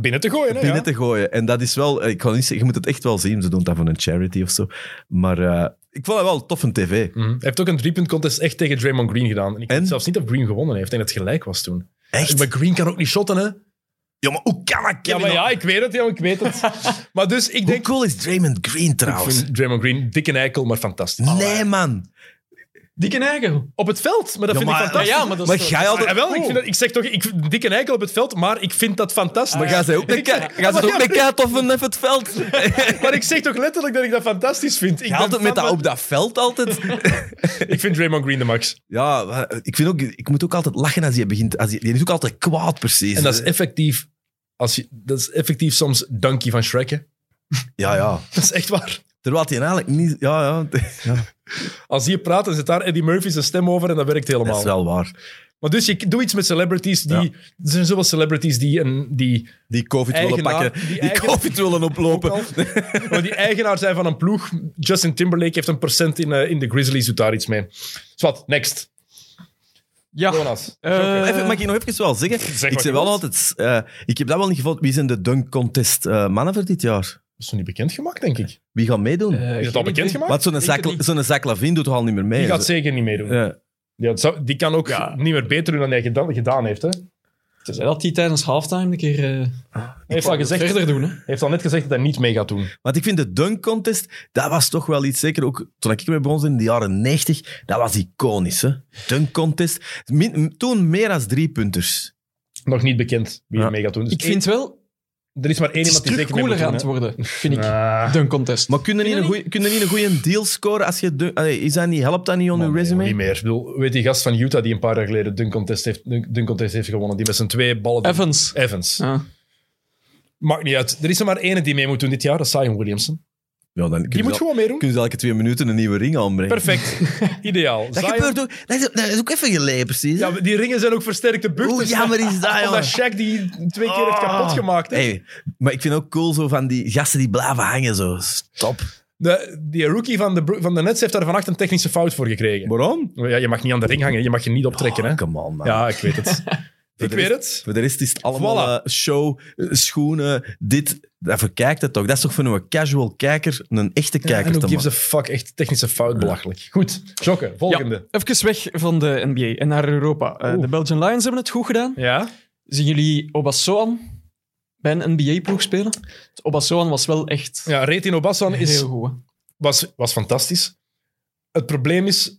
Speaker 4: Binnen te gooien, hè?
Speaker 5: binnen
Speaker 4: ja.
Speaker 5: te gooien. En dat is wel... Ik kan niet zeggen, je moet het echt wel zien. Ze doen dat van een charity of zo. Maar eh, ik vond dat wel tof een tv.
Speaker 4: Mhm. Hij heeft ook een driepunt contest echt tegen Draymond Green gedaan. En ik
Speaker 5: En?
Speaker 4: weet zelfs niet of Green gewonnen heeft. Ik denk dat het gelijk was toen.
Speaker 5: Echt?
Speaker 4: Maar Green kan ook niet shotten, hè?
Speaker 5: Ja, maar hoe kan dat?
Speaker 4: Ja, maar ja, ik weet het, ja, ik weet het. maar dus, ik
Speaker 5: Hoe
Speaker 4: denk...
Speaker 5: cool is Draymond Green
Speaker 4: Ik
Speaker 5: trouwens?
Speaker 4: vind Draymond Green dikke eikel, maar fantastisch.
Speaker 5: Nee, man.
Speaker 1: Dikke eigen.
Speaker 4: Op het veld, maar dat
Speaker 5: Ja,
Speaker 4: vind
Speaker 5: maar-
Speaker 4: ik fantastisch.
Speaker 1: Ja, maar dat is
Speaker 5: Maar
Speaker 1: toch-
Speaker 5: jij altijd...
Speaker 4: Ah, wel, ik, vind dat, ik zeg toch, ik vind dikke eikel op het veld, maar ik vind dat fantastisch.
Speaker 5: Maar ga ze ook een ka- ga ze
Speaker 4: Ja,
Speaker 5: ook
Speaker 4: maar-
Speaker 5: een kaart of een even het veld?
Speaker 4: Maar ik zeg toch letterlijk dat ik dat fantastisch vind. Ik,
Speaker 5: Ja,
Speaker 4: ben
Speaker 5: altijd met
Speaker 4: fan
Speaker 5: dat,
Speaker 4: van-
Speaker 5: op dat veld altijd.
Speaker 4: ik vind Draymond Green de max.
Speaker 5: Ja, maar ik, vind ook, ik moet ook altijd lachen als je begint. Als je, die is ook altijd kwaad, precies.
Speaker 4: En dat is effectief... Als je, dat is effectief soms Donkey van Shrek, hè.
Speaker 5: Ja, ja.
Speaker 4: Dat is echt waar.
Speaker 5: Terwijl hij eigenlijk niet... Ja, ja.
Speaker 4: Als die praat, dan zit daar Eddie Murphy zijn stem over en dat werkt helemaal.
Speaker 5: Dat is wel waar.
Speaker 4: Maar dus je k- doet iets met celebrities die...
Speaker 5: Ja.
Speaker 4: Er zijn zoveel celebrities die, een, die,
Speaker 5: Die COVID willen
Speaker 4: Eigenaar-
Speaker 5: pakken.
Speaker 4: die
Speaker 5: Die, Eh.
Speaker 4: eigen-
Speaker 5: COVID willen oplopen.
Speaker 4: maar die eigenaar zijn van een ploeg. Justin Timberlake heeft een procent in, eh, in de Grizzlies, doet daar iets mee. Zwat, next.
Speaker 1: Ja.
Speaker 4: Jonas.
Speaker 1: Eh,
Speaker 5: Even, mag ik nog even wel zeggen?
Speaker 4: Zeg
Speaker 5: ik
Speaker 4: wat
Speaker 5: zeg
Speaker 4: je
Speaker 5: wel
Speaker 4: wilt.
Speaker 5: altijd... eh, ik heb dat wel niet gevonden. Wie zijn de dunk contest eh, mannen voor dit jaar?
Speaker 4: Dat is nog niet bekendgemaakt, denk ik.
Speaker 5: Wie gaan meedoen?
Speaker 1: eh,
Speaker 4: Is het al
Speaker 1: geen idee.
Speaker 4: bekendgemaakt?
Speaker 5: Want zo'n
Speaker 1: denk het
Speaker 5: Zach,
Speaker 1: niet.
Speaker 5: zo'n Zach Lavin doet toch al niet meer mee?
Speaker 4: Die gaat
Speaker 5: Zo-
Speaker 4: zeker niet meedoen.
Speaker 5: Ja.
Speaker 4: Ja, het zou- die kan ook
Speaker 1: Ja.
Speaker 4: niet meer beter doen dan hij gedaan, gedaan heeft. Hè.
Speaker 1: Ze zei dat die tijdens halftime een keer eh,
Speaker 4: Heeft, al gezegd, Dus
Speaker 1: verder doen. Hè?
Speaker 4: heeft al net gezegd dat hij niet mee gaat doen.
Speaker 5: Want ik vind de dunk contest, dat was toch wel iets, zeker ook toen ik ermee begon in de jaren 90, dat was iconisch. Hè? Dunk contest. Min- m- toen meer als drie punters.
Speaker 4: Nog niet bekend wie
Speaker 5: Ja.
Speaker 4: er mee gaat doen. Dus
Speaker 1: Ik vind wel,
Speaker 4: één- er is maar één
Speaker 1: het is
Speaker 4: iemand die
Speaker 1: terug
Speaker 4: zeker mee moet
Speaker 1: cooler aan
Speaker 4: doen.
Speaker 1: het worden, vind ik.
Speaker 4: hè. Ah.
Speaker 1: Dunk contest.
Speaker 5: Maar kunnen niet
Speaker 1: Kunnen
Speaker 5: een goeie- kunnen niet een goede deal scoren als je dunk, allee, is dat niet, helpt dat niet on
Speaker 4: Man,
Speaker 5: uw
Speaker 4: nee,
Speaker 5: resume?
Speaker 4: Niet meer. Ik bedoel, weet die gast van Utah die een paar jaar geleden dunk contest heeft, dunk, dunk contest heeft gewonnen, die met zijn twee ballen...
Speaker 1: Evans.
Speaker 4: Evans.
Speaker 1: Ja.
Speaker 4: Maakt niet uit. Er is er maar één die mee moet doen dit jaar, dat is Zion Williamson.
Speaker 5: Ja, dan
Speaker 4: Die
Speaker 5: kunnen
Speaker 4: moet
Speaker 5: ze, al-
Speaker 4: gewoon meedoen.
Speaker 5: kunnen ze elke twee minuten een nieuwe ring aanbrengen.
Speaker 4: Perfect. Ideaal.
Speaker 5: Dat
Speaker 4: Zion-
Speaker 5: gebeurt ook. Dat is, dat is ook even geleden, precies.
Speaker 4: Ja,
Speaker 5: Ja,
Speaker 4: maar die ringen zijn ook versterkte buchten.
Speaker 5: Hoe jammer is dat, jongen?
Speaker 4: Omdat Shaq die twee keer heeft kapot gemaakt. hè.
Speaker 5: Hey, maar ik vind ook cool zo van die gasten die blijven hangen. Zo. Stop.
Speaker 4: De, die rookie van de, Bro- van de Nets heeft daar vannacht een technische fout voor gekregen.
Speaker 5: Waarom?
Speaker 4: Ja, je mag niet aan de ring hangen, je mag je niet optrekken. hè?
Speaker 5: Oh, Come on, man.
Speaker 4: Ja, ik weet het. ik
Speaker 5: de
Speaker 4: weet
Speaker 5: rest-
Speaker 4: het.
Speaker 5: Voor de rest is het allemaal
Speaker 4: Voilà.
Speaker 5: eh, show, eh, schoenen, dit. Daarvoor kijkt het toch. Dat is toch voor een casual kijker een echte
Speaker 4: Ja, en
Speaker 5: kijker te
Speaker 4: who gives
Speaker 5: maken.
Speaker 4: a fuck? Echt technische fout, belachelijk. Goed, Jokke, volgende.
Speaker 1: Ja, even weg van de NBA en naar Europa. Eh,
Speaker 4: Oeh.
Speaker 1: de Belgian Lions hebben het goed gedaan.
Speaker 4: Ja?
Speaker 1: Zien jullie Obassoan bij een NBA-ploeg spelen? Obassoan was wel echt
Speaker 4: Ja, Retin Obassan is,
Speaker 1: heel goed. hè.
Speaker 4: was, was fantastisch. Het probleem is,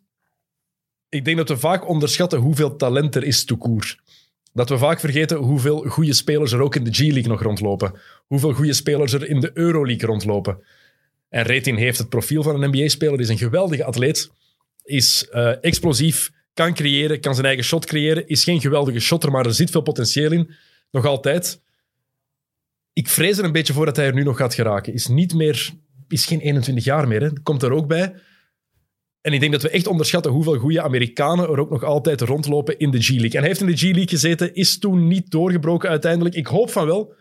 Speaker 4: ik denk dat we vaak onderschatten hoeveel talent er is, toekoer. Dat we vaak vergeten hoeveel goede spelers er ook in de G-League nog rondlopen. Hoeveel goede spelers er in de Euroleague rondlopen. En Retin heeft het profiel van een NBA-speler, is een geweldige atleet, is eh, explosief, kan creëren, kan zijn eigen shot creëren, is geen geweldige shotter, maar er zit veel potentieel in, nog altijd. Ik vrees er een beetje voor dat hij er nu nog gaat geraken. Is niet meer, is geen 21 jaar meer, hè. komt er ook bij. En ik denk dat we echt onderschatten hoeveel goede Amerikanen er ook nog altijd rondlopen in de G-League. En hij heeft in de G-League gezeten, is toen niet doorgebroken uiteindelijk. Ik hoop van wel.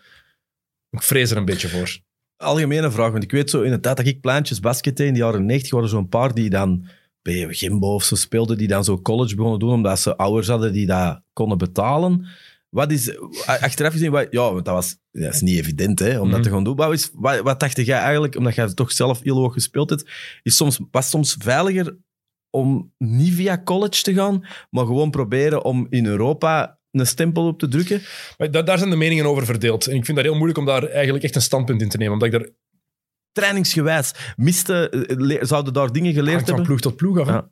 Speaker 4: Ik vrees er een beetje voor.
Speaker 5: Algemene vraag, want ik weet zo in de tijd dat ik plaatjes baskette in de jaren 90 waren er zo'n paar die dan bij Gimbo of zo speelden, die dan zo college begonnen doen omdat ze ouders hadden die dat konden betalen. Wat is, achteraf gezien, wat, ja, want dat, was, dat is niet evident hè, om dat
Speaker 4: Mhm.
Speaker 5: te gaan doen. Wat, is, wat, wat dacht jij eigenlijk, omdat jij toch zelf heel hoog gespeeld hebt, is soms, was soms veiliger om niet via college te gaan, maar gewoon proberen om in Europa een stempel op te drukken?
Speaker 4: Maar da- daar zijn de meningen over verdeeld. En ik vind dat heel moeilijk om daar eigenlijk echt een standpunt in te nemen. Omdat ik daar
Speaker 5: Trainingsgewijs, miste, eh, le- zouden daar dingen geleerd
Speaker 4: hangt van
Speaker 5: hebben?
Speaker 4: ploeg tot ploeg af. hè.
Speaker 5: Ja.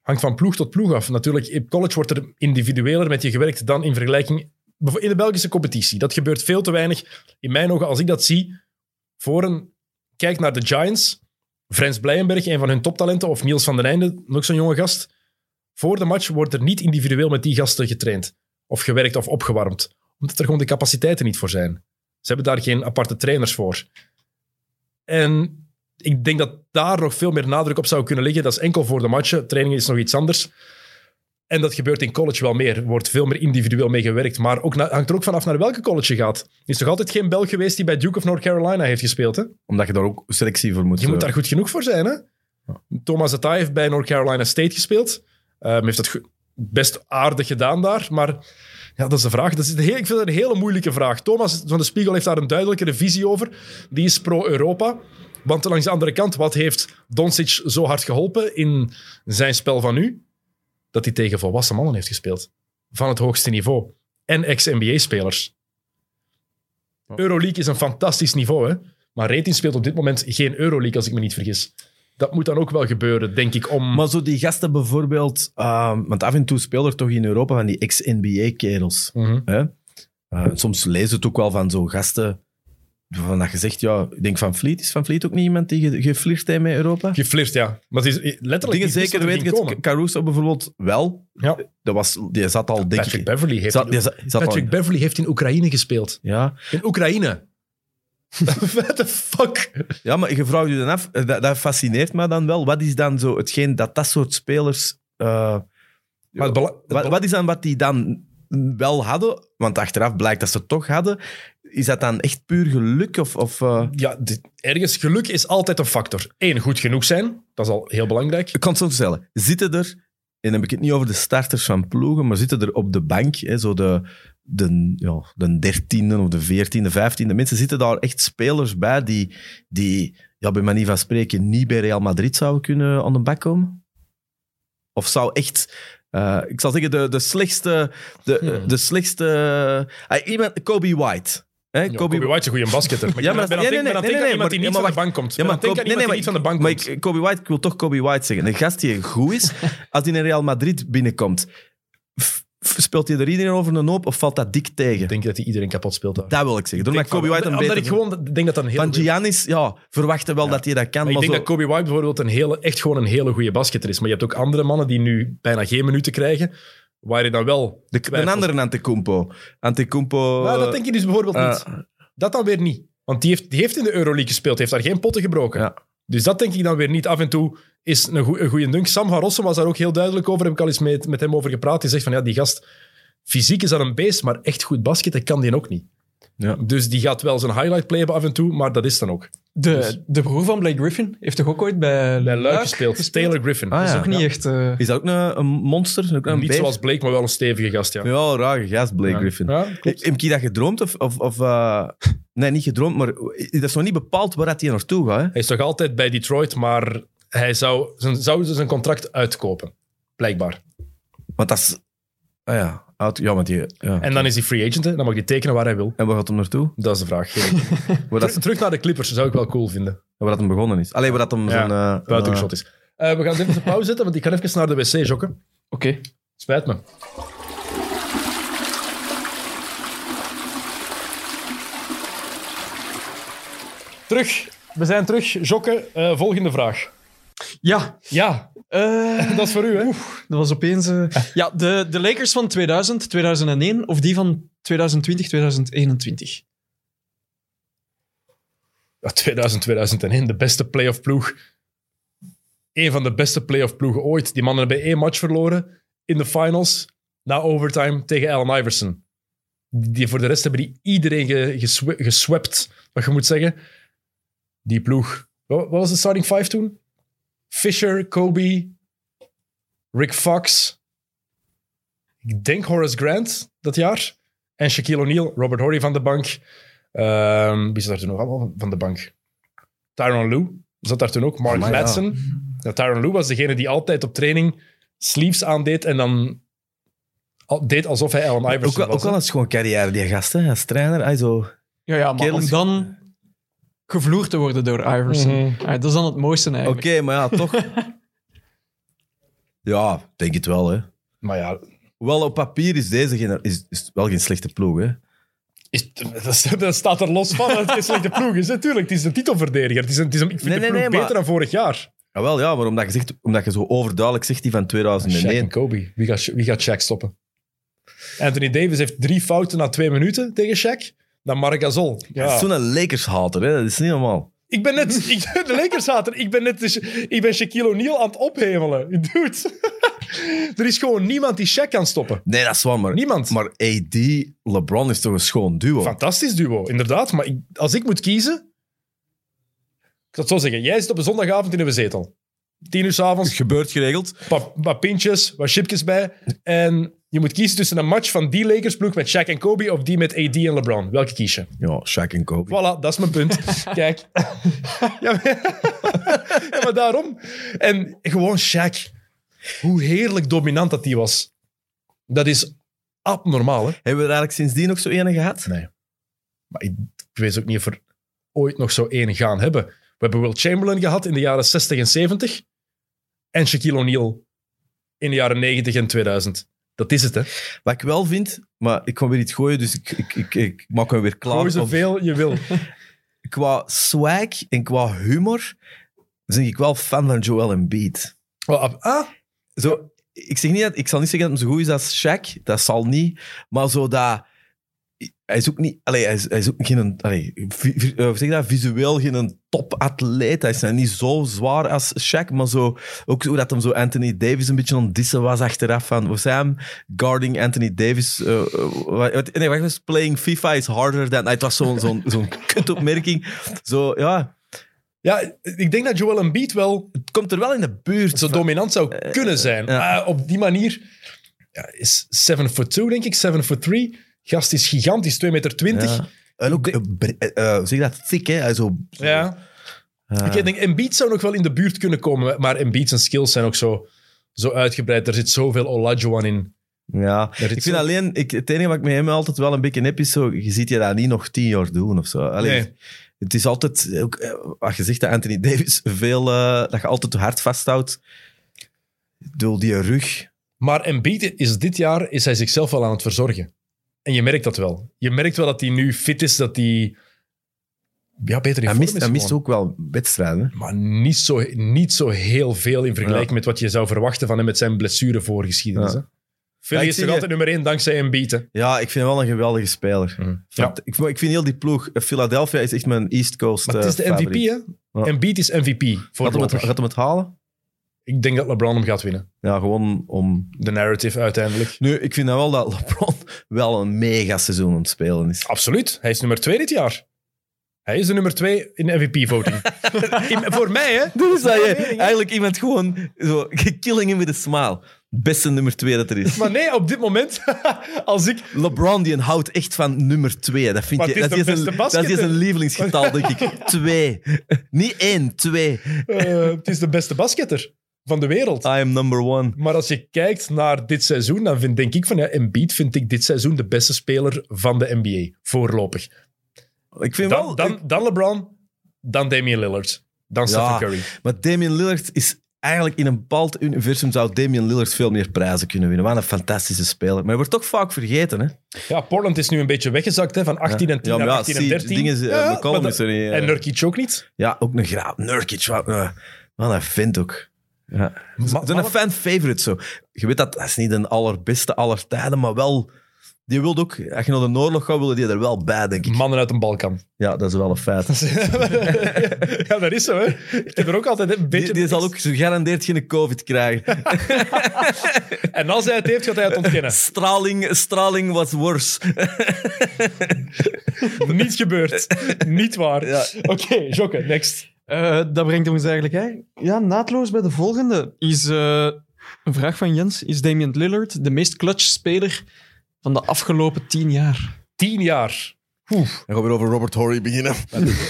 Speaker 4: Hangt van ploeg tot ploeg af. Natuurlijk, in college wordt er individueler met je gewerkt dan in vergelijking bijvo- in de Belgische competitie. Dat gebeurt veel te weinig. In mijn ogen, als ik dat zie, voor een kijk naar de Giants, Frans Blijenberg, een van hun toptalenten, of Niels van den Einde, nog zo'n jonge gast. Voor de match wordt er niet individueel met die gasten getraind, of gewerkt of opgewarmd, omdat er gewoon de capaciteiten niet voor zijn. Ze hebben daar geen aparte trainers voor. En ik denk dat daar nog veel meer nadruk op zou kunnen liggen. Dat is enkel voor de matchen. Training is nog iets anders. En dat gebeurt in college wel meer. Er wordt veel meer individueel mee gewerkt. Maar ook na- hangt er ook vanaf naar welke college je gaat. Er is toch altijd geen Belg geweest die bij Duke of North Carolina heeft gespeeld, hè?
Speaker 5: Omdat je daar ook selectie voor moet
Speaker 4: Je moet
Speaker 5: eh,
Speaker 4: daar goed genoeg voor zijn. Hè? Thomas Atai heeft bij North Carolina State gespeeld. Ehm, heeft dat go- best aardig gedaan daar. Maar ja, dat is de vraag. Dat is een heel, ik vind dat een hele moeilijke vraag. Thomas van de Spiegel heeft daar een duidelijkere visie over. Die is pro-Europa. Want langs de andere kant, wat heeft Doncic zo hard geholpen in zijn spel van nu? Dat hij tegen volwassen mannen heeft gespeeld. Van het hoogste niveau. En ex-NBA-spelers. Euroleague is een fantastisch niveau, hè? Maar Rating speelt op dit moment geen Euroleague, als ik me niet vergis. Dat moet dan ook wel gebeuren, denk ik, om...
Speaker 5: Maar zo die gasten bijvoorbeeld, ehm, want af en toe speelt er toch in Europa van die ex-NBA-kerels.
Speaker 4: Mhm.
Speaker 5: hè? Eh, soms lees het ook wel van zo'n gasten, van dat je zegt, ja, ik denk Van Vliet, is Van Vliet ook niet iemand die ge- geflirt heeft met Europa?
Speaker 4: Geflirt, ja. Maar het is eh, letterlijk...
Speaker 5: Dingen
Speaker 4: die is
Speaker 5: zeker
Speaker 4: er
Speaker 5: weet ik
Speaker 4: niet
Speaker 5: het,
Speaker 4: komen.
Speaker 5: Caruso bijvoorbeeld wel.
Speaker 4: Ja.
Speaker 5: Dat was, die zat al dik.
Speaker 4: Patrick Beverly heeft...
Speaker 5: Zat,
Speaker 4: in-
Speaker 5: die zat, zat al-
Speaker 4: Patrick Beverly heeft in Oekraïne gespeeld.
Speaker 5: ja.
Speaker 4: In Oekraïne. What the fuck?
Speaker 5: ja, maar je vraagt je dan af, eh, dat, dat fascineert me dan wel. Wat is dan zo hetgeen dat dat soort spelers... eh,
Speaker 4: Maar het bela- het
Speaker 5: Wat,
Speaker 4: bela-
Speaker 5: wat is dan wat die dan wel hadden? Want achteraf blijkt dat ze het toch hadden. Is dat dan echt puur geluk? Of, of, eh,
Speaker 4: Ja, dit- ergens geluk is altijd een factor. Eén, goed genoeg zijn. Dat is al heel belangrijk.
Speaker 5: Ik kan het zo stellen. Zitten er, en dan heb ik het niet over de starters van ploegen, maar zitten er op de bank, hè, zo de, de, ja, de dertiende of de veertiende, vijftiende mensen, zitten daar echt spelers bij die, die ja, bij manier van spreken niet bij Real Madrid zouden kunnen aan de bak komen? Of zou echt, eh, ik zal zeggen, de, de slechtste... De,
Speaker 4: Hmm.
Speaker 5: de slechtste ah, iemand, Kobe White. Hè,
Speaker 4: Ja,
Speaker 5: Kobe,
Speaker 4: Kobe White is een goede basketter. Maar
Speaker 5: Ja,
Speaker 4: ja,
Speaker 5: maar-
Speaker 4: maar ben aan het
Speaker 5: nee,
Speaker 4: denken-
Speaker 5: nee,
Speaker 4: ben aan het denken aan
Speaker 5: nee,
Speaker 4: iemand die
Speaker 5: nee,
Speaker 4: niet
Speaker 5: maar
Speaker 4: van de
Speaker 5: wacht.
Speaker 4: bank komt.
Speaker 5: Ja,
Speaker 4: Ben
Speaker 5: maar
Speaker 4: aan het denken aan
Speaker 5: Kobe- nee,
Speaker 4: iemand die
Speaker 5: nee,
Speaker 4: niet
Speaker 5: maar
Speaker 4: van de bank
Speaker 5: Maar
Speaker 4: komt.
Speaker 5: ik, Kobe White, ik wil toch Kobe White zeggen. Een gast die goed is, als die in Real Madrid binnenkomt, f- f- speelt hij er iedereen over een hoop of valt dat dik tegen?
Speaker 4: Ik denk dat hij iedereen kapot speelt daar.
Speaker 5: Dat wil ik zeggen. Daarom dat
Speaker 4: Denk
Speaker 5: Kobe
Speaker 4: van-
Speaker 5: White een
Speaker 4: Omdat
Speaker 5: beter...
Speaker 4: ik gewoon denk dat dat een heel...
Speaker 5: Van Giannis, ja, verwachten wel dat hij dat kan.
Speaker 4: Maar
Speaker 5: Maar
Speaker 4: ik denk
Speaker 5: zo,
Speaker 4: dat Kobe White bijvoorbeeld een hele, echt gewoon een hele goede basketter is. Maar je hebt ook andere mannen die nu bijna geen minuten krijgen, waar je dan wel...
Speaker 5: de,
Speaker 4: twijfelt.
Speaker 5: een andere Antetokounmpo. Antetokounmpo...
Speaker 4: Nou, dat denk je dus bijvoorbeeld
Speaker 5: eh,
Speaker 4: niet. Dat dan weer niet. Want die heeft, die heeft in de Euroleague gespeeld, heeft daar geen potten gebroken.
Speaker 5: Ja.
Speaker 4: Dus dat denk ik dan weer niet. Af en toe is een, goe- een goede dunk. Sam van Rossum was daar ook heel duidelijk over, heb ik al eens met, met hem over gepraat. Die zegt van, ja, die gast, fysiek is dat een beest, maar echt goed basketten kan die ook niet.
Speaker 5: Ja.
Speaker 4: Dus die gaat wel zijn highlight play hebben af en toe, maar dat is dan ook.
Speaker 1: De, de broer van Blake Griffin heeft toch ook ooit bij,
Speaker 4: Bij Luik
Speaker 1: Luik
Speaker 4: gespeeld, Taylor Griffin.
Speaker 5: Ah,
Speaker 1: Dat is
Speaker 5: ja.
Speaker 1: ook niet echt... eh,
Speaker 5: Is dat ook een, een monster? Ook een
Speaker 4: Niet
Speaker 5: beer?
Speaker 4: zoals Blake, maar wel een stevige gast, ja.
Speaker 5: Ja, een rare gast, Blake
Speaker 4: Ja.
Speaker 5: Griffin.
Speaker 4: Ja, klopt.
Speaker 5: Heb je dat gedroomd? Of, of, of, eh, nee, niet gedroomd, maar dat is nog niet bepaald waar dat hij naartoe gaat. Hè?
Speaker 4: Hij is toch altijd bij Detroit, maar hij zou, zijn, zou zijn contract uitkopen. Blijkbaar.
Speaker 5: Want dat is... Ah ja, oud, ja want die... Ja.
Speaker 4: En dan is hij free agent, hè. dan mag hij tekenen waar hij wil.
Speaker 5: En waar gaat hem naartoe?
Speaker 4: Dat is de vraag. Geen idee.
Speaker 5: Waar dat,
Speaker 4: Terug- Terug naar de Clippers zou ik wel cool vinden.
Speaker 5: waar dat hem begonnen is. Alleen waar dat hem
Speaker 4: Ja,
Speaker 5: zo'n... eh,
Speaker 4: Buitengeschot is. Eh, we gaan even een pauze zetten, want ik ga even naar de wc jokken.
Speaker 1: Oké.
Speaker 4: Spijt me. Terug. We zijn terug. Jokken, eh, volgende vraag.
Speaker 1: Ja.
Speaker 4: Ja,
Speaker 1: eh,
Speaker 4: dat is voor u, hè?
Speaker 1: Dat was opeens... eh, ja, de, de Lakers van 2000, 2001 of die van 2020, 2021?
Speaker 4: Ja, 2000, 2001, de beste playoff ploeg. Een van de beste playoff ploegen ooit. Die mannen hebben één match verloren in de finals na overtime tegen Allen Iverson. Die, voor de rest hebben die iedereen ge, geswe- geswept. Wat je moet zeggen, die ploeg. Wat, wat was de starting five toen? Fisher, Kobe, Rick Fox. Ik denk Horace Grant dat jaar. En Shaquille O'Neal, Robert Horry van de bank. Ehm, wie zat daar toen nog allemaal van de bank? Tyron Lou zat daar toen ook. Mark
Speaker 5: Amai, ja.
Speaker 4: Madsen. Ja, Tyron Lou was degene die altijd op training sleeves aandeed en dan al- deed alsof hij Allen Iverson
Speaker 5: eh, ook, wel-
Speaker 4: was.
Speaker 5: ook wel een schoon carrière, die gast, hè? Als trainer. Hij zo...
Speaker 1: Ja, ja maar om
Speaker 5: Kerels-
Speaker 1: dan gevloerd te worden door Iverson.
Speaker 4: Mhm.
Speaker 1: Ja, dat is dan het mooiste
Speaker 5: Oké,
Speaker 1: eigenlijk.
Speaker 5: maar ja, toch... ja, denk het wel, hè.
Speaker 4: Maar ja,
Speaker 5: Hoewel, op papier is deze gener- is, is het wel geen slechte ploeg, hè.
Speaker 4: Is, dat, dat staat er los van dat het geen slechte ploeg is. Natuurlijk, het is een titelverdediger. Het is een, het is een, ik vind
Speaker 5: Nee,
Speaker 4: de
Speaker 5: nee,
Speaker 4: ploeg
Speaker 5: nee,
Speaker 4: beter
Speaker 5: maar-
Speaker 4: dan vorig jaar.
Speaker 5: Jawel, ja, maar omdat je, zegt, omdat je zo overduidelijk zegt die van
Speaker 4: Shaq
Speaker 5: 2001.
Speaker 4: en Kobe. Wie gaat, wie gaat Shaq stoppen? Anthony Davis heeft drie fouten na twee minuten tegen Shaq. Dan Marc Gasol. Ja.
Speaker 5: Dat is zo'n Lakers-hater, hè. dat is niet normaal.
Speaker 4: Ik ben net... Ik, de Lakers hater. Ik ben net... de Sha- ik ben Shaquille O'Neal aan het ophemelen. Dude. er is gewoon niemand die Shaq kan stoppen.
Speaker 5: Nee, dat is waar, maar,
Speaker 4: Niemand.
Speaker 5: maar AD, LeBron is toch een schoon duo?
Speaker 4: Fantastisch duo, inderdaad. Maar ik- als ik moet kiezen... Ik zou het zo zeggen. Jij zit op een zondagavond in een zetel. Tien uur s'avonds,
Speaker 5: Gebeurt geregeld.
Speaker 4: wat, wat pintjes, wat chipjes bij. En je moet kiezen tussen een match van die Lakers-ploeg met Shaq en Kobe of die met AD en LeBron. Welke kies je?
Speaker 5: Ja, Shaq en Kobe.
Speaker 4: Voilà, dat is mijn punt. Kijk. ja, maar, Ja, maar daarom. En gewoon Shaq. Hoe heerlijk dominant dat die was. Dat is abnormaal, hè?
Speaker 5: Hebben we er eigenlijk sindsdien nog zo ene gehad?
Speaker 4: Nee. Maar ik, ik weet ook niet of we er ooit nog zo één gaan hebben. We hebben Will Chamberlain gehad in de jaren 60 en 70. En Shaquille O'Neal in de jaren 90 en 2000. Dat is het, hè?
Speaker 5: Wat ik wel vind, maar ik kon weer iets gooien, dus ik, ik, ik, ik maak hem weer klaar.
Speaker 4: Gooi
Speaker 5: op-
Speaker 4: zoveel je wil.
Speaker 5: Qua swag en qua humor ben ik wel fan van Joel Embiid.
Speaker 4: ah,
Speaker 5: Zo, ik, zeg niet dat, ik zal niet zeggen dat hij zo goed is als Shaq, dat zal niet. Maar zo dat... Hij is ook niet... Allee, hij, is, hij is ook geen... Allee, vi- vi- eh, hoe zeg je dat? Visueel geen topatleet. Hij is dan niet zo zwaar als Shaq, maar zo... Ook hoe dat hem zo Anthony Davis een beetje ondissen was achteraf. Van, was hij hem guarding Anthony Davis? eh, eh, wat- nee, wacht eens. Playing FIFA is harder than... Het was zo'n zo'n zo'n kutopmerking. Zo, ja...
Speaker 4: Ja, ik denk dat Joel Embiid wel
Speaker 5: Het komt er wel in de buurt. Eh,
Speaker 4: zo dominant zou kunnen zijn.
Speaker 5: ja.
Speaker 4: Ah, op die manier ja, is 7 foot 2, denk ik, 7 foot 3. Gast is gigantisch, 2 meter 20.
Speaker 5: Ja. En ook, eh, bre- eh, hoe zeg je dat? Thick, hè? Hij is Zo,
Speaker 4: Ik
Speaker 5: Ah.
Speaker 4: denk, Embiid zou nog wel in de buurt kunnen komen, maar Embiid zijn skills zijn ook zo, zo uitgebreid. Er zit zoveel Olajuwon in.
Speaker 5: Ja,
Speaker 4: zit
Speaker 5: ik
Speaker 4: zo-
Speaker 5: vind alleen, ik, het enige wat ik met hem altijd wel een beetje heb is zo, je ziet je dat niet nog tien jaar doen of zo. Allee,
Speaker 4: Nee.
Speaker 5: Het is altijd, ook, eh, als je zegt dat Anthony Davis veel, eh, dat je altijd te hard vasthoudt. Ik bedoel, die rug.
Speaker 4: Maar Embiid is dit jaar is hij zichzelf wel aan het verzorgen. En je merkt dat wel. Je merkt wel dat hij nu fit is, dat hij ja, beter in
Speaker 5: Hij
Speaker 4: vorm
Speaker 5: mist,
Speaker 4: is
Speaker 5: hij mist
Speaker 4: gewoon.
Speaker 5: ook wel wedstrijden. hè.
Speaker 4: Maar niet zo, niet zo heel veel in vergelijking met wat je zou verwachten van hem met zijn blessure voorgeschiedenis.
Speaker 5: Ja.
Speaker 4: hè. Philly
Speaker 5: Ja, ik
Speaker 4: is
Speaker 5: zie
Speaker 4: toch
Speaker 5: je-
Speaker 4: altijd nummer één dankzij Embiid. hè?
Speaker 5: Ja, ik vind hem wel een geweldige speler.
Speaker 4: Mm. Ja.
Speaker 5: Want Ik, ik vind heel die ploeg, eh, Philadelphia is echt mijn East Coast
Speaker 4: Maar het is
Speaker 5: eh,
Speaker 4: de MVP,
Speaker 5: favoriet.
Speaker 4: hè?
Speaker 5: Ja.
Speaker 4: Embiid is MVP.
Speaker 5: Gaat hem, het,
Speaker 4: Voorlopig.
Speaker 5: gaat hem het halen?
Speaker 4: Ik denk dat LeBron hem gaat winnen.
Speaker 5: Ja, gewoon om...
Speaker 4: De narrative uiteindelijk.
Speaker 5: Nu, ik vind dan wel dat LeBron wel een mega seizoen aan het spelen is.
Speaker 4: Absoluut. Hij is nummer twee dit jaar. Hij is de nummer twee in MVP-voting. voor mij, hè?
Speaker 5: Dus dat je eigenlijk iemand gewoon zo, killing him with a smile. Beste nummer twee dat er is.
Speaker 4: Maar nee, op dit moment, als ik...
Speaker 5: LeBron die houdt echt van nummer twee. Dat, vind
Speaker 4: Maar
Speaker 5: je,
Speaker 4: het is
Speaker 5: dat,
Speaker 4: de
Speaker 5: is
Speaker 4: beste
Speaker 5: een, dat is
Speaker 4: basketter.
Speaker 5: een lievelingsgetal, denk ik. Twee. Niet één, twee.
Speaker 4: eh, het is de beste basketter van de wereld.
Speaker 5: I am number one.
Speaker 4: Maar als je kijkt naar dit seizoen, dan vind, denk ik van ja, Embiid vind ik dit seizoen de beste speler van de NBA. Voorlopig.
Speaker 5: Ik vind wel...
Speaker 4: Dan, dan, dan LeBron, dan Damian Lillard, dan
Speaker 5: ja,
Speaker 4: Stephen Curry.
Speaker 5: maar Damian Lillard is... Eigenlijk in een bepaald universum zou Damian Lillard veel meer prijzen kunnen winnen. Wat een fantastische speler. Maar hij wordt toch vaak vergeten, hè?
Speaker 4: Ja, Portland is nu een beetje weggezakt hè, van 18 en 10
Speaker 5: Ja, maar
Speaker 4: naar
Speaker 5: ja,
Speaker 4: 18 en
Speaker 5: zie,
Speaker 4: 13.
Speaker 5: dingen ze-
Speaker 4: Ja,
Speaker 5: McCollum
Speaker 4: maar dat-
Speaker 5: is er niet, eh.
Speaker 4: En Nurkic ook niet.
Speaker 5: Ja, ook een graaf. Nurkic, wat, eh, wat een vent ook. Ja.
Speaker 4: Ma-
Speaker 5: Zo'n
Speaker 4: mannen-
Speaker 5: fan-favorite zo. Je weet dat, dat is niet een allerbeste aller tijden, maar wel... Die wilde ook, als je naar de oorlog gaat, wilde die er wel bij, denk ik.
Speaker 4: Mannen uit een Balkan.
Speaker 5: Ja, dat is wel een feit.
Speaker 4: ja, dat is zo, hè. Ik heb er ook altijd een beetje...
Speaker 5: Die, die zal ook gegarandeerd geen covid krijgen.
Speaker 4: En als hij het heeft, gaat hij het ontkennen.
Speaker 5: straling, straling was worse.
Speaker 4: Niet gebeurd. Niet waar.
Speaker 5: Ja.
Speaker 4: Oké, Jokke, next.
Speaker 1: Eh, dat brengt ons eigenlijk eigenlijk ja, naadloos bij de volgende. Is, eh, een vraag van Jens. Is Damian Lillard de meest clutch speler van de afgelopen tien jaar?
Speaker 4: Tien jaar. dus
Speaker 5: Dan gaan we over Robert Horry beginnen.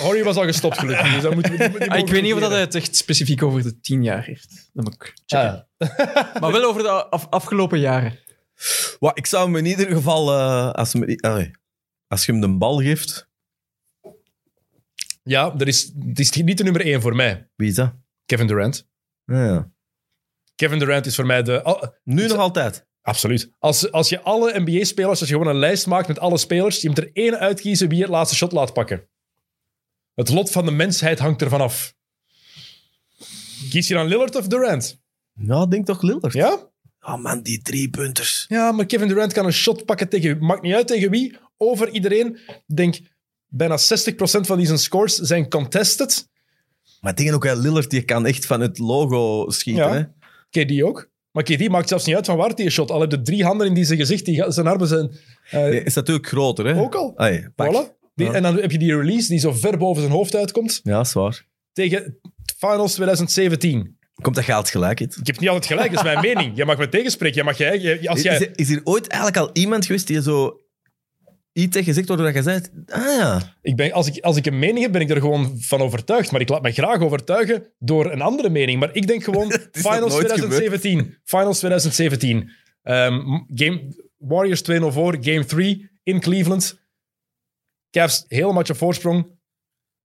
Speaker 4: Horry was al gestopt, gelukkig. Dus dat moeten we, die mogen
Speaker 1: Ah, ik weet niet of dat hij
Speaker 4: vergeten.
Speaker 1: het echt specifiek over de tien jaar heeft. Dat moet ik checken. Maar wel over de af- afgelopen jaren.
Speaker 5: Wat, ik zou hem in ieder geval... eh, als, hem, allee, als je hem de bal geeft...
Speaker 4: Ja, dat is, het is niet de nummer één voor mij.
Speaker 5: Wie is dat?
Speaker 4: Kevin Durant.
Speaker 5: Ja, ja.
Speaker 4: Kevin Durant is voor mij de... oh, al-
Speaker 5: Nu nog altijd.
Speaker 4: Absoluut. Als, als je alle NBA-spelers, als je gewoon een lijst maakt met alle spelers, je moet er één uitkiezen wie het laatste shot laat pakken. Het lot van de mensheid hangt ervan af. Kies je dan Lillard of Durant?
Speaker 5: Nou, denk toch Lillard.
Speaker 4: Ja?
Speaker 5: Oh man, die drie punters.
Speaker 4: Ja, maar Kevin Durant kan een shot pakken tegen, maakt niet uit tegen wie, over iedereen. Ik denk, bijna 60% van die zijn scores zijn contested.
Speaker 5: Maar dingen ook, hè, Lillard die kan echt van het logo schieten.
Speaker 4: Ja.
Speaker 5: Hè?
Speaker 4: KD ook. Maar KD maakt zelfs niet uit van waar die shot. Al heeft de drie handen in die zijn gezicht, die, ga- zijn armen zijn... eh,
Speaker 5: Die is natuurlijk groter. Hè?
Speaker 4: Ook al.
Speaker 5: Allee, pak.
Speaker 4: voilà. Die-
Speaker 5: Ja.
Speaker 4: En dan heb je die release die zo ver boven zijn hoofd uitkomt.
Speaker 5: Ja, is waar.
Speaker 4: tegen Finals 2017.
Speaker 5: Komt dat geld gelijk, hè?
Speaker 4: Ik heb niet altijd gelijk, dat is mijn mening. Jij mag me tegenspreken. Jij mag jij, jij- als
Speaker 5: Is,
Speaker 4: jij,
Speaker 5: is er ooit eigenlijk al iemand geweest die zo iets tegen gezegd wordt dat je zei, ah ja,
Speaker 4: ik ben, als, ik, als ik een mening heb, ben ik er gewoon van overtuigd. Maar ik laat me graag overtuigen door een andere mening. Maar ik denk gewoon
Speaker 5: is nog
Speaker 4: Finals
Speaker 5: nooit
Speaker 4: 2017. Finals 2017. Ehm, game, Warriors 2-0 voor, Game 3 in Cleveland. Cavs heel match op voorsprong.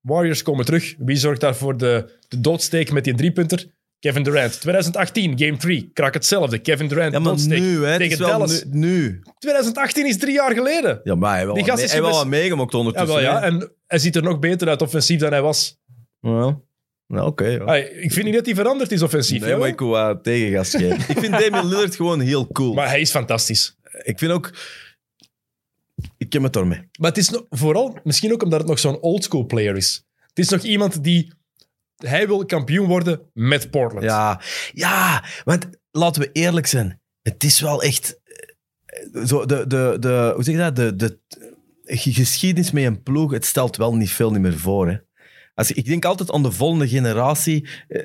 Speaker 4: Warriors komen terug. Wie zorgt daarvoor de, de doodsteek met die driepunter? Kevin Durant. 2018, Game 3. Krak hetzelfde. Kevin Durant,
Speaker 5: ja maar
Speaker 4: doodsteek
Speaker 5: nu, hè, het
Speaker 4: tegen
Speaker 5: is wel
Speaker 4: Dallas.
Speaker 5: nu, nu.
Speaker 4: 2018 is drie jaar geleden.
Speaker 5: Ja, maar hij wel
Speaker 4: Die
Speaker 5: wat
Speaker 4: gast
Speaker 5: mee-
Speaker 4: is
Speaker 5: hij wel
Speaker 4: gemist-
Speaker 5: wat meegemokt
Speaker 4: Ja,
Speaker 5: ondertussen.
Speaker 4: wel, ja.
Speaker 5: hè.
Speaker 4: En hij ziet er nog beter uit offensief dan hij was.
Speaker 5: Ja. Nou, oké. ja.
Speaker 4: Ai, ik vind niet dat hij veranderd is offensief.
Speaker 5: Nee,
Speaker 4: jawel.
Speaker 5: maar
Speaker 4: maar,
Speaker 5: ik wil wat tegengas geven. ik vind Damian Lillard gewoon heel cool.
Speaker 4: hij is fantastisch.
Speaker 5: ik vind ook... Ik ken het ermee.
Speaker 4: Maar het is nog- vooral, misschien ook omdat het nog zo'n oldschool player is. Het is nog iemand die... Hij wil kampioen worden met Portland.
Speaker 5: Ja. ja, want laten we eerlijk zijn. Het is wel echt... eh, Zo, de, de, de, hoe zeg je dat? De, de, ge- geschiedenis met een ploeg, het stelt wel niet veel niet meer voor. Hè. Als, ik denk altijd aan de volgende generatie. eh,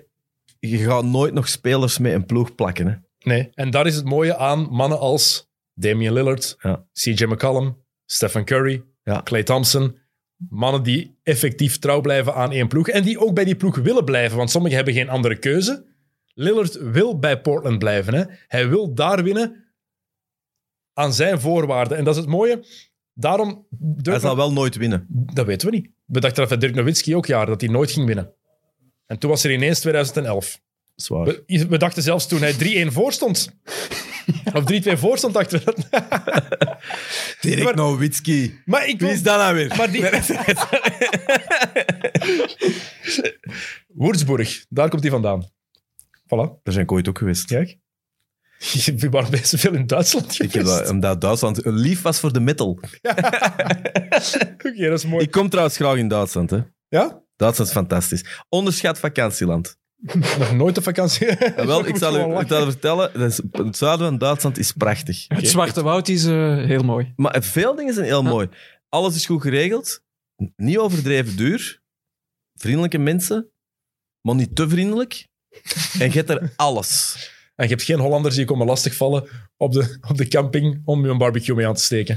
Speaker 5: Je gaat nooit nog spelers met een ploeg plakken. Hè.
Speaker 4: Nee. En daar is het mooie aan mannen als Damian Lillard,
Speaker 5: Ja.
Speaker 4: CJ McCollum, Stephen Curry,
Speaker 5: Ja.
Speaker 4: Clay Thompson. Mannen die effectief trouw blijven aan één ploeg en die ook bij die ploeg willen blijven, want sommigen hebben geen andere keuze. Lillard wil bij Portland blijven. Hè. Hij wil daar winnen aan zijn voorwaarden. En dat is het mooie. Daarom...
Speaker 5: Hij
Speaker 4: Dirk,
Speaker 5: zal wel nooit winnen.
Speaker 4: Dat weten we niet. We dachten dat bij Dirk Nowitzki ook jaren dat hij nooit ging winnen. En toen was er ineens 2011.
Speaker 5: Zwaar.
Speaker 4: We, we dachten zelfs toen hij 3-1 voor stond. Of 3-2 voor stond, dachten we dat.
Speaker 5: Dirk
Speaker 4: Maar-
Speaker 5: Nowitzki.
Speaker 4: Maar ik wil-
Speaker 5: dat nou weer?
Speaker 4: Maar die... Würzburg, daar komt hij vandaan. Voilà,
Speaker 5: Daar zijn ik ooit ook geweest.
Speaker 4: kijk. Je waren best veel in Duitsland
Speaker 5: Ik heb
Speaker 4: geweest.
Speaker 5: dat, omdat Duitsland lief was voor de metal.
Speaker 4: Oké, dat is mooi.
Speaker 5: Ik kom trouwens graag in Duitsland. Hè.
Speaker 4: Ja?
Speaker 5: Duitsland is fantastisch. Onderschat vakantieland.
Speaker 4: Nog nooit op vakantie.
Speaker 5: Ja, wel, ik zal
Speaker 4: Moet je
Speaker 5: u
Speaker 4: wel
Speaker 5: ik zal u vertellen, dat is- het zuiden van Duitsland is prachtig.
Speaker 1: Het Zwarte Woud is eh, heel mooi.
Speaker 5: Maar veel dingen zijn heel mooi. Alles is goed geregeld. Niet overdreven duur. Vriendelijke mensen. Maar niet te vriendelijk. En je hebt er alles.
Speaker 4: En je hebt geen Hollanders die komen lastigvallen op de, op de camping om je een barbecue mee aan te steken.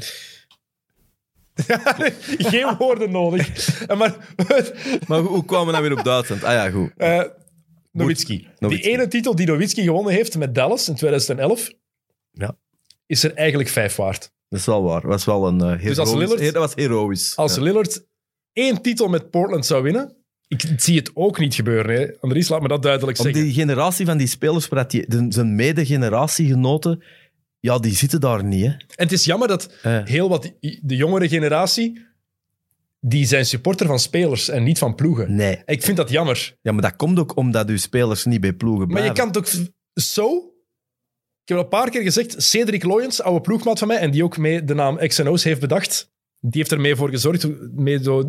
Speaker 4: geen woorden nodig. Eh, Maar
Speaker 5: Maar hoe, hoe kwamen we nou weer op Duitsland? Ah ja, goed.
Speaker 4: Eh, Nowitzki. Die
Speaker 5: Nowitzki.
Speaker 4: ene titel die Nowitzki gewonnen heeft met Dallas in 2011,
Speaker 5: Ja.
Speaker 4: is er eigenlijk vijf waard.
Speaker 5: Dat is wel waar. Dat was wel een eh heroïs.
Speaker 4: Dus als Lillard-
Speaker 5: eh, dat was heroïs.
Speaker 4: Als
Speaker 5: Ja.
Speaker 4: Lillard één titel met Portland zou winnen, ik zie het ook niet gebeuren. Hè. Andries, laat me dat duidelijk
Speaker 5: Om
Speaker 4: zeggen.
Speaker 5: die generatie van die spelers, waar dat die, de, zijn mede-generatiegenoten, ja, die zitten daar niet. Hè.
Speaker 4: En het is jammer dat
Speaker 5: Eh.
Speaker 4: heel wat de jongere generatie, die zijn supporter van spelers en niet van ploegen.
Speaker 5: Nee.
Speaker 4: Ik vind dat jammer.
Speaker 5: Ja, maar dat komt ook omdat uw spelers niet bij
Speaker 4: Maar
Speaker 5: ploegen blijven.
Speaker 4: je kan het ook zo... Ik heb al een paar keer gezegd, Cedric Loyens, oude ploegmaat van mij, en die ook mee de naam X&O's heeft bedacht, die heeft er mee voor gezorgd, mee zo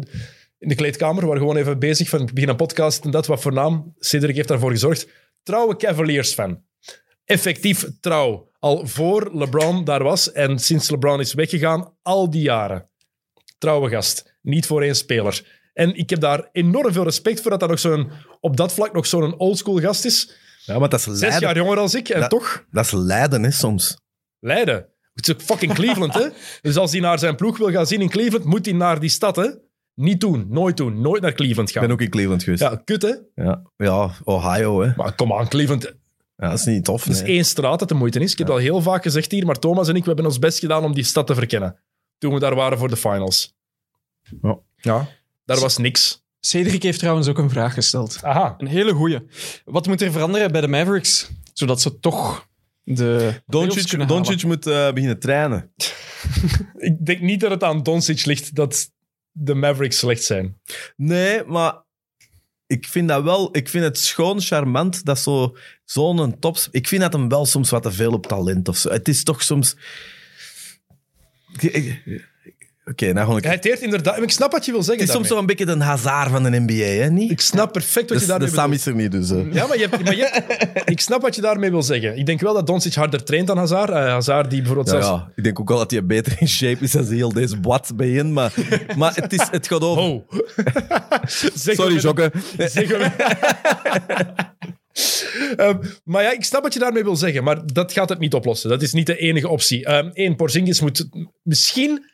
Speaker 4: in de kleedkamer, waar gewoon even bezig van, ik begin een podcast en dat, wat voor naam. Cedric heeft daarvoor gezorgd. Trouwe Cavaliers-fan. Effectief trouw. Al voor LeBron daar was en sinds LeBron is weggegaan, al die jaren trouwe gast. Niet voor één speler. En ik heb daar enorm veel respect voor dat dat nog zo'n, op dat vlak nog zo'n oldschool gast is.
Speaker 5: Ja, maar dat is
Speaker 4: Zes
Speaker 5: lijden.
Speaker 4: jaar jonger dan ik en
Speaker 5: Ja.
Speaker 4: toch
Speaker 5: Dat is lijden, hè, soms.
Speaker 4: Leiden. Het is ook fucking Cleveland, hè? Dus als hij naar zijn ploeg wil gaan zien in Cleveland, moet hij naar die stad, hè? Niet doen, nooit doen, nooit naar Cleveland
Speaker 5: Ik
Speaker 4: gaan.
Speaker 5: ben ook in Cleveland geweest. Ja,
Speaker 4: Ja, kut, hè?
Speaker 5: ja. Ohio, hè.
Speaker 4: Maar kom aan, Cleveland.
Speaker 5: Ja, dat is niet tof.
Speaker 4: Het is
Speaker 5: nee.
Speaker 4: één straat dat de moeite is. Ik heb dat heel vaak gezegd hier, maar Thomas en ik we hebben ons best gedaan om die stad te verkennen. Toen we daar waren voor de finals.
Speaker 5: Ja.
Speaker 4: Daar was niks.
Speaker 1: Cedric heeft trouwens ook een vraag gesteld.
Speaker 4: Aha.
Speaker 1: Een hele goeie. Wat moet er veranderen bij de Mavericks, zodat ze toch de playoffs kunnen
Speaker 5: Doncic
Speaker 1: halen.
Speaker 5: Doncic moet eh, beginnen trainen.
Speaker 4: Ik denk niet dat het aan Doncic ligt dat de Mavericks slecht zijn.
Speaker 5: Nee, maar ik vind dat wel... Ik vind het schoon charmant dat zo- zo'n een tops... Ik vind dat hem wel soms wat te veel op talent of zo. Het is toch soms... Ik- ik- Oké, nou gewoon...
Speaker 4: Hij teert inderdaad... maar Ik snap wat je wil zeggen
Speaker 5: Het is soms
Speaker 4: daarmee.
Speaker 5: zo'n beetje de hazard van de NBA, hè? Niet?
Speaker 4: Ik snap perfect wat
Speaker 5: Dus
Speaker 4: je
Speaker 5: de
Speaker 4: daarmee
Speaker 5: Sam
Speaker 4: bedoelt.
Speaker 5: is er niet, dus... eh.
Speaker 4: Ja, maar, je hebt, maar je hebt- ik snap wat je daarmee wil zeggen. Ik denk wel dat Doncic harder traint dan Hazard. Eh, Hazard die bijvoorbeeld
Speaker 5: Ja,
Speaker 4: zelfs...
Speaker 5: ja, ik denk ook wel dat hij beter in shape is dan heel deze blad bijeen. Maar, maar het, is, het gaat over.
Speaker 4: Oh. Zeg
Speaker 5: Sorry,
Speaker 4: maar-
Speaker 5: Jokke.
Speaker 4: Zeggen we- Ehm, maar ja, ik snap wat je daarmee wil zeggen, maar dat gaat het niet oplossen. Dat is niet de enige optie. Eén, Porzingis moet het misschien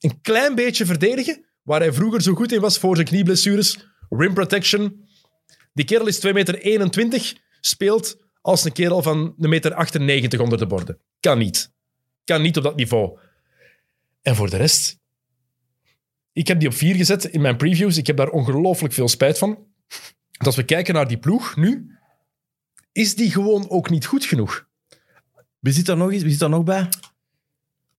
Speaker 4: een klein beetje verdedigen, waar hij vroeger zo goed in was voor zijn knieblessures. Rim protection. Die kerel is 2,21 meter, speelt als een kerel van 1,98 meter 98 onder de borden. Kan niet. Kan niet op dat niveau. En voor de rest... Ik heb die op 4 gezet in mijn previews. Ik heb daar ongelooflijk veel spijt van. Want als we kijken naar die ploeg nu, is die gewoon ook niet goed genoeg.
Speaker 5: Wie zit daar nog, iets? Wie zit daar nog bij?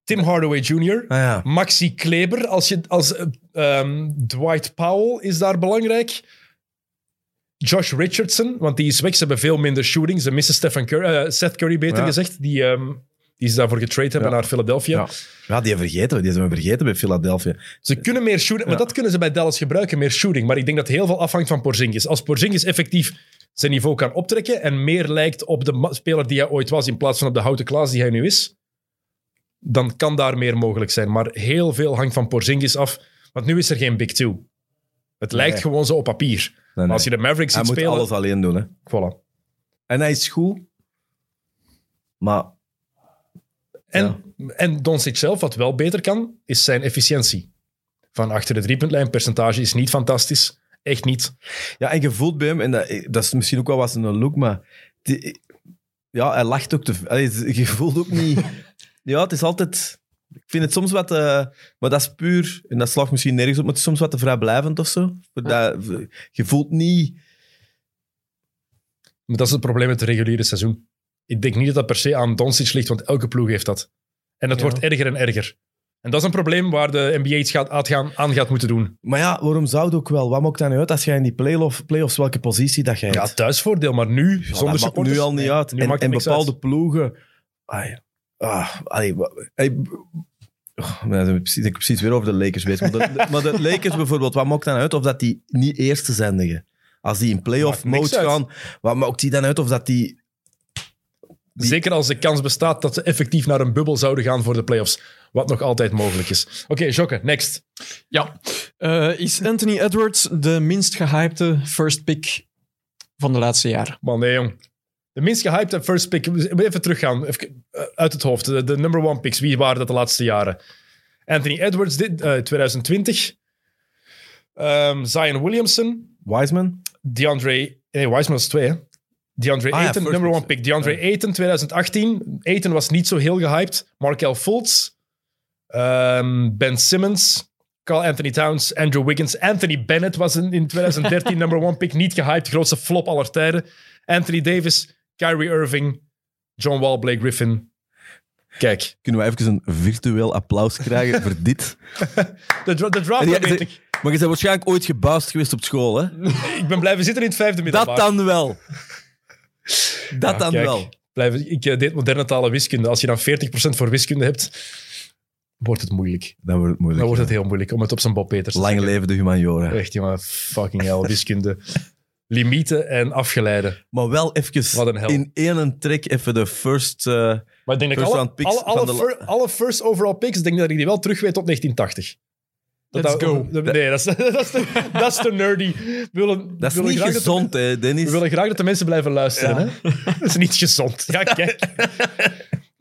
Speaker 4: Tim Hardaway Jr.,
Speaker 5: Ah ja.
Speaker 4: Maxi Kleber, als je, als, eh, ehm, Dwight Powell is daar belangrijk. Josh Richardson, want die is weg. Ze hebben veel minder shooting. Ze missen Stephen Curry, eh, Seth Curry, beter
Speaker 5: Ja.
Speaker 4: gezegd. Die, ehm, die ze daarvoor getrade hebben
Speaker 5: Ja.
Speaker 4: naar Philadelphia.
Speaker 5: Ja. ja, die vergeten we. Die zijn we vergeten bij Philadelphia.
Speaker 4: Ze kunnen meer shooting, maar
Speaker 5: Ja.
Speaker 4: dat kunnen ze bij Dallas gebruiken, meer shooting. Maar ik denk dat heel veel afhangt van Porzingis. Als Porzingis effectief zijn niveau kan optrekken en meer lijkt op de ma- speler die hij ooit was in plaats van op de houten klaas die hij nu is, dan kan daar meer mogelijk zijn. Maar heel veel hangt van Porzingis af, want nu is er geen big two. Het lijkt gewoon zo op papier.
Speaker 5: Nee,
Speaker 4: Maar
Speaker 5: nee.
Speaker 4: als je de Mavericks
Speaker 5: hij
Speaker 4: ziet
Speaker 5: moet
Speaker 4: spelen...
Speaker 5: alles alleen doen. Hè.
Speaker 4: Voilà.
Speaker 5: En hij is goed. Maar
Speaker 4: En, en Doncic zelf, wat wel beter kan, is zijn efficiëntie. Van achter de driepuntlijn, percentage is niet fantastisch. Echt niet.
Speaker 5: ja, en je voelt bij hem, en dat, eh, dat is misschien ook wel wat zijn look, maar die- eh, ja, hij lacht ook te veel. Allee, Je voelt ook niet. Ja, het is altijd. Ik vind het soms wat. eh, maar dat is puur. En dat slaagt misschien nergens op, maar het is soms wat te vrijblijvend of zo. Dat, je voelt niet.
Speaker 4: Maar dat is het probleem met het reguliere seizoen. Ik denk niet dat dat per se aan Doncic ligt, want elke ploeg heeft dat. En dat
Speaker 1: Ja.
Speaker 4: wordt erger en erger. En dat is een probleem waar de NBA iets gaat, aan gaan- aan gaat moeten doen.
Speaker 5: Maar ja, waarom zou het ook wel? Wat maakt dat nu uit als jij in die playoff, playoffs welke positie dat jij
Speaker 4: Ja,
Speaker 5: hebt?
Speaker 4: thuisvoordeel, maar nu,
Speaker 5: dat
Speaker 4: zonder
Speaker 5: maakt
Speaker 4: supporters...
Speaker 5: nu al niet
Speaker 4: dus- Nee,
Speaker 5: uit.
Speaker 4: nu
Speaker 5: en
Speaker 4: maakt
Speaker 5: en
Speaker 4: het niks
Speaker 5: bepaalde
Speaker 4: uit.
Speaker 5: ploegen... Ai, ah, allee, wa- ey, b- oh, maar dan ben ik precies- ik ben precies weer over de Lakers bezig. Maar de, de- maar de Lakers bijvoorbeeld, wat maakt dan uit of dat die niet eerste zijn? liggen? Als die in playoff
Speaker 4: Maakt niks
Speaker 5: mode
Speaker 4: uit.
Speaker 5: gaan, wat maakt die dan uit of dat die... die-
Speaker 4: Zeker als de kans bestaat dat ze effectief naar een bubbel zouden gaan voor de playoffs. Wat nog altijd mogelijk is. Oké, Jokke, next.
Speaker 1: Ja. Eh, is Anthony Edwards de minst gehypte first pick van de laatste jaren?
Speaker 4: Man, nee, jong. De minst gehypte first pick. Even teruggaan. Even, eh, uit het hoofd. De, de number one picks. Wie waren dat de laatste jaren? Anthony Edwards, dit, eh, 2020. Ehm, Zion Williamson.
Speaker 5: Wiseman?
Speaker 4: DeAndre... Nee, Wiseman was twee, hè? DeAndre
Speaker 5: Ah ja,
Speaker 4: Ayton,
Speaker 5: first
Speaker 4: number
Speaker 5: pick,
Speaker 4: one pick. DeAndre Ayton, 2018. Ayton was niet zo heel gehyped. Markel Fultz. Ehm, ben Simmons. Carl Anthony Towns, Andrew Wiggins. Anthony Bennett was in in 2013 number one pick. Niet gehyped, grootste flop aller tijden. Anthony Davis, Kyrie Irving, John Wall, Blake Griffin. Kijk,
Speaker 5: Kunnen we even een virtueel applaus krijgen voor dit?
Speaker 4: de, dra- de draft.
Speaker 5: En die-
Speaker 4: Ah, weet ik.
Speaker 5: maar je bent waarschijnlijk ooit gebuist geweest op school, hè?
Speaker 4: Ik ben blijven zitten in het vijfde middelbaar.
Speaker 5: Dat dan wel. Dat
Speaker 4: Ja,
Speaker 5: Ah, dan
Speaker 4: kijk,
Speaker 5: wel.
Speaker 4: Blijf, ik eh, deed moderne talen wiskunde. Als je dan 40% voor wiskunde hebt, wordt het moeilijk.
Speaker 5: Dan wordt het moeilijk.
Speaker 4: Dan wordt het
Speaker 5: ja.
Speaker 4: heel moeilijk om het op zijn Bob Peters te
Speaker 5: Lang
Speaker 4: zeggen.
Speaker 5: leven de humaniora.
Speaker 4: Echt, jongen, fucking hell, wiskunde. Limieten en afgeleiden.
Speaker 5: Maar wel
Speaker 4: Wat een
Speaker 5: even
Speaker 4: hel.
Speaker 5: in één trek even de first... eh,
Speaker 4: Maar ik denk dat ik
Speaker 5: First
Speaker 4: alle,
Speaker 5: round picks
Speaker 4: alle, alle,
Speaker 5: van de
Speaker 4: fir- alle first overall picks, denk ik dat ik die wel terug weet tot 1980. Dat
Speaker 1: Let's
Speaker 4: dat-
Speaker 1: go.
Speaker 4: dat- nee, dat is, dat, is te, dat is te nerdy. We willen,
Speaker 5: dat
Speaker 4: we
Speaker 5: is
Speaker 4: willen
Speaker 5: niet
Speaker 4: graag dat de-
Speaker 5: gezond, hè, Dennis.
Speaker 4: we willen graag dat de mensen blijven luisteren. Hè? Dat is niet gezond. Ja, kijk.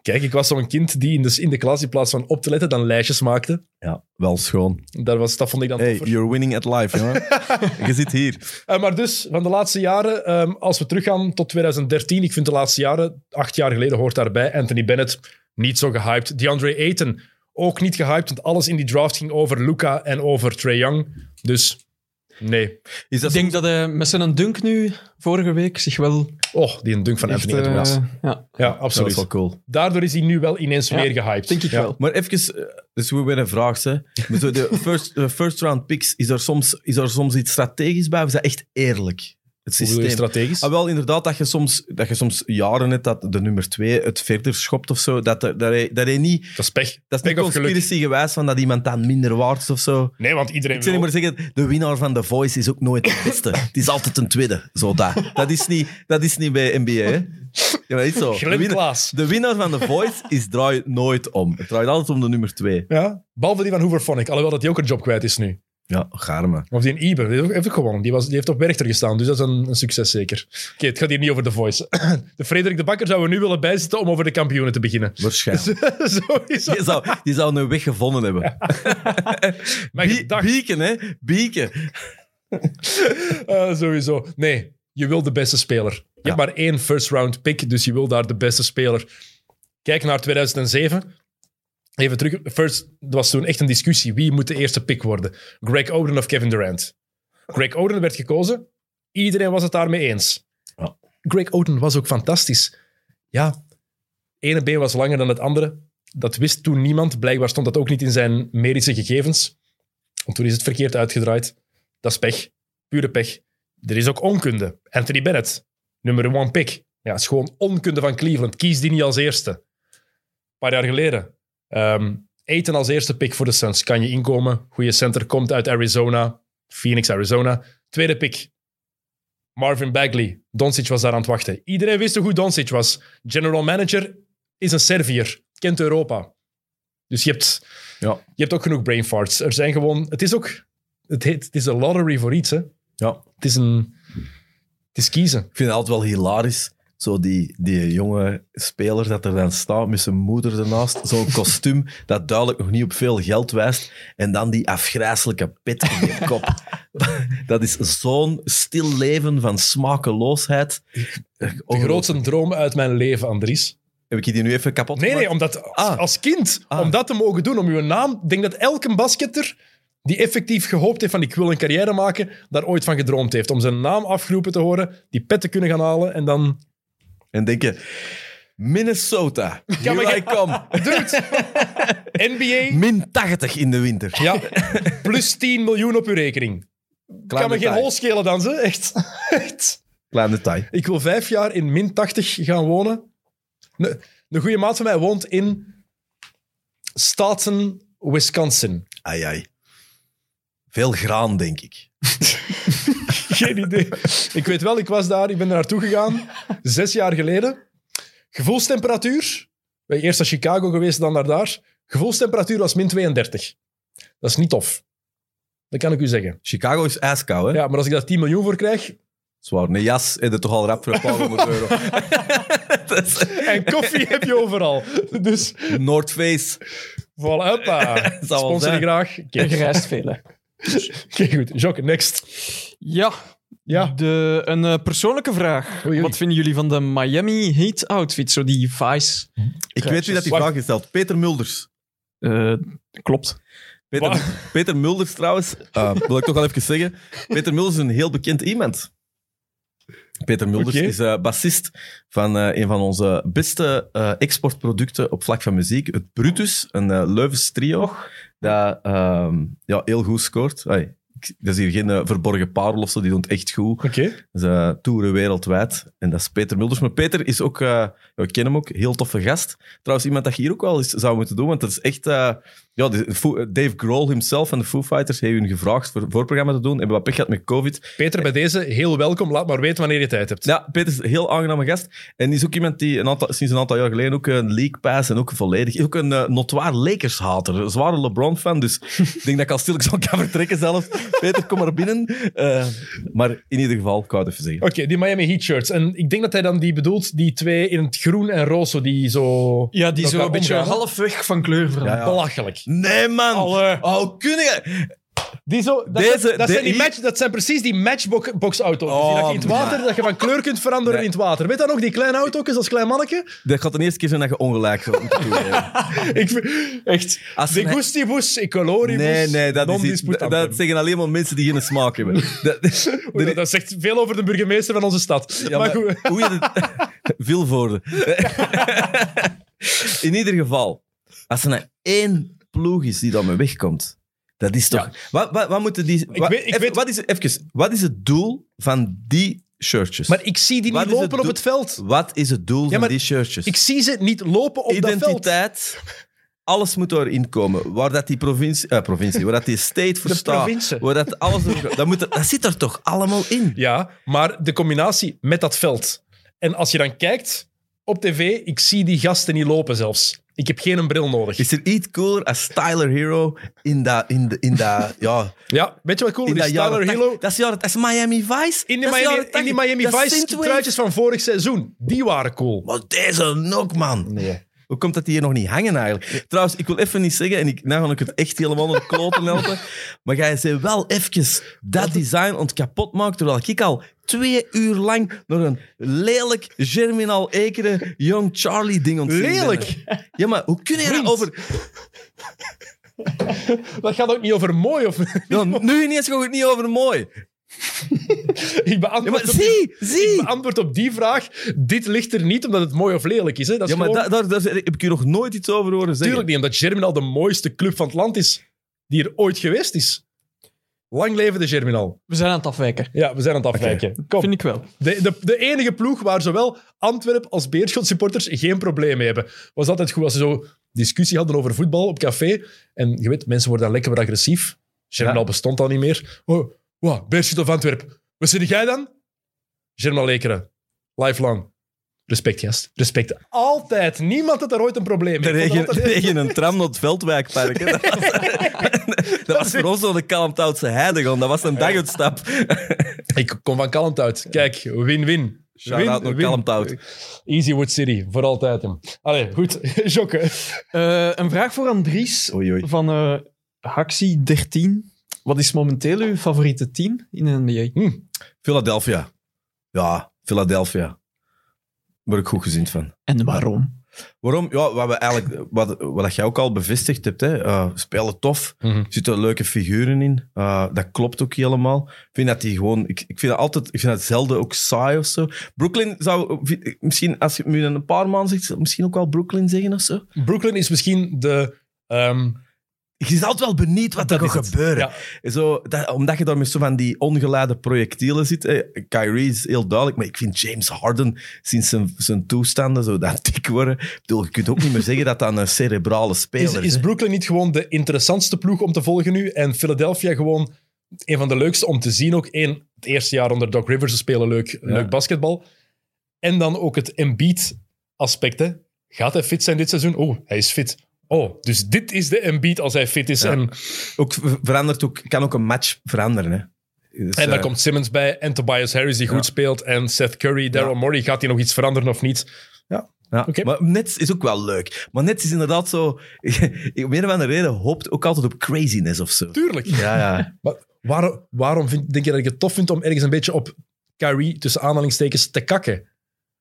Speaker 4: kijk, ik was zo'n kind die in de, in de klas in plaats van op te letten, dan lijstjes maakte.
Speaker 5: Ja, wel schoon.
Speaker 4: Daar was, dat vond ik dan
Speaker 5: Hey,
Speaker 4: toffer.
Speaker 5: you're winning at life, jongen. Je zit hier.
Speaker 4: Eh, maar dus, van de laatste jaren, ehm, als we teruggaan tot 2013, ik vind de laatste jaren, acht jaar geleden hoort daarbij, Anthony Bennett niet zo gehyped. DeAndre Ayton ook niet gehyped, want alles in die draft ging over Luca en over Trae Young. Dus Nee.
Speaker 5: Is
Speaker 1: Ik
Speaker 5: dat
Speaker 1: denk dat hij met zijn dunk nu, vorige week, zich wel
Speaker 4: Oh, die een dunk van
Speaker 1: echt...
Speaker 4: Anthony
Speaker 1: eh,
Speaker 4: Edwards.
Speaker 1: ja,
Speaker 4: ja,
Speaker 5: dat is
Speaker 4: absoluut.
Speaker 5: wel cool.
Speaker 4: Daardoor is hij nu wel ineens
Speaker 1: Ja,
Speaker 4: meer gehyped.
Speaker 1: denk ik
Speaker 4: Ja.
Speaker 1: wel.
Speaker 5: Maar even, eh, dus we weer een vraag, hè. Maar zo de first, de first round picks, is er, soms, is er soms iets strategisch bij? Of is dat echt eerlijk? Het
Speaker 4: Hoe bedoel je
Speaker 5: systeem.
Speaker 4: strategisch?
Speaker 5: Ah, wel, inderdaad, dat je, soms, dat je soms jaren hebt dat de nummer twee het verder schopt of zo. Dat, er, dat, hij, dat hij niet...
Speaker 4: Dat is pech.
Speaker 5: Dat is
Speaker 4: pech
Speaker 5: niet
Speaker 4: of geluk.
Speaker 5: conspiracy gewijs van dat iemand dan minder waard is of zo.
Speaker 4: Nee, want iedereen
Speaker 5: Ik zeg
Speaker 4: wil-
Speaker 5: maar zeggen, de winnaar van The Voice is ook nooit de beste. Het is altijd een tweede. Zo dat. Dat is niet, dat is niet bij NBA, hè. Ja, maar is zo. De
Speaker 4: Glenn
Speaker 5: winnaar,
Speaker 4: Klaas.
Speaker 5: de winnaar van The Voice is draait nooit om. Het draait altijd om de nummer twee.
Speaker 4: Ja, behalve die van Hoover Phonic. Alhoewel dat die ook een job kwijt is nu.
Speaker 5: Ja, garme.
Speaker 4: Of die in Iber, die heeft ook- heeft ook gewonnen. Die, was, die heeft op Werchter gestaan, dus dat is een, een succes zeker. Oké, het gaat hier niet over The Voice. De Frederik de Bakker zouden we nu willen bijzitten om over de kampioenen te beginnen.
Speaker 5: Waarschijnlijk.
Speaker 4: Sowieso.
Speaker 5: Die zou, die zou een weg gevonden hebben.
Speaker 4: Mijn
Speaker 5: Bie-
Speaker 4: gedachte,
Speaker 5: Bieken, hè? Bieken.
Speaker 4: eh, sowieso. Nee, je wil de beste speler. Je hebt maar één first round pick, dus je wil daar de beste speler. Kijk naar 2007. Even terug. First, er was toen echt een discussie. Wie moet de eerste pick worden? Greg Oden of Kevin Durant? Greg Oden werd gekozen. Iedereen was het daarmee eens.
Speaker 5: Ja.
Speaker 4: Greg Oden was ook fantastisch. Ja, ene been was langer dan het andere. Dat wist toen niemand. Blijkbaar stond dat ook niet in zijn medische gegevens. Want toen is het verkeerd uitgedraaid. Dat is pech. Pure pech. Er is ook onkunde. Anthony Bennett, nummer one pick. Ja, het is gewoon onkunde van Cleveland. Kies die niet als eerste. Een paar jaar geleden. eten als eerste pick voor de Suns. Kan je inkomen. Goede center komt uit Arizona. Phoenix, Arizona. Tweede pick. Marvin Bagley. Doncic was daar aan het wachten. Iedereen wist hoe goed Doncic was. General manager is een Servier. Kent Europa. Dus je hebt,
Speaker 5: Ja.
Speaker 4: je hebt ook genoeg brain farts. Er zijn gewoon... Het is ook... Het, heet, het is een lottery voor iets, hè.
Speaker 5: Ja.
Speaker 4: Het is een... Het is kiezen.
Speaker 5: Ik vind het altijd wel hilarisch. Zo die, die jonge speler dat er dan staat met zijn moeder ernaast. Zo'n kostuum dat duidelijk nog niet op veel geld wijst. En dan die afgrijzelijke pit in je kop. Dat is zo'n stil leven van smakeloosheid. Oh,
Speaker 4: De grootste droom uit mijn leven, Andries.
Speaker 5: Heb ik die nu even kapot
Speaker 4: Nee, nee,
Speaker 5: gemaakt?
Speaker 4: omdat
Speaker 5: Ah.
Speaker 4: als kind,
Speaker 5: Ah.
Speaker 4: om dat te mogen doen, om uw naam... Ik denk dat elke basketter die effectief gehoopt heeft van ik wil een carrière maken, daar ooit van gedroomd heeft. Om zijn naam afgeroepen te horen, die pet te kunnen gaan halen en dan...
Speaker 5: En denken... Minnesota,
Speaker 4: maar
Speaker 5: here I
Speaker 4: ik-
Speaker 5: come.
Speaker 4: Dude! NBA,
Speaker 5: Min 80 in de winter.
Speaker 4: ja, plus 10 miljoen op uw rekening.
Speaker 5: Klein
Speaker 4: kan me geen
Speaker 5: detail.
Speaker 4: hol schelen dan, ze. Echt. Echt.
Speaker 5: Klein detail.
Speaker 4: Ik wil vijf jaar in min 80 gaan wonen. Een, een goede maat van mij woont in Staten, Wisconsin.
Speaker 5: Ai, ai. Veel graan, denk ik.
Speaker 4: Geen idee. Ik weet wel, ik was daar, ik ben er naartoe gegaan, zes jaar geleden. Gevoelstemperatuur, ben eerst naar Chicago geweest, dan naar daar. Gevoelstemperatuur was min 32. Dat is niet tof. Dat kan ik u zeggen.
Speaker 5: Chicago is ijskou, hè?
Speaker 4: Ja, maar als ik daar 10 miljoen voor krijg,
Speaker 5: Zwaar. Een jas heb je toch al rap voor een paar honderd euro. Dat is-
Speaker 4: en koffie heb je overal. Dus,
Speaker 5: North Face.
Speaker 4: voilà, hoppa.
Speaker 5: wel
Speaker 4: Sponsor je
Speaker 5: zijn.
Speaker 4: graag. Oké,
Speaker 1: En gereisd velen.
Speaker 4: Oké, goed. Jacques, next.
Speaker 1: Ja.
Speaker 4: Ja.
Speaker 1: De, een eh, persoonlijke vraag.
Speaker 4: Oei, oei.
Speaker 1: Wat vinden jullie van de Miami Heat outfit? Zo die Vice.
Speaker 5: Ik weet wie dat die
Speaker 4: Wacht.
Speaker 5: vraag gesteld. Peter Mulders.
Speaker 1: Eh, klopt.
Speaker 5: Peter,
Speaker 4: Waar?
Speaker 5: Peter Mulders, trouwens, eh, wil ik toch al even zeggen. Peter Mulders is een heel bekend iemand. Peter Mulders
Speaker 4: Oké.
Speaker 5: is eh, bassist van eh, een van onze beste eh, exportproducten op vlak van muziek. Het Brutus, een eh Leuven's trio. Dat ehm, ja, heel goed scoort. Ai, ik- dat is hier geen eh, verborgen parel of zo. Die doet echt goed.
Speaker 4: Oké.
Speaker 5: Ze toeren wereldwijd. En dat is Peter Mulders. Maar Peter is ook, eh ja, ik ken hem ook, heel toffe gast. Trouwens, iemand dat je hier ook wel eens zou moeten doen, want dat is echt... eh, ja, de Foo- Dave Grohl himself en de Foo Fighters hebben hun gevraagd voor voor het programma te doen. Hebben wat pech gehad met COVID.
Speaker 4: Peter, bij deze heel welkom. Laat maar weten wanneer je tijd hebt.
Speaker 5: Ja, Peter is een heel aangename gast. En die is ook iemand die een aantal, sinds een aantal jaar geleden ook een leak pass en ook volledig... Ook een eh, notoir Lakers-hater. Een zware LeBron-fan, dus ik denk dat ik al stil zal kan vertrekken zelf. Peter, kom maar binnen. Eh, maar in ieder geval, ik wou het even zeggen.
Speaker 4: Oké, die Miami Heat shirts. En ik denk dat hij dan die bedoelt, die twee in het groen en roze, zo die zo...
Speaker 1: Ja, die zo
Speaker 4: elkaar
Speaker 1: een beetje
Speaker 4: omgaan.
Speaker 1: halfweg van kleur veranderen.
Speaker 5: Ja.
Speaker 4: Belachelijk.
Speaker 5: Nee, man.
Speaker 4: Allee.
Speaker 5: Oh, kun je...
Speaker 4: Die zo, dat,
Speaker 5: Deze-
Speaker 4: zijn, dat, zijn
Speaker 5: de-
Speaker 4: die
Speaker 5: hier-
Speaker 4: match, dat zijn precies die matchbox-auto's.
Speaker 5: Oh,
Speaker 4: die dat je in het water, dat je van kleur kunt veranderen
Speaker 5: Nee.
Speaker 4: in het water. Weet dat nog, die kleine auto's als klein manneke?
Speaker 5: Dat gaat de eerste keer zijn dat je ongelijk gaat moeten toegeven.
Speaker 4: Ik, vind- echt.
Speaker 5: Als
Speaker 4: de
Speaker 5: een-
Speaker 4: gustibus, e coloribus.
Speaker 5: Nee, nee, dat, is iets,
Speaker 4: non-disputabile.
Speaker 5: dat, dat zeggen alleen maar mensen die geen smaak hebben. Dat,
Speaker 4: Oei, dat- dat zegt veel over de burgemeester van onze stad. maar
Speaker 5: ja, maar
Speaker 4: goed.
Speaker 5: hoe je het... Veel voorden. In ieder geval, als er nou één ploeg is die dan mee wegkomt, dat is toch... Wat, wat, wat moeten die... Wat,
Speaker 4: weet- ik
Speaker 5: even,
Speaker 4: weet-
Speaker 5: Wat, is, even, wat is het doel van die shirtjes?
Speaker 4: Maar ik zie die
Speaker 5: Wat
Speaker 4: niet
Speaker 5: is het
Speaker 4: lopen op
Speaker 5: doel-
Speaker 4: het veld.
Speaker 5: Wat is het doel van
Speaker 4: maar
Speaker 5: die shirtjes?
Speaker 4: Ik zie ze niet lopen op dat veld.
Speaker 5: identiteit. Alles moet erin komen. Waar dat die provincie, eh, provincie waar dat die state voor
Speaker 4: De
Speaker 5: staat.
Speaker 4: provincie.
Speaker 5: Waar dat alles door- dat, moet er- dat zit er toch allemaal in?
Speaker 4: Ja, maar de combinatie met dat veld. En als je dan kijkt op tv, ik zie die gasten niet lopen zelfs. Ik heb geen een bril nodig.
Speaker 5: Is er iets cooler als Tyler Hero in dat, in de, in dat, ja,
Speaker 4: Ja, weet je wat cool
Speaker 5: in
Speaker 4: is?
Speaker 5: dat jaren
Speaker 4: Oh, Tyler
Speaker 5: 80.
Speaker 4: Hero
Speaker 5: Dat is, jaren, dat is Miami Vice.
Speaker 4: in de
Speaker 5: Dat is
Speaker 4: Miami,
Speaker 5: jaren
Speaker 4: in die
Speaker 5: 80.
Speaker 4: Miami
Speaker 5: Dat is
Speaker 4: Vice
Speaker 5: synthwave.
Speaker 4: truitjes van vorig seizoen. Die waren cool.
Speaker 5: Maar deze nog, man. Hoe komt dat die hier nog niet hangen eigenlijk? Trouwens, ik wil even niet zeggen, en ik, nou ga ik het echt helemaal onder de kloten helpen, maar jij zei wel even dat design ont kapot maakt, terwijl ik al twee uur lang door een lelijk Germinal Ekeren Young Charlie ding ontzien ben.
Speaker 4: Lelijk?
Speaker 5: Ja, maar hoe kun je dat
Speaker 4: Vriend.
Speaker 5: over...
Speaker 4: Dat gaat ook niet over mooi of...
Speaker 5: Ja, Nou, nu ineens gaat het niet over mooi.
Speaker 4: ik
Speaker 5: Ja,
Speaker 4: beantwoord
Speaker 5: maar
Speaker 4: op
Speaker 5: zie, zie!
Speaker 4: Het antwoord op die vraag, dit ligt er niet omdat het mooi of lelijk is. Hè? Dat is
Speaker 5: Ja, maar
Speaker 4: gewoon-
Speaker 5: daar, daar, daar heb ik je nog nooit iets over horen zeggen.
Speaker 4: Tuurlijk niet, omdat Germinal de mooiste club van het land is die er ooit geweest is. Lang leven de Germinal.
Speaker 1: We zijn aan het afwijken.
Speaker 4: Ja, we zijn aan het afwijken. Kom.
Speaker 1: Vind ik wel.
Speaker 4: De, de, de enige ploeg waar zowel Antwerp als Beerschot supporters geen probleem mee hebben. Was altijd goed als ze zo discussie hadden over voetbal op café. En je weet, mensen worden dan lekker weer agressief. Germinal
Speaker 5: Ja.
Speaker 4: bestond al niet meer. Oh, wow, Beerschot of Antwerp. Wat zit jij dan? Germinal Lekeren. Lifelong. Respect, gast. Respect. Altijd. Niemand had daar ooit een probleem mee.
Speaker 5: Er
Speaker 4: Ik vond dat
Speaker 5: regen,
Speaker 4: altijd-
Speaker 5: er regen een tram naar het Veldwijkpark. hè. Dat was, dat was voor ons nog de Kalmthoutse heide gewoon. Dat was een daguitstap.
Speaker 4: Ik kom van Kalmthout. Kijk, win-win.
Speaker 5: Shout-out naar
Speaker 4: Win-win.
Speaker 5: Kalmthout.
Speaker 4: Easy Wood City, voor altijd hem. Allee, goed. Jokke.
Speaker 1: Eh, een vraag voor Andries
Speaker 5: Oei, oei.
Speaker 1: van eh Haxi 13. Wat is momenteel uw favoriete team in de NBA?
Speaker 5: Philadelphia. Ja, Philadelphia. Daar word ik goed gezind van.
Speaker 1: En waarom?
Speaker 5: Waarom? Ja, wat, we eigenlijk, wat, wat jij ook al bevestigd hebt. Hè. Eh, spelen tof.
Speaker 4: Mhm.
Speaker 5: Er zitten leuke figuren in. Eh, dat klopt ook helemaal. Ik vind dat die gewoon... Ik, ik vind dat altijd... Ik vind dat zelden ook saai of zo. Brooklyn zou... vind- Misschien, als je het nu in een paar maanden zegt, zou ik misschien ook wel Brooklyn zeggen of zo.
Speaker 4: Brooklyn is misschien de... ehm,
Speaker 5: Je is altijd wel benieuwd wat er
Speaker 4: Dat
Speaker 5: gaat
Speaker 4: is het.
Speaker 5: gebeuren.
Speaker 4: ja,
Speaker 5: Zo, dat- omdat je daar met zo van die ongeladen projectielen zit. Eh, Kyrie is heel duidelijk, maar ik vind James Harden sinds zijn, zijn toestanden zo dat dik worden. Ik bedoel, je kunt ook niet meer zeggen dat dat een cerebrale
Speaker 4: is,
Speaker 5: speler is.
Speaker 4: is Brooklyn niet gewoon de interessantste ploeg om te volgen nu? En Philadelphia gewoon een van de leukste om te zien ook. Eén, het eerste jaar onder Doc Rivers, ze spelen leuk, leuk basketbal. En dan ook het Embiid-aspect. hè. Gaat hij fit zijn dit seizoen? Oh, hij is fit. Oh, dus dit is de Embiid als hij fit is.
Speaker 5: Ja.
Speaker 4: En
Speaker 5: Ook ver- verandert ook, kan ook een match veranderen. Hè. Dus,
Speaker 4: En daar
Speaker 5: eh,
Speaker 4: komt Simmons bij en Tobias Harris die goed speelt en Seth Curry, Daryl
Speaker 5: Ja.
Speaker 4: Morey, gaat hij nog iets veranderen of niet?
Speaker 5: Ja,
Speaker 4: Oké.
Speaker 5: Maar Nets is ook wel leuk. Maar Nets is inderdaad zo... Om een of andere reden hoopt ook altijd op craziness of zo.
Speaker 4: Tuurlijk.
Speaker 5: Ja, ja.
Speaker 4: Maar waarom, waarom vind, denk je dat ik het tof vind om ergens een beetje op Curry tussen aanhalingstekens te kakken?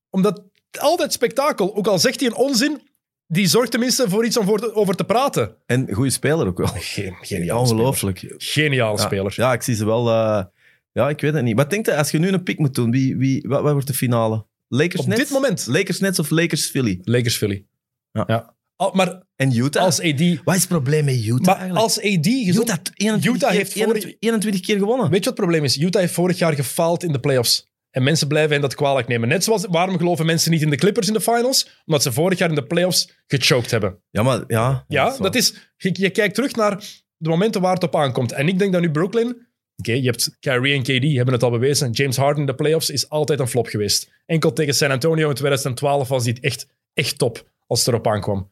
Speaker 4: Omdat altijd spektakel, ook al zegt hij een onzin, die zorgt tenminste voor iets om voor te- over te praten.
Speaker 5: En goede speler ook wel.
Speaker 4: Geen, geniaal speler.
Speaker 5: Ongelooflijk.
Speaker 4: Geniaal
Speaker 5: ja.
Speaker 4: speler.
Speaker 5: Ja, ik zie ze wel. eh, ja, ik weet het niet. Wat denk je, als je nu een pick moet doen, wie, wie, wat, wat wordt de finale? Lakers
Speaker 4: Op
Speaker 5: Nets?
Speaker 4: dit moment.
Speaker 5: Lakers Nets of Lakers Philly?
Speaker 4: Lakers Philly.
Speaker 5: Ja.
Speaker 4: Al- maar
Speaker 5: En Utah?
Speaker 4: als AD...
Speaker 5: Wat is het probleem met Utah
Speaker 4: Maar
Speaker 5: eigenlijk?
Speaker 4: als AD... gezond-
Speaker 5: Utah, 21
Speaker 4: Utah
Speaker 5: keer-
Speaker 4: heeft vorig-
Speaker 5: 21 21 keer gewonnen.
Speaker 4: Weet je wat het probleem is? Utah heeft vorig jaar gefaald in de playoffs. En mensen blijven hen dat kwalijk nemen. Net zoals waarom geloven mensen niet in de Clippers in de finals? Omdat ze vorig jaar in de playoffs gechoked hebben.
Speaker 5: Ja, maar ja.
Speaker 4: Ja,
Speaker 5: zo.
Speaker 4: dat is. Je, je kijkt terug naar de momenten waar het op aankomt. En ik denk dat nu Brooklyn. Oké, je hebt Kyrie en KD hebben het al bewezen. James Harden in de playoffs is altijd een flop geweest. Enkel tegen San Antonio in 2012 was dit echt, echt top als het erop aankwam.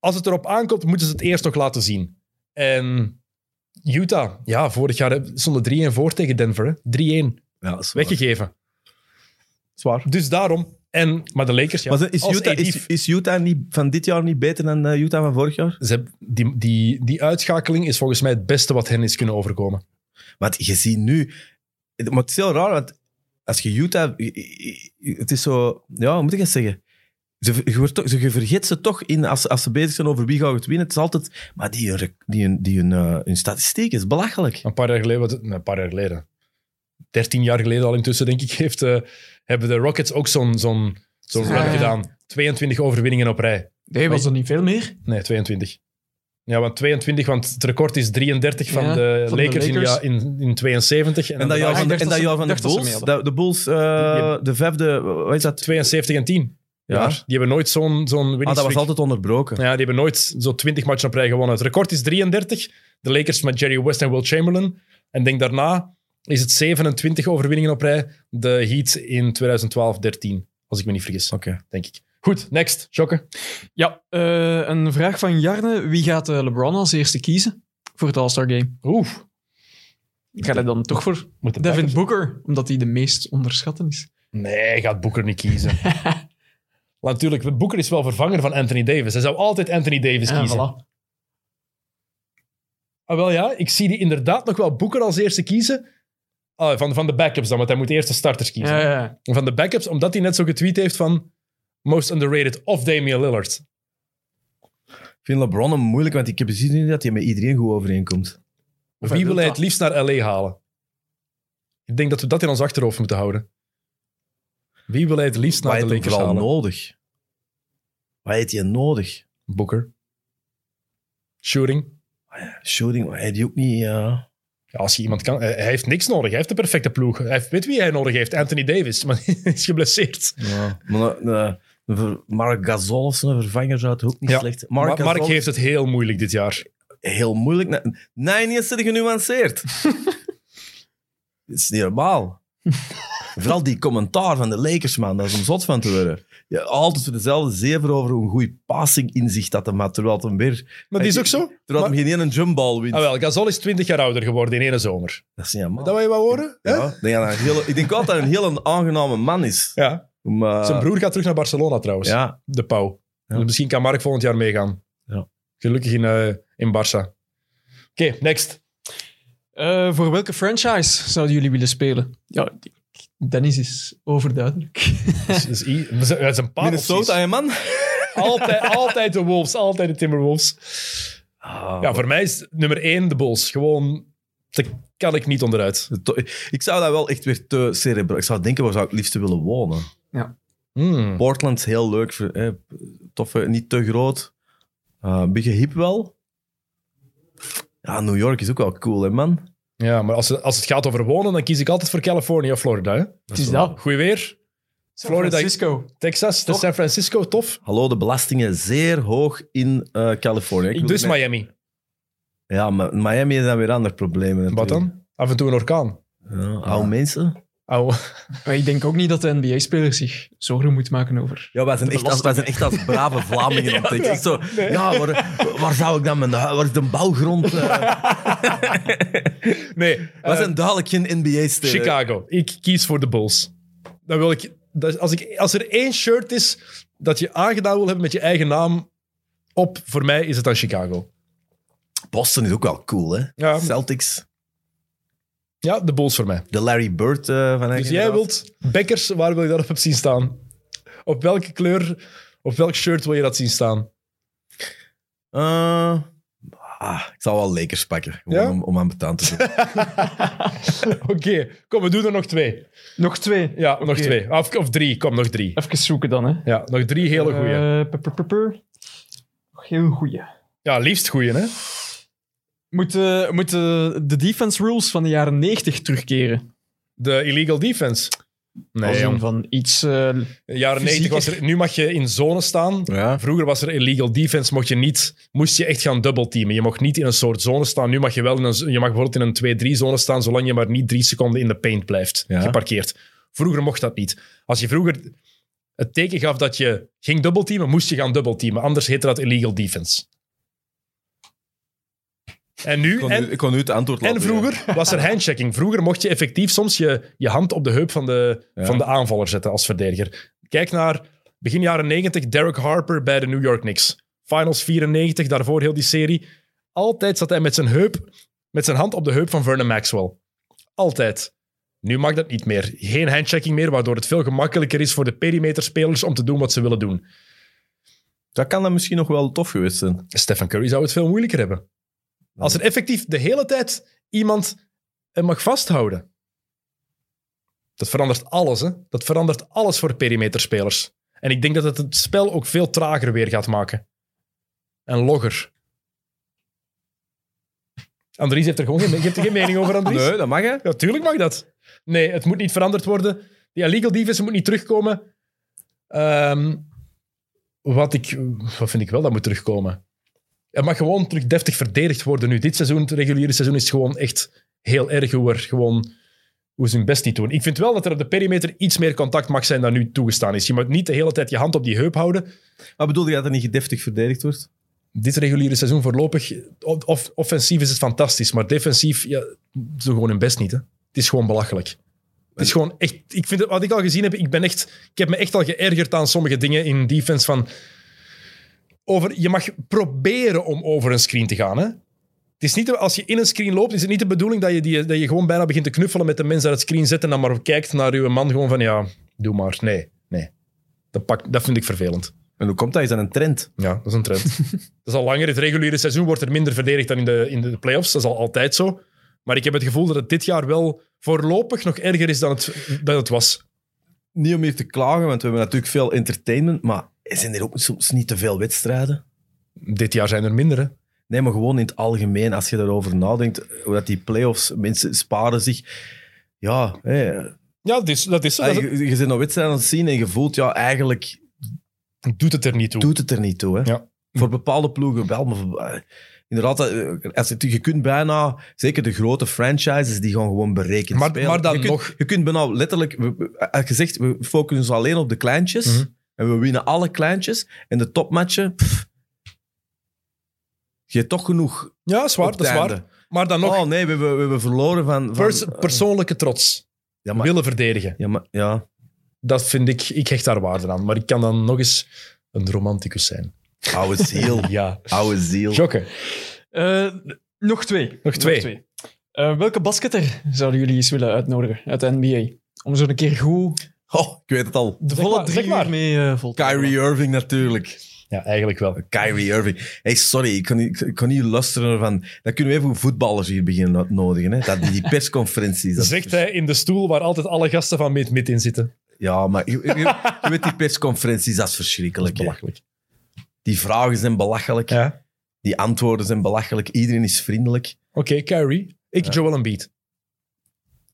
Speaker 4: Als het erop aankomt, moeten ze het eerst nog laten zien. En Utah, ja, vorig jaar hebben- stonden 3-1 voor tegen Denver. hè. 3-1
Speaker 5: Ja, dat is waar.
Speaker 4: weggegeven.
Speaker 5: Zwaar.
Speaker 4: Dus daarom, En, maar de Lakers, ja,
Speaker 5: Maar ze- is,
Speaker 4: als
Speaker 5: Utah,
Speaker 4: AD
Speaker 5: is, is Utah niet, van dit jaar niet beter dan eh, Utah van vorig jaar?
Speaker 4: Ze hebben- die, die, die uitschakeling is volgens mij het beste wat hen is kunnen overkomen.
Speaker 5: Want je ziet nu... Maar het is heel raar, want als je Utah... Het is zo... Ja, hoe moet ik het zeggen? Ze, ver- je, wordt toch- ze- je vergeet ze toch in, als, als ze bezig zijn over wie gaat het winnen. Het is altijd... Maar die, hun rec- die, hun- die hun, eh, hun statistiek is belachelijk.
Speaker 4: Een paar jaar geleden, wat- nee, een paar jaar geleden, 13 jaar geleden al intussen, denk ik, heeft, eh, hebben de Rockets ook zo'n zo'n zo'n
Speaker 1: Ja.
Speaker 4: run gedaan. 22 overwinningen op rij.
Speaker 1: Nee, was er niet veel meer?
Speaker 4: Nee, 22. Ja, want 22, want het record is 33 van,
Speaker 1: Ja,
Speaker 4: de,
Speaker 1: van de
Speaker 4: Lakers in,
Speaker 1: Lakers.
Speaker 4: ja, in, in 72. En,
Speaker 5: En dat
Speaker 4: dan
Speaker 5: jaar
Speaker 1: ik
Speaker 5: van, de-
Speaker 1: dacht
Speaker 5: en
Speaker 1: dat
Speaker 5: dat
Speaker 1: ze-
Speaker 5: jaar van de
Speaker 1: ik dacht dat ze
Speaker 5: Bulls,
Speaker 1: mee
Speaker 5: de, de Bulls, eh,
Speaker 4: Ja.
Speaker 5: de vijfde, wat is dat?
Speaker 4: 72 en 10.
Speaker 5: Ja.
Speaker 4: Ja. Die hebben nooit zo'n zo'n winning
Speaker 5: Ah, dat was
Speaker 4: streak.
Speaker 5: altijd onderbroken.
Speaker 4: Ja, die hebben nooit zo'n 20 matchen op rij gewonnen. Het record is 33. De Lakers met Jerry West en Will Chamberlain. En denk daarna is het 27 overwinningen op rij. De Heat in 2012-13, als ik me niet vergis.
Speaker 5: Oké.
Speaker 4: Denk ik. Goed, next. Jokke.
Speaker 1: Ja, eh, een vraag van Jarne. Wie gaat eh, LeBron als eerste kiezen voor het All-Star Game?
Speaker 4: Oeh.
Speaker 1: Ga je dan toch voor
Speaker 4: Moet de
Speaker 1: Devin
Speaker 4: Packers-
Speaker 1: Booker? Omdat hij de meest onderschatten is.
Speaker 4: Nee, gaat Booker niet kiezen. Maar Natuurlijk, Booker is wel vervanger van Anthony Davis. Hij zou altijd Anthony Davis
Speaker 1: Ja,
Speaker 4: kiezen.
Speaker 1: voilà.
Speaker 4: Ah, wel ja, ik zie die inderdaad nog wel Booker als eerste kiezen. Ah, van, van de backups dan, want hij moet eerst de starters kiezen.
Speaker 1: Ja, ja, ja.
Speaker 4: En Van de backups, omdat hij net zo getweet heeft van most underrated of Damian Lillard.
Speaker 5: Ik vind LeBron hem moeilijk, want ik heb gezien dat hij met iedereen goed overeenkomt.
Speaker 4: Wie
Speaker 1: hij wil
Speaker 4: wil hij
Speaker 1: dat.
Speaker 4: het liefst naar LA halen? Ik denk dat we dat in ons achterhoofd moeten houden. Wie wil hij het liefst
Speaker 5: Maar
Speaker 4: naar
Speaker 5: hij
Speaker 4: de
Speaker 5: heeft hem
Speaker 4: Lakers
Speaker 5: vooral
Speaker 4: halen?
Speaker 5: nodig. Wat heeft hij nodig?
Speaker 4: Booker. Shooting.
Speaker 5: Shooting, wat heeft hij ook niet... eh,
Speaker 4: Ja, als je iemand kan... eh, Hij hij heeft niks nodig. Hij heeft de perfecte ploeg. Hij heeft, weet wie hij nodig heeft? Anthony Davis. Maar die is geblesseerd.
Speaker 5: maar een- een- een ver- Mark Gasol of zo'n vervanger zou het ook niet
Speaker 4: Ja.
Speaker 5: slecht...
Speaker 4: Maar
Speaker 5: Mark,
Speaker 4: Mark,
Speaker 5: Gasol
Speaker 4: heeft het heel moeilijk dit jaar.
Speaker 5: is heel moeilijk... na- Nee, niet eens zitten genuanceerd. Het is niet normaal. Vooral die commentaar van de Lakers, man. Daar is om zot van te worden. Ja, altijd voor dezelfde zeven over hoe een goede passing inzicht dat hem had, terwijl het hem weer...
Speaker 4: Maar die is ook zo.
Speaker 5: Terwijl
Speaker 4: Maar-
Speaker 5: hem geen ene jumpbal wint.
Speaker 4: Ah, wel, Gasol is 20 jaar ouder geworden in één zomer.
Speaker 5: Dat is niet normaal.
Speaker 4: Dat wil je wel horen? hè?
Speaker 5: Ja, ik denk dat hij een hele, ik denk wel dat hij een heel aangename man is.
Speaker 4: ja.
Speaker 5: Maar,
Speaker 4: Zijn broer gaat terug naar Barcelona trouwens.
Speaker 5: Ja,
Speaker 4: De Pauw.
Speaker 5: Ja.
Speaker 4: Dus misschien kan Mark volgend jaar meegaan.
Speaker 5: Ja.
Speaker 4: Gelukkig in, eh, in Barça. Oké, next.
Speaker 1: Eh, voor welke franchise zouden jullie willen spelen? Ja, Dennis is overduidelijk.
Speaker 4: Dus- dus i- er zijn- er zijn een paar
Speaker 5: Minnesota,
Speaker 4: opties.
Speaker 5: hè, man?
Speaker 4: Altijd, altijd de Wolves, altijd de Timberwolves. Ja, voor mij is nummer één de Bulls. Gewoon, daar kan ik niet onderuit.
Speaker 5: To- Ik zou dat wel echt weer te cerebraal... Ik zou denken, waar zou ik het liefst willen wonen?
Speaker 4: Hm. Hmm.
Speaker 5: Portland is heel leuk. Voor, hè, toffe, niet te groot. Eh, een beetje hip wel. Ja, New York is ook wel cool, hè, man?
Speaker 4: Ja, maar als, als het gaat over wonen, dan kies ik altijd voor Californië of Florida. Hè?
Speaker 1: Het is dat.
Speaker 4: Goeie weer. Florida-
Speaker 1: Francisco.
Speaker 4: Texas, de
Speaker 1: Toch?
Speaker 4: San Francisco, tof.
Speaker 5: Hallo, de belastingen zeer hoog in eh, Californië. Ik bedoel,
Speaker 4: Dus
Speaker 5: nee-
Speaker 4: Miami.
Speaker 5: Ja, maar Miami is dan weer ander problemen.
Speaker 4: Wat dan? Ah. Af en toe een orkaan.
Speaker 5: Ja, oude mensen.
Speaker 4: Au.
Speaker 1: Maar ik denk ook niet dat de NBA-speler zich zorgen moet maken over.
Speaker 5: Ja, wij zijn, echt als, wij zijn echt als brave Vlamingen ja, ontdekt. Echt zo, ja, waar, waar zou ik dan mijn... hu- Waar is de bouwgrond? eh
Speaker 4: Nee,
Speaker 5: wij zijn duidelijk geen NBA-ster.
Speaker 4: Chicago. eh, Ik kies voor de Bulls. Dan wil ik, dat is- als, ik, als er één shirt is dat je aangedaan wil hebben met je eigen naam op, voor mij is het dan Chicago.
Speaker 5: Boston is ook wel cool, hè?
Speaker 4: Ja.
Speaker 5: Celtics.
Speaker 4: Ja, de Bulls voor mij.
Speaker 5: De Larry Bird eh, van
Speaker 4: Dus jij wilt Bekkers, waar wil je dat op zien staan? Op welke kleur, op welk shirt wil je dat zien staan?
Speaker 5: Eh, ah, ik zal wel Lakers pakken, gewoon
Speaker 4: Ja?
Speaker 5: om, om aan betaald te zijn.
Speaker 4: Oké, kom, we doen er nog twee.
Speaker 1: Nog twee.
Speaker 4: Ja, nog
Speaker 1: Oké.
Speaker 4: twee. Of, of drie, kom, nog drie.
Speaker 1: Even zoeken dan, hè.
Speaker 4: Ja, nog drie hele goeie.
Speaker 1: Eh, pu- pu- pu- pu. Nog heel goeie.
Speaker 4: ja, liefst goeie, hè?
Speaker 1: Moeten moeten de defense rules van de jaren 90 terugkeren?
Speaker 4: De illegal defense.
Speaker 1: Als
Speaker 4: Nee,
Speaker 1: in
Speaker 4: jong.
Speaker 1: van iets... eh,
Speaker 4: Jaren 90 was er... Nu mag je in zone staan.
Speaker 5: ja.
Speaker 4: Vroeger was er illegal defense, mocht je niet, moest je echt gaan dubbelteamen. Je mocht niet in een soort zone staan. Nu mag je wel in een, z- je mag bijvoorbeeld in een 2-3 zone staan, zolang je maar niet drie seconden in de paint blijft
Speaker 5: Ja.
Speaker 4: geparkeerd. Vroeger mocht dat niet. Als je vroeger het teken gaf dat je ging dubbelteamen, moest je gaan dubbelteamen. Anders heette dat illegal defense. En nu,
Speaker 5: Ik, kon nu,
Speaker 4: en,
Speaker 5: ik kon nu het antwoord
Speaker 4: en
Speaker 5: laten.
Speaker 4: vroeger was er handchecking. Vroeger mocht je effectief soms je, je hand op de heup van de,
Speaker 5: Ja.
Speaker 4: van de aanvaller zetten als verdediger. Kijk naar begin jaren 90, Derek Harper bij de New York Knicks. Finals 94, daarvoor heel die serie. Altijd zat hij met zijn, heup, met zijn hand op de heup van Vernon Maxwell. Altijd. Nu mag dat niet meer. Geen handchecking meer, waardoor het veel gemakkelijker is voor de perimeterspelers om te doen wat ze willen doen.
Speaker 5: Dat kan dan misschien nog wel tof geweest zijn.
Speaker 4: Stephen Curry zou het veel moeilijker hebben. Als er effectief de hele tijd iemand hem mag vasthouden. Dat verandert alles, hè? Dat verandert alles voor perimeterspelers. En ik denk dat het het spel ook veel trager weer gaat maken. En logger. Andries heeft er gewoon geen, je hebt er geen mening over, Andries.
Speaker 5: Nee, dat mag hè.
Speaker 4: Natuurlijk mag dat. Nee, het moet niet veranderd worden. Die illegal defense moet niet terugkomen. Ehm, wat, ik, wat vind ik wel dat moet terugkomen? Het mag gewoon terug deftig verdedigd worden nu. Dit seizoen, het reguliere seizoen, is het gewoon echt heel erg hoe, er gewoon, hoe ze hun best niet doen. Ik vind wel dat er op de perimeter iets meer contact mag zijn dan nu toegestaan is. Je moet niet de hele tijd je hand op die heup houden.
Speaker 5: Maar bedoelde je dat er niet gedeftig verdedigd wordt?
Speaker 4: Dit reguliere seizoen voorlopig, of- of, offensief is het fantastisch, maar defensief, ja, ze doen gewoon hun best niet. Hè. Het is gewoon belachelijk. Het is gewoon echt, ik vind het, wat ik al gezien heb, ik ben echt, ik heb me echt al geërgerd aan sommige dingen in defense van, over, je mag proberen om over een screen te gaan. Hè? Het is niet, als je in een screen loopt, is het niet de bedoeling dat je, die, dat je gewoon bijna begint te knuffelen met de mens dat het screen zet en dan maar kijkt naar je man gewoon van, ja, doe maar. Nee, nee. Dat, pak, dat vind ik vervelend.
Speaker 5: En hoe komt dat? Is dat een trend?
Speaker 4: Ja, dat is een trend. dat is al langer. Het reguliere seizoen wordt er minder verdedigd dan in de, in de playoffs. Dat is al altijd zo. Maar ik heb het gevoel dat het dit jaar wel voorlopig nog erger is dan het, dan het was.
Speaker 5: Niet om hier te klagen, want we hebben natuurlijk veel entertainment, maar zijn er ook soms niet te veel wedstrijden?
Speaker 4: Dit jaar zijn er minder, hè?
Speaker 5: Nee, maar gewoon in het algemeen, als je daarover nadenkt, hoe dat die play-offs, mensen sparen zich. Ja, hè.
Speaker 4: Ja, dat is, dat is zo. Dat is-
Speaker 5: je, je zit nog wedstrijden aan het zien en je voelt, ja, eigenlijk
Speaker 4: doet het er niet toe.
Speaker 5: doet het er niet toe. Hè?
Speaker 4: Ja.
Speaker 5: Voor bepaalde ploegen wel, maar voor- eh, inderdaad, eh, als het, je kunt bijna, zeker de grote franchises, die gaan gewoon berekend
Speaker 4: Maar-
Speaker 5: spelen.
Speaker 4: maar dan
Speaker 5: je kunt,
Speaker 4: nog-
Speaker 5: Je kunt bijna letterlijk, we- we- als je zegt, we focussen ons alleen op de kleintjes
Speaker 4: Mhm.
Speaker 5: en we winnen alle kleintjes en de topmatchen, pff, je hebt toch genoeg
Speaker 4: Ja, dat is waar,
Speaker 5: op
Speaker 4: dat is
Speaker 5: het
Speaker 4: waar.
Speaker 5: einde.
Speaker 4: Maar dan nog,
Speaker 5: Oh nee, we hebben, we hebben verloren van... van
Speaker 4: pers- persoonlijke trots.
Speaker 5: ja, maar,
Speaker 4: Willen verdedigen.
Speaker 5: ja, maar, ja.
Speaker 4: Dat vind ik, ik hecht daar waarde aan. Maar ik kan dan nog eens een romanticus zijn.
Speaker 5: Oude ziel.
Speaker 4: Ja.
Speaker 5: Oude ziel.
Speaker 4: Jokken.
Speaker 1: Eh, nog twee.
Speaker 4: twee.
Speaker 1: Eh, welke basketter zouden jullie eens willen uitnodigen uit de NBA? Om zo een keer goed
Speaker 5: Oh, ik weet het al.
Speaker 1: de
Speaker 4: Zeg
Speaker 1: volle
Speaker 4: maar,
Speaker 1: drie
Speaker 4: zeg maar.
Speaker 1: uur mee eh vol te houden.
Speaker 5: Kyrie Irving natuurlijk.
Speaker 4: Ja, eigenlijk wel.
Speaker 5: Kyrie Irving. Hey, sorry, ik kan niet, ik kan niet luisteren ervan. Dan kunnen we even voetballers hier beginnen uitnodigen. Hè? Dat, die persconferenties. Dat,
Speaker 4: Zegt hij in de stoel waar altijd alle gasten van Mid-Mid in zitten.
Speaker 5: Ja, maar je, je- je weet die persconferenties, dat is
Speaker 4: Dat is
Speaker 5: verschrikkelijk. hè.
Speaker 4: belachelijk.
Speaker 5: Die vragen zijn belachelijk.
Speaker 4: Ja.
Speaker 5: Die antwoorden zijn belachelijk. Iedereen is vriendelijk.
Speaker 4: Oké, Kyrie. Ik Joel Embiid.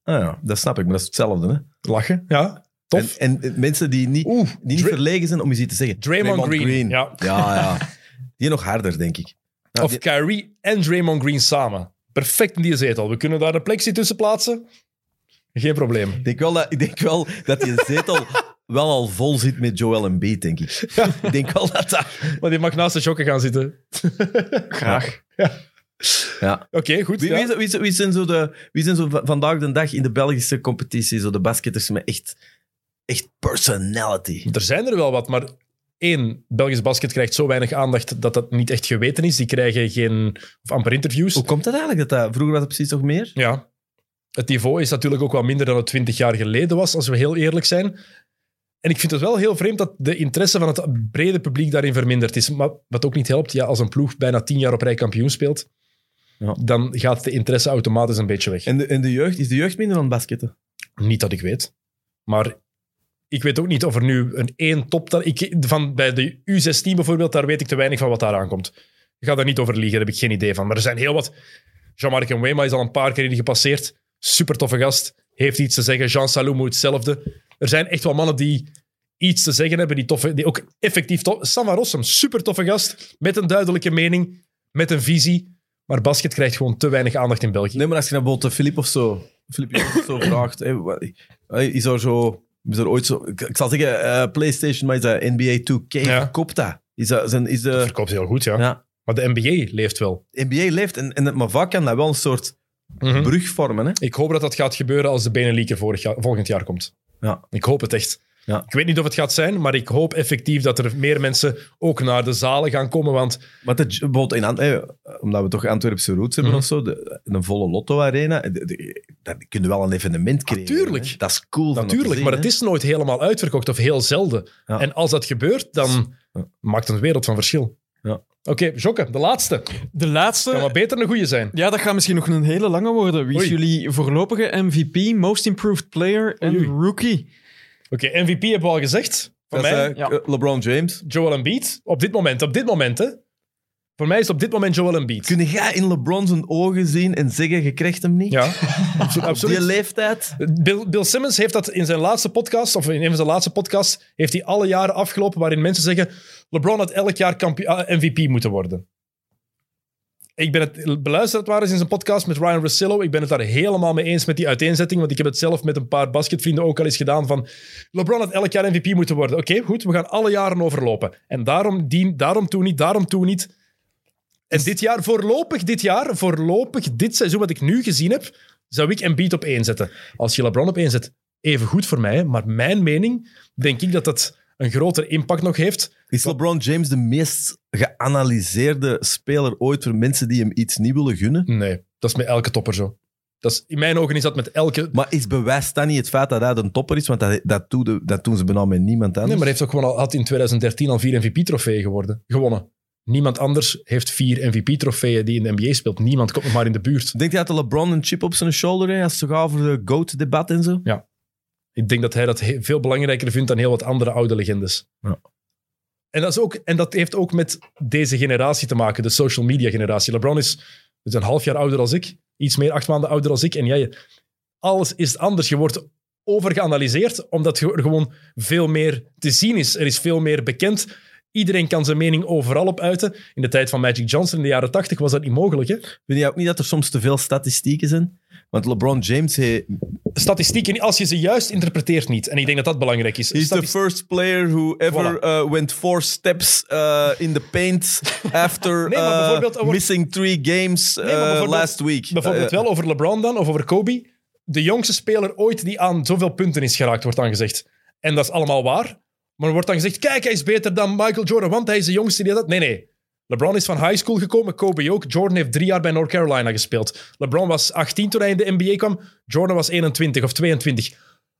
Speaker 5: Ah, ja, dat snap ik, maar dat is hetzelfde. Hè?
Speaker 4: Lachen. Ja, tof.
Speaker 5: En, en mensen die niet,
Speaker 4: Oeh,
Speaker 5: die niet
Speaker 4: Dra-
Speaker 5: verlegen zijn om iets te zeggen.
Speaker 4: Draymond Green, ja.
Speaker 5: ja, ja. Die nog harder, denk ik. Ja,
Speaker 4: of
Speaker 5: die-
Speaker 4: Kyrie en Draymond Green samen. Perfect in die zetel. We kunnen daar een plexi tussen plaatsen. Geen probleem.
Speaker 5: Ik denk wel dat, ik denk wel dat die zetel wel al vol zit met Joel Embiid, denk ik. Ik denk wel dat dat...
Speaker 4: Maar die mag naast de jokken gaan zitten.
Speaker 1: Graag.
Speaker 5: Ja.
Speaker 4: Oké, goed.
Speaker 5: Wie,
Speaker 4: ja.
Speaker 5: wie, wie, wie zijn zo, de, wie zijn zo va- vandaag de dag in de Belgische competitie zo de basketters met echt, echt personality?
Speaker 4: Er zijn er wel wat, maar één, Belgisch basket krijgt zo weinig aandacht dat dat niet echt geweten is. Die krijgen geen, of amper interviews.
Speaker 5: Hoe komt dat eigenlijk? Dat dat, vroeger was het precies nog meer?
Speaker 4: Ja. Het niveau is natuurlijk ook wel minder dan het 20 jaar geleden was, als we heel eerlijk zijn. En ik vind het wel heel vreemd dat de interesse van het brede publiek daarin verminderd is. Maar wat ook niet helpt, ja, als een ploeg bijna 10 jaar op rij kampioen speelt,
Speaker 5: Ja.
Speaker 4: dan gaat de interesse automatisch een beetje weg.
Speaker 5: En de, en de jeugd, is de jeugd minder aan het basketten?
Speaker 4: Niet dat ik weet. Maar ik weet ook niet of er nu een één top... Ik, van, bij de U16 bijvoorbeeld, daar weet ik te weinig van wat daar aankomt. Ik ga daar niet over liegen, daar heb ik geen idee van. Maar er zijn heel wat... Jean-Marc Nwema is al een paar keer hier gepasseerd. Super toffe gast. Heeft iets te zeggen. Jean Salomo hetzelfde. Er zijn echt wel mannen die iets te zeggen hebben. Die, toffe, die ook effectief... Tof, Sam van Rossum, super toffe gast. Met een duidelijke mening. Met een visie. Maar basket krijgt gewoon te weinig aandacht in België.
Speaker 5: Nee, maar als je naar bijvoorbeeld eh, Filip of zo, Filip Jonas of zo vraagt, hé, wat- hé, is er zo... Is er ooit zo... Ik, ik zal zeggen, eh, PlayStation, maar is dat NBA 2K?
Speaker 4: Ja.
Speaker 5: Verkoopt dat? Is dat, zijn, is de,
Speaker 4: Verkoopt heel goed, ja.
Speaker 5: Ja.
Speaker 4: Maar de NBA leeft wel.
Speaker 5: NBA leeft, en, en, maar vaak kan dat wel een soort
Speaker 4: Mhm.
Speaker 5: brug vormen. Hè?
Speaker 4: Ik hoop dat dat gaat gebeuren als de Benelieke vorig jaar, volgend jaar komt.
Speaker 5: Ja.
Speaker 4: Ik hoop het echt.
Speaker 5: Ja.
Speaker 4: Ik weet niet of het gaat zijn, maar ik hoop effectief dat er meer mensen ook naar de zalen gaan komen. Want
Speaker 5: Maar het, bijvoorbeeld in Ant- eh, omdat we toch Antwerpse roots
Speaker 4: Mhm.
Speaker 5: hebben of zo, de, een volle Lotto-arena, de- de- daar kun je wel een evenement creëren.
Speaker 4: Natuurlijk.
Speaker 5: hè. Dat is cool. van
Speaker 4: Ah,
Speaker 5: om te
Speaker 4: natuurlijk,
Speaker 5: zien,
Speaker 4: maar het
Speaker 5: hè.
Speaker 4: is nooit helemaal uitverkocht of heel zelden.
Speaker 5: Ja.
Speaker 4: En als dat gebeurt, dan
Speaker 5: Ja.
Speaker 4: maakt het een wereld van verschil.
Speaker 5: Ja.
Speaker 4: Oké, Jokke, de laatste.
Speaker 1: De laatste...
Speaker 4: Kan maar beter een goede zijn.
Speaker 1: Ja, dat gaat misschien nog een hele lange worden. Wie is
Speaker 4: Oei.
Speaker 1: jullie voorlopige MVP, Most Improved Player en
Speaker 4: Oei.
Speaker 1: Rookie?
Speaker 4: Oké, MVP hebben we al gezegd. Voor
Speaker 5: Dat is,
Speaker 4: mij,
Speaker 5: eh,
Speaker 1: ja.
Speaker 5: eh, LeBron James.
Speaker 4: Joel Embiid. Op dit moment, op dit moment, hè. Voor mij is het op dit moment Joel Embiid.
Speaker 5: Kun jij in LeBron zijn ogen zien en zeggen, je krijgt hem niet?
Speaker 4: Ja,
Speaker 5: Op die
Speaker 4: absoluut.
Speaker 5: leeftijd?
Speaker 4: Bill, Bill Simmons heeft dat in zijn laatste podcast, of in een van zijn laatste podcasts, heeft hij alle jaren afgelopen waarin mensen zeggen LeBron had elk jaar kampio- eh, MVP moeten worden. Ik ben het, beluister het maar eens in zijn podcast met Ryan Rossillo. Ik ben het daar helemaal mee eens met die uiteenzetting, want ik heb het zelf met een paar basketvrienden ook al eens gedaan van LeBron had elk jaar MVP moeten worden. Oké, goed, we gaan alle jaren overlopen. En daarom, die, daarom toen niet, daarom toen niet. En dit jaar, voorlopig dit jaar, voorlopig dit seizoen wat ik nu gezien heb, zou ik Embiid op één zetten. Als je LeBron op één zet, even goed voor mij. Maar mijn mening, denk ik dat dat een grotere impact nog heeft.
Speaker 5: Is LeBron James de meest geanalyseerde speler ooit voor mensen die hem iets niet willen gunnen?
Speaker 4: Nee, dat is met elke topper zo. Dat is, in mijn ogen is dat met elke...
Speaker 5: Maar is bewijst dat niet het feit dat hij een topper is? Want dat, dat, doe de- dat doen ze bijna met niemand anders.
Speaker 4: Nee, maar hij heeft ook gewoon al, had in 2013 al vier MVP-trofeeën geworden, gewonnen. Niemand anders heeft vier MVP-trofeeën die in de NBA speelt. Niemand komt nog maar in de buurt.
Speaker 5: Denk je dat de LeBron een chip op zijn shoulder heeft? Als het toch gaat over de GOAT-debat en zo?
Speaker 4: Ik denk dat hij dat he- veel belangrijker vindt dan heel wat andere oude legendes.
Speaker 5: Ja.
Speaker 4: En, dat is ook, en dat heeft ook met deze generatie te maken, de social media generatie. LeBron is, is een half jaar ouder als ik, iets meer acht maanden ouder als ik. En jij, alles is anders. Je wordt overgeanalyseerd, omdat je er gewoon veel meer te zien is. Er is veel meer bekend. Iedereen kan zijn mening overal op uiten. In de tijd van Magic Johnson in de jaren tachtig was dat niet mogelijk. Hè?
Speaker 5: Vind je ook niet dat er soms te veel statistieken zijn? Want LeBron James he,
Speaker 4: Statistieken, als je ze juist interpreteert, niet. En ik denk dat dat belangrijk is.
Speaker 5: he's the
Speaker 4: Statis-
Speaker 5: first player who ever uh, went four steps uh, in the paint after
Speaker 4: Nee, maar
Speaker 5: uh,
Speaker 4: bijvoorbeeld, er wordt-
Speaker 5: missing three games uh,
Speaker 4: Nee, maar bijvoorbeeld-
Speaker 5: last week.
Speaker 4: Bijvoorbeeld
Speaker 5: Uh,
Speaker 4: wel over LeBron dan, of over Kobe. De jongste speler ooit die aan zoveel punten is geraakt, wordt dan gezegd. En dat is allemaal waar. Maar er wordt dan gezegd, kijk, hij is beter dan Michael Jordan, want hij is de jongste die dat... Nee, nee. LeBron is van high school gekomen, Kobe ook. Jordan heeft drie jaar bij North Carolina gespeeld. LeBron was 18 toen hij in de NBA kwam. Jordan was 21 of 22.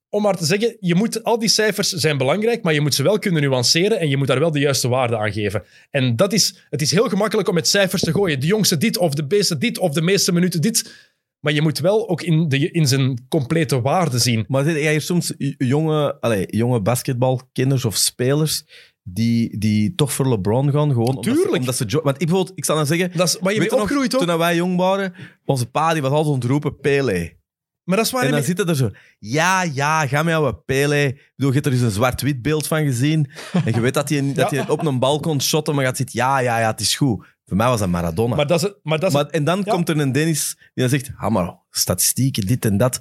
Speaker 4: Om maar te zeggen, je moet, al die cijfers zijn belangrijk, maar je moet ze wel kunnen nuanceren en je moet daar wel de juiste waarde aan geven. En dat is, het is heel gemakkelijk om met cijfers te gooien. De jongste dit, of de beste dit, of de meeste minuten dit. Maar je moet wel ook in, de, in zijn complete waarde zien.
Speaker 5: Maar zit jij hier soms j- jonge, allez, jonge basketbalkinders of spelers die, die toch voor LeBron gaan? Gewoon omdat ze,
Speaker 4: Tuurlijk.
Speaker 5: omdat ze jo- Want ik, bijvoorbeeld, ik zal dan zeggen...
Speaker 4: Dat is waar je
Speaker 5: weet
Speaker 4: mee opgroeit,
Speaker 5: nog,
Speaker 4: hoor.
Speaker 5: Toen wij jong waren, onze pa die was altijd ontroepen Pele.
Speaker 4: Maar dat is waar
Speaker 5: En
Speaker 4: je
Speaker 5: dan
Speaker 4: mee...
Speaker 5: zit het er zo... Ja, ja, ga met jouw Pele. Ik bedoel, je hebt er eens een zwart-wit beeld van gezien. En je weet dat hij dat hij op een bal kon shotten, maar gaat zitten... Ja, ja, ja, het is goed. Voor mij was dat Maradona.
Speaker 4: Maar dat is, het- maar dat is
Speaker 5: Maar-
Speaker 4: het-
Speaker 5: en dan
Speaker 4: ja.
Speaker 5: komt er een Dennis die dan zegt... "Ah, maar statistieken, dit en dat.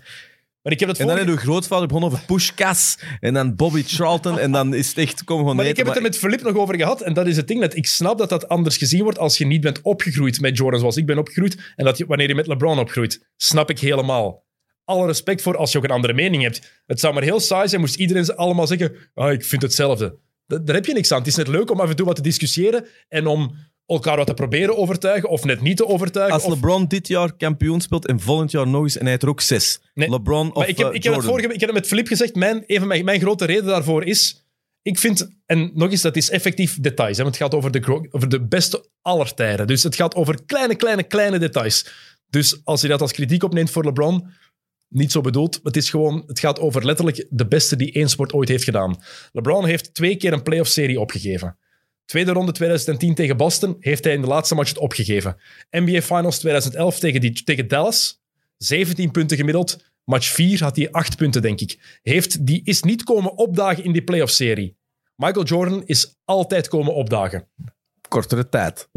Speaker 4: maar ik heb het
Speaker 5: En dan
Speaker 4: vorige-
Speaker 5: heb je grootvader begonnen over pushkas. En dan Bobby Charlton. En dan is het echt, kom gewoon
Speaker 4: Maar ik
Speaker 5: eten,
Speaker 4: heb het er met Filip nog over gehad. En dat is het ding. Dat ik snap dat dat anders gezien wordt als je niet bent opgegroeid met Jordan zoals ik ben opgegroeid. En dat je, wanneer je met LeBron opgroeit. Snap ik helemaal. Alle respect voor als je ook een andere mening hebt. Het zou maar heel saai zijn moest iedereen ze allemaal zeggen: ah, Ik vind hetzelfde. Da- Daar heb je niks aan. Het is net leuk om af en toe wat te discussiëren en om elkaar wat te proberen overtuigen of net niet te overtuigen.
Speaker 5: Als
Speaker 4: of-
Speaker 5: LeBron dit jaar kampioen speelt en volgend jaar nog eens en hij heeft er ook zes.
Speaker 4: Nee,
Speaker 5: LeBron of
Speaker 4: Maar ik heb,
Speaker 5: eh,
Speaker 4: ik heb het
Speaker 5: Jordan.
Speaker 4: vorige, ik heb het met Filip gezegd. Mijn, even mijn, mijn grote reden daarvoor is. Ik vind, en nog eens, dat is effectief details. Hè, want het gaat over de, gro- over de beste aller tijden. Dus het gaat over kleine, kleine, kleine details. Dus als je dat als kritiek opneemt voor LeBron, niet zo bedoeld. Het, is gewoon, het gaat over letterlijk de beste die één sport ooit heeft gedaan. LeBron heeft twee keer een playoff-serie opgegeven. Tweede ronde 2010 tegen Boston heeft hij in de laatste match het opgegeven. NBA Finals 2011 tegen, die, tegen Dallas, 17 punten gemiddeld. Match 4 had hij 8 punten, denk ik. Heeft, die is niet komen opdagen in die playoff-serie. Michael Jordan is altijd komen opdagen.
Speaker 5: Kortere tijd.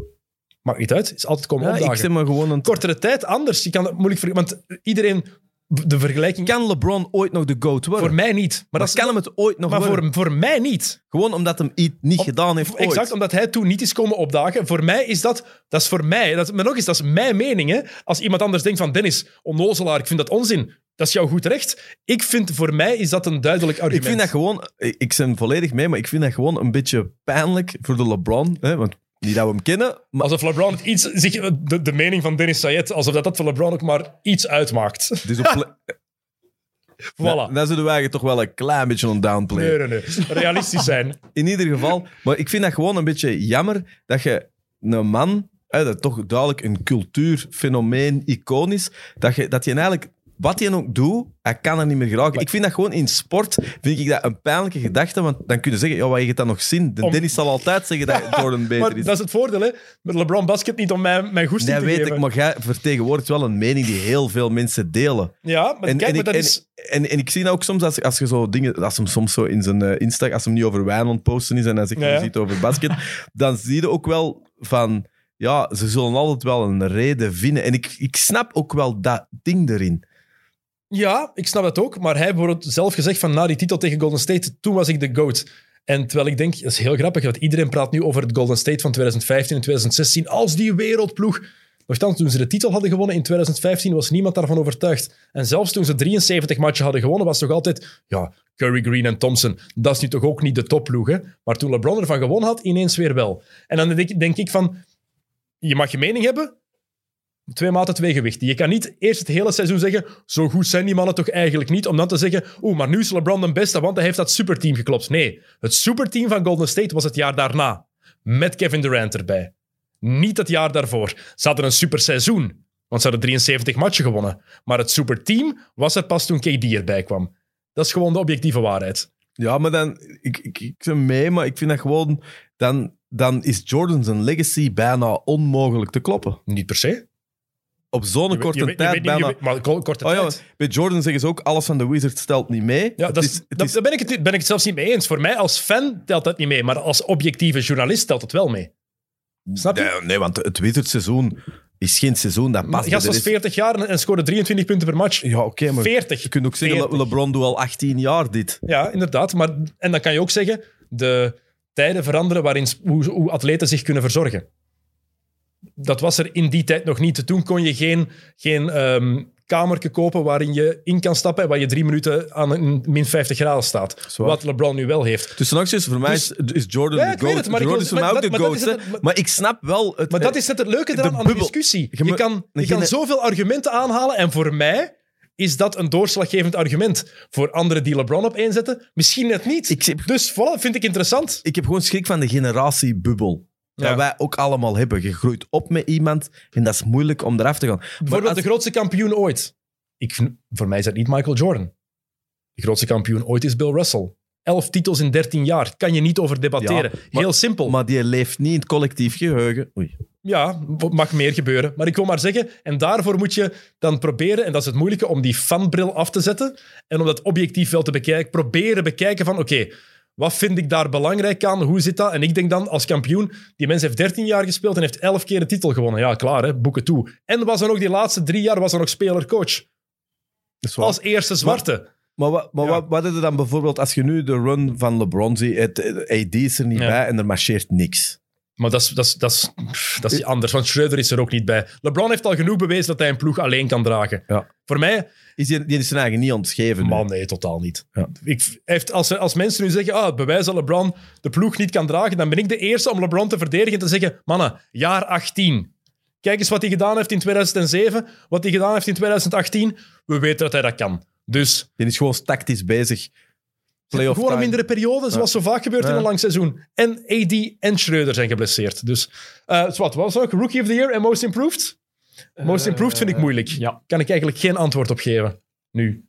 Speaker 4: Maakt niet uit, is altijd komen
Speaker 5: Ja, ik
Speaker 4: opdagen.
Speaker 5: zeg maar gewoon een...
Speaker 4: Kortere tijd, anders. Je kan dat moeilijk ver- Want iedereen, de vergelijking...
Speaker 5: Kan LeBron ooit nog de GOAT worden?
Speaker 4: voor mij niet. Maar,
Speaker 5: maar
Speaker 4: dat is-
Speaker 5: kan hem het ooit nog
Speaker 4: maar
Speaker 5: worden?
Speaker 4: voor, voor mij niet.
Speaker 5: Gewoon omdat hem iets niet
Speaker 4: Om-
Speaker 5: gedaan heeft ooit.
Speaker 4: Exact, omdat hij toen niet is komen opdagen. Voor mij is dat, dat is voor mij, dat, maar nog eens, dat is mijn mening. Hè? Als iemand anders denkt van Dennis, onnozelaar, ik vind dat onzin. Dat is jouw goed recht. Ik vind, voor mij is dat een duidelijk argument.
Speaker 5: Ik vind dat gewoon, ik ik ben volledig mee, maar ik vind dat gewoon een beetje pijnlijk voor de LeBron. Hè? Want niet dat we hem kennen, maar
Speaker 4: Alsof LeBron het iets, zich, de, de mening van Dennis Sayed, alsof dat, dat voor LeBron ook maar iets uitmaakt.
Speaker 5: het is op ple-
Speaker 4: Voilà.
Speaker 5: dan, dan zullen wij je toch wel een klein beetje een downplayen.
Speaker 4: Nee, nee, nee. Realistisch zijn.
Speaker 5: In ieder geval, maar ik vind dat gewoon een beetje jammer dat je een man, hè, dat toch duidelijk een cultuurfenomeen, iconisch, dat je, dat je eigenlijk, wat je ook doet, hij kan er niet meer geraken. Ik vind dat gewoon in sport, vind ik dat een pijnlijke gedachte, want dan kun je zeggen, ja, wat je gaat dat nog zien? De
Speaker 4: Om-
Speaker 5: Dennis zal altijd zeggen dat Jordan beter
Speaker 4: Maar
Speaker 5: is.
Speaker 4: dat is het voordeel, hè. Met LeBron basket niet om mijn, mijn goesting
Speaker 5: Dat
Speaker 4: te
Speaker 5: weet
Speaker 4: geven.
Speaker 5: ik, maar jij vertegenwoordigt wel een mening die heel veel mensen delen.
Speaker 4: Ja, maar
Speaker 5: En,
Speaker 4: kijk,
Speaker 5: en,
Speaker 4: maar
Speaker 5: ik,
Speaker 4: dat
Speaker 5: en,
Speaker 4: is...
Speaker 5: en, en ik zie dat ook soms als, als je zo dingen, als hem soms zo in zijn eh, Insta, als hem niet over wijn aan het posten is en hij zegt
Speaker 4: Ja, ja.
Speaker 5: je ziet over basket, dan zie je ook wel van, ja, ze zullen altijd wel een reden vinden. En ik, ik snap ook wel dat ding erin.
Speaker 4: Ja, ik snap dat ook. Maar hij heeft bijvoorbeeld zelf gezegd van na die titel tegen Golden State, toen was ik de GOAT. En terwijl ik denk, dat is heel grappig, want iedereen praat nu over het Golden State van 2015 en 2016 als die wereldploeg. Nochtans, toen ze de titel hadden gewonnen in 2015, was niemand daarvan overtuigd. En zelfs toen ze 73 matchen hadden gewonnen, was toch altijd... Ja, Curry, Green en Thompson, dat is nu toch ook niet de topploeg, hè? Maar toen LeBron ervan gewonnen had, ineens weer wel. En dan denk ik- denk ik van... Je mag je mening hebben, Twee maten, twee gewichten. Je kan niet eerst het hele seizoen zeggen, zo goed zijn die mannen toch eigenlijk niet, om dan te zeggen, oeh, maar nu is LeBron de beste, want hij heeft dat superteam geklopt. Nee, het superteam van Golden State was het jaar daarna. Met Kevin Durant erbij. Niet het jaar daarvoor. Ze hadden een superseizoen, want ze hadden 73 matchen gewonnen. Maar het superteam was er pas toen KD erbij kwam. Dat is gewoon de objectieve waarheid.
Speaker 5: Ja, maar dan, ik, ik, ik ben mee, maar ik vind dat gewoon, dan, dan is Jordan zijn legacy bijna onmogelijk te kloppen.
Speaker 4: Niet per se.
Speaker 5: Op zo'n korte
Speaker 4: Je weet- je
Speaker 5: tijd
Speaker 4: weet niet- je
Speaker 5: bijna.
Speaker 4: weet- maar ko- korte
Speaker 5: Oh ja,
Speaker 4: tijd.
Speaker 5: want bij Jordan zeggen ze ook, alles van de Wizard stelt niet mee.
Speaker 4: Ja,
Speaker 5: Het
Speaker 4: dat,
Speaker 5: is-
Speaker 4: is-
Speaker 5: het
Speaker 4: dat,
Speaker 5: is-
Speaker 4: daar ben ik, het, ben ik het zelfs niet mee eens. Voor mij als fan telt dat niet mee, maar als objectieve journalist telt het wel mee. Snap je?
Speaker 5: Nee, nee, want het Wizards-seizoen is geen seizoen dat
Speaker 4: Maar
Speaker 5: past.
Speaker 4: de gast
Speaker 5: bij
Speaker 4: was
Speaker 5: de rest.
Speaker 4: 40 jaar en, en scoorde 23 punten per match.
Speaker 5: Ja, oké, maar
Speaker 4: 40.
Speaker 5: je kunt ook zeggen, Le-
Speaker 4: 40.
Speaker 5: LeBron doet al 18 jaar dit.
Speaker 4: Ja, inderdaad. Maar, en dan kan je ook zeggen, de tijden veranderen waarin sp- hoe, hoe atleten zich kunnen verzorgen. Dat was er in die tijd nog niet. Toen kon je geen, geen ehm kamerke kopen waarin je in kan stappen en waar je drie minuten aan een min 50 graden staat.
Speaker 5: waar.
Speaker 4: Wat LeBron nu wel heeft.
Speaker 5: Dus straks is voor mij
Speaker 4: Dus-
Speaker 5: is, is Jordan
Speaker 4: Ja, ik
Speaker 5: de
Speaker 4: weet
Speaker 5: GOAT.
Speaker 4: het, maar ik wil-
Speaker 5: Jordan is voor mij
Speaker 4: maar
Speaker 5: ook
Speaker 4: dat-
Speaker 5: de
Speaker 4: maar
Speaker 5: GOAT.
Speaker 4: dat is
Speaker 5: hè.
Speaker 4: het- maar-
Speaker 5: maar, ik snap wel... Het, eh,
Speaker 4: Maar dat is net het leuke eraan
Speaker 5: de
Speaker 4: aan de
Speaker 5: bubbel.
Speaker 4: discussie.
Speaker 5: Je
Speaker 4: Je
Speaker 5: moet-
Speaker 4: kan, je
Speaker 5: je
Speaker 4: kan
Speaker 5: ne-
Speaker 4: zoveel argumenten aanhalen en voor mij is dat een doorslaggevend argument. Voor anderen die LeBron op één zetten, misschien net niet.
Speaker 5: Ik zie-
Speaker 4: Dus voilà, vind ik interessant.
Speaker 5: Ik heb gewoon schrik van de generatiebubbel. Dat
Speaker 4: Ja.
Speaker 5: wij ook allemaal hebben. Je groeit op met iemand en dat is moeilijk om eraf te gaan. Maar
Speaker 4: Bijvoorbeeld
Speaker 5: als-
Speaker 4: de grootste kampioen ooit. Ik, vind- voor mij is dat niet Michael Jordan. De grootste kampioen ooit is Bill Russell. Elf titels in dertien jaar. Kan je niet over debatteren.
Speaker 5: Ja, maar-
Speaker 4: Heel simpel.
Speaker 5: maar die leeft niet in het collectief geheugen. Oei.
Speaker 4: Ja, w- mag meer gebeuren. Maar ik wil maar zeggen, en daarvoor moet je dan proberen, en dat is het moeilijke, om die fanbril af te zetten en om dat objectief wel te bekijken. Proberen bekijken van, oké, wat vind ik daar belangrijk aan? Hoe zit dat? En ik denk dan als kampioen, die mens heeft 13 jaar gespeeld en heeft 11 keer de titel gewonnen. Ja, klaar, hè, boeken toe. En was dan ook die laatste drie jaar was dan ook speler-coach.
Speaker 5: Dat is waar.
Speaker 4: Als eerste zwarte.
Speaker 5: Maar, wat, maar
Speaker 4: Ja.
Speaker 5: wat, wat is er dan bijvoorbeeld als je nu de run van LeBron ziet? Het, het- AD is er niet
Speaker 4: Ja.
Speaker 5: bij en er marcheert niks.
Speaker 4: Maar dat is, dat, is, dat, is, pff, dat is anders, want Schreuder is er ook niet bij. LeBron heeft al genoeg bewezen dat hij een ploeg alleen kan dragen.
Speaker 5: Ja.
Speaker 4: Voor mij,
Speaker 5: Is die, die is zijn eigen niet ontgeven. nu.
Speaker 4: Man, nee, totaal niet. Ik, heeft, als, als mensen nu zeggen, ah, het bewijs dat LeBron de ploeg niet kan dragen, dan ben ik de eerste om LeBron te verdedigen en te zeggen, mannen, jaar 18. Kijk eens wat hij gedaan heeft in 2007, wat hij gedaan heeft in 2018. We weten dat hij dat kan. Dus
Speaker 5: Die is gewoon tactisch bezig. Playoff
Speaker 4: gewoon een
Speaker 5: time.
Speaker 4: mindere periode, zoals zo vaak gebeurt in
Speaker 5: Ja.
Speaker 4: een lang seizoen. En AD en Schreuder zijn geblesseerd. Dus eh, wat was het ook? Rookie of the Year en Most Improved? Most Improved
Speaker 5: Eh,
Speaker 4: vind ik moeilijk.
Speaker 1: ja.
Speaker 4: Kan ik eigenlijk geen antwoord op geven. Nu.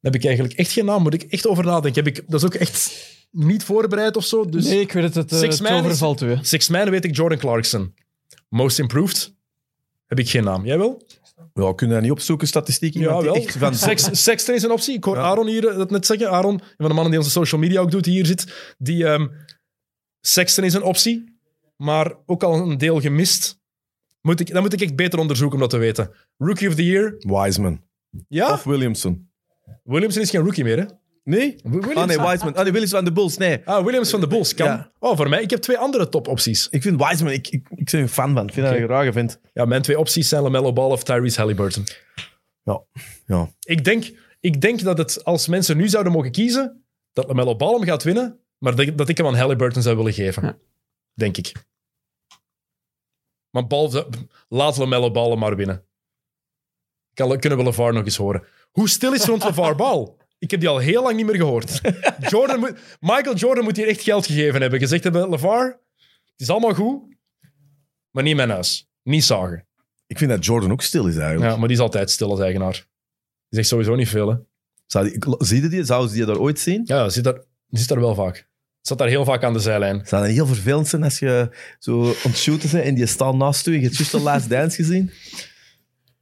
Speaker 4: Dan heb ik eigenlijk echt geen naam. Moet ik echt over nadenken. Heb ik, dat is ook echt niet voorbereid of zo. Dus
Speaker 1: Nee, ik weet het. Het, eh,
Speaker 4: Six
Speaker 1: het
Speaker 4: Man is-
Speaker 1: overvalt u.
Speaker 4: Six Man weet ik Jordan Clarkson. Most Improved heb ik geen naam. Jij wel?
Speaker 5: Ja, kunnen we dat niet opzoeken, statistieken?
Speaker 4: Ja,
Speaker 5: Iemand die
Speaker 4: wel.
Speaker 5: echt van-
Speaker 4: Sex, sexten is een optie. Ik hoor Aaron hier eh, dat net zeggen. Aaron, een van de mannen die onze social media ook doet, die hier zit. Die, ehm sexten is een optie, maar ook al een deel gemist. Moet ik, dat moet ik echt beter onderzoeken om dat te weten. Rookie of the Year.
Speaker 5: Wiseman.
Speaker 4: Ja?
Speaker 5: Of Williamson.
Speaker 4: Williamson is geen rookie meer, hè?
Speaker 5: Nee?
Speaker 4: Williamson.
Speaker 5: Ah, nee, Wiseman. Ah, nee, Willis van de Bulls. Nee.
Speaker 4: Ah, Williams van de Bulls kan.
Speaker 5: Ja.
Speaker 4: Oh, voor mij. Ik heb twee andere topopties.
Speaker 5: Ik vind Wiseman, ik, ik, ik ben een fan van. Ik vind dat
Speaker 4: Oké.
Speaker 5: een rare vent.
Speaker 4: Ja, mijn twee opties zijn LaMelo Ball of Tyrese Halliburton.
Speaker 5: Ja, ja.
Speaker 4: Ik denk, ik denk dat het, als mensen nu zouden mogen kiezen, dat Lamelo Ball hem gaat winnen, maar dat, dat ik hem aan Halliburton zou willen geven.
Speaker 1: Ja.
Speaker 4: Denk ik. Maar Ball, zou- laat Lamelo Ball hem maar winnen. Kan, kunnen we LeVar nog eens horen? Hoe stil is rond LeVar Ball? Ik heb die al heel lang niet meer gehoord. Jordan moet- Michael Jordan moet hier echt geld gegeven hebben. Gezegd hebben, LeVar, het is allemaal goed, maar niet in mijn huis. Niet zagen.
Speaker 5: Ik vind dat Jordan ook stil is eigenlijk.
Speaker 4: Ja, maar die is altijd stil als eigenaar. Die zegt sowieso niet veel, hè.
Speaker 5: Zou die, ik- zie je die? Zouden ze die daar ooit zien?
Speaker 4: Ja, zit daar, zit daar wel vaak. Zat daar heel vaak aan de zijlijn.
Speaker 5: Zou dat heel vervelend zijn als je zo aan het shooten bent en die staan naast je? Je hebt juist de Last Dance gezien.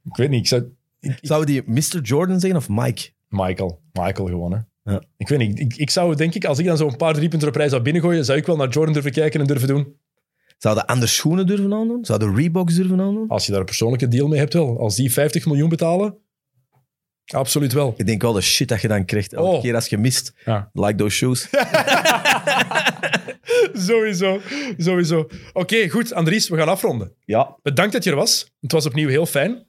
Speaker 4: Ik weet niet, ik zou...
Speaker 5: Zou die Mr. Jordan zijn of Mike?
Speaker 4: Michael. Michael gewonnen.
Speaker 5: Ja.
Speaker 4: Ik weet niet, ik, ik zou denk ik, als ik dan zo'n paar driepunten op rij zou binnengooien, zou ik wel naar Jordan durven kijken en durven doen.
Speaker 5: Zou de andere schoenen durven aandoen? Zou de Reeboks durven aandoen?
Speaker 4: Als je daar een persoonlijke deal mee hebt wel. Als die 50 miljoen betalen, absoluut wel.
Speaker 5: Ik denk wel de shit dat je dan krijgt elke
Speaker 4: Oh.
Speaker 5: keer als je mist.
Speaker 4: Ja.
Speaker 5: Like those shoes.
Speaker 4: sowieso, sowieso. Oké, goed, Andries, we gaan afronden.
Speaker 5: Ja,
Speaker 4: Bedankt dat je er was. Het was opnieuw heel fijn.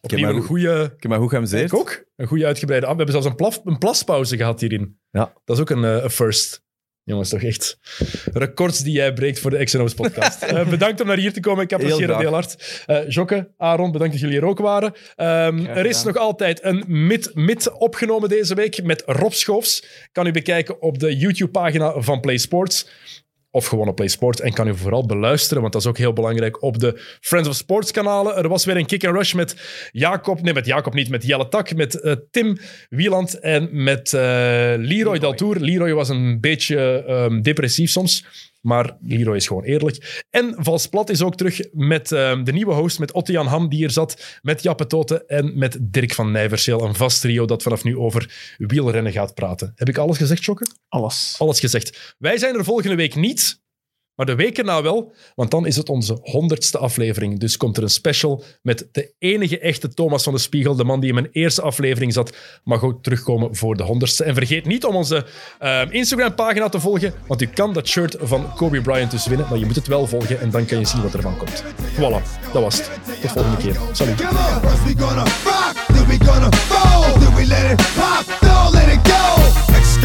Speaker 4: Opnieuw
Speaker 5: maar
Speaker 4: een
Speaker 5: goed-
Speaker 4: goede...
Speaker 5: ik heb maar goed geamuseerd.
Speaker 4: Ik ook. Een goede uitgebreide... af- We hebben zelfs een, plaf, een plaspauze gehad hierin.
Speaker 5: Ja.
Speaker 4: Dat is ook een, eh, een first. Jongens, toch echt records die jij breekt voor de X&O's podcast. Eh, bedankt om naar hier te komen. Ik apprecieer
Speaker 5: Heel
Speaker 4: het
Speaker 5: graag.
Speaker 4: heel hard. Eh Jokke, Aaron, bedankt dat jullie er ook waren. Ehm, er is nog altijd een mid-mid opgenomen deze week met Rob Schoofs. Kan u bekijken op de YouTube-pagina van Play Sports. Of gewoon op Play Sports. En kan u vooral beluisteren, want dat is ook heel belangrijk, op de Friends of Sports kanalen. Er was weer een kick and rush met Jacob. Nee, met Jacob niet, met Jelle Tak, met eh, Tim Wieland en met eh, Leroy Daltour. Leroy was een beetje ehm, depressief soms, maar Leroy is gewoon eerlijk. En Vals Plat is ook terug met ehm, de nieuwe host, met Ottian Ham, die er zat, met Jappe Tote en met Dirk van Nijverseel. Een vast trio dat vanaf nu over wielrennen gaat praten. Heb ik alles gezegd, Jokke?
Speaker 1: Alles.
Speaker 4: alles gezegd. Wij zijn er volgende week niet, maar de week erna wel, want dan is het onze honderdste aflevering. Dus komt er een special met de enige echte Thomas van de Spiegel, de man die in mijn eerste aflevering zat, mag ook terugkomen voor de honderdste. En vergeet niet om onze ehm, Instagram-pagina te volgen, want u kan dat shirt van Kobe Bryant dus winnen, maar je moet het wel volgen en dan kan je zien wat ervan komt. Voilà, dat was het. Tot volgende keer. Salut.
Speaker 3: Come on. First we gonna rock, then we gonna roll, then we let it pop, don't let it go. X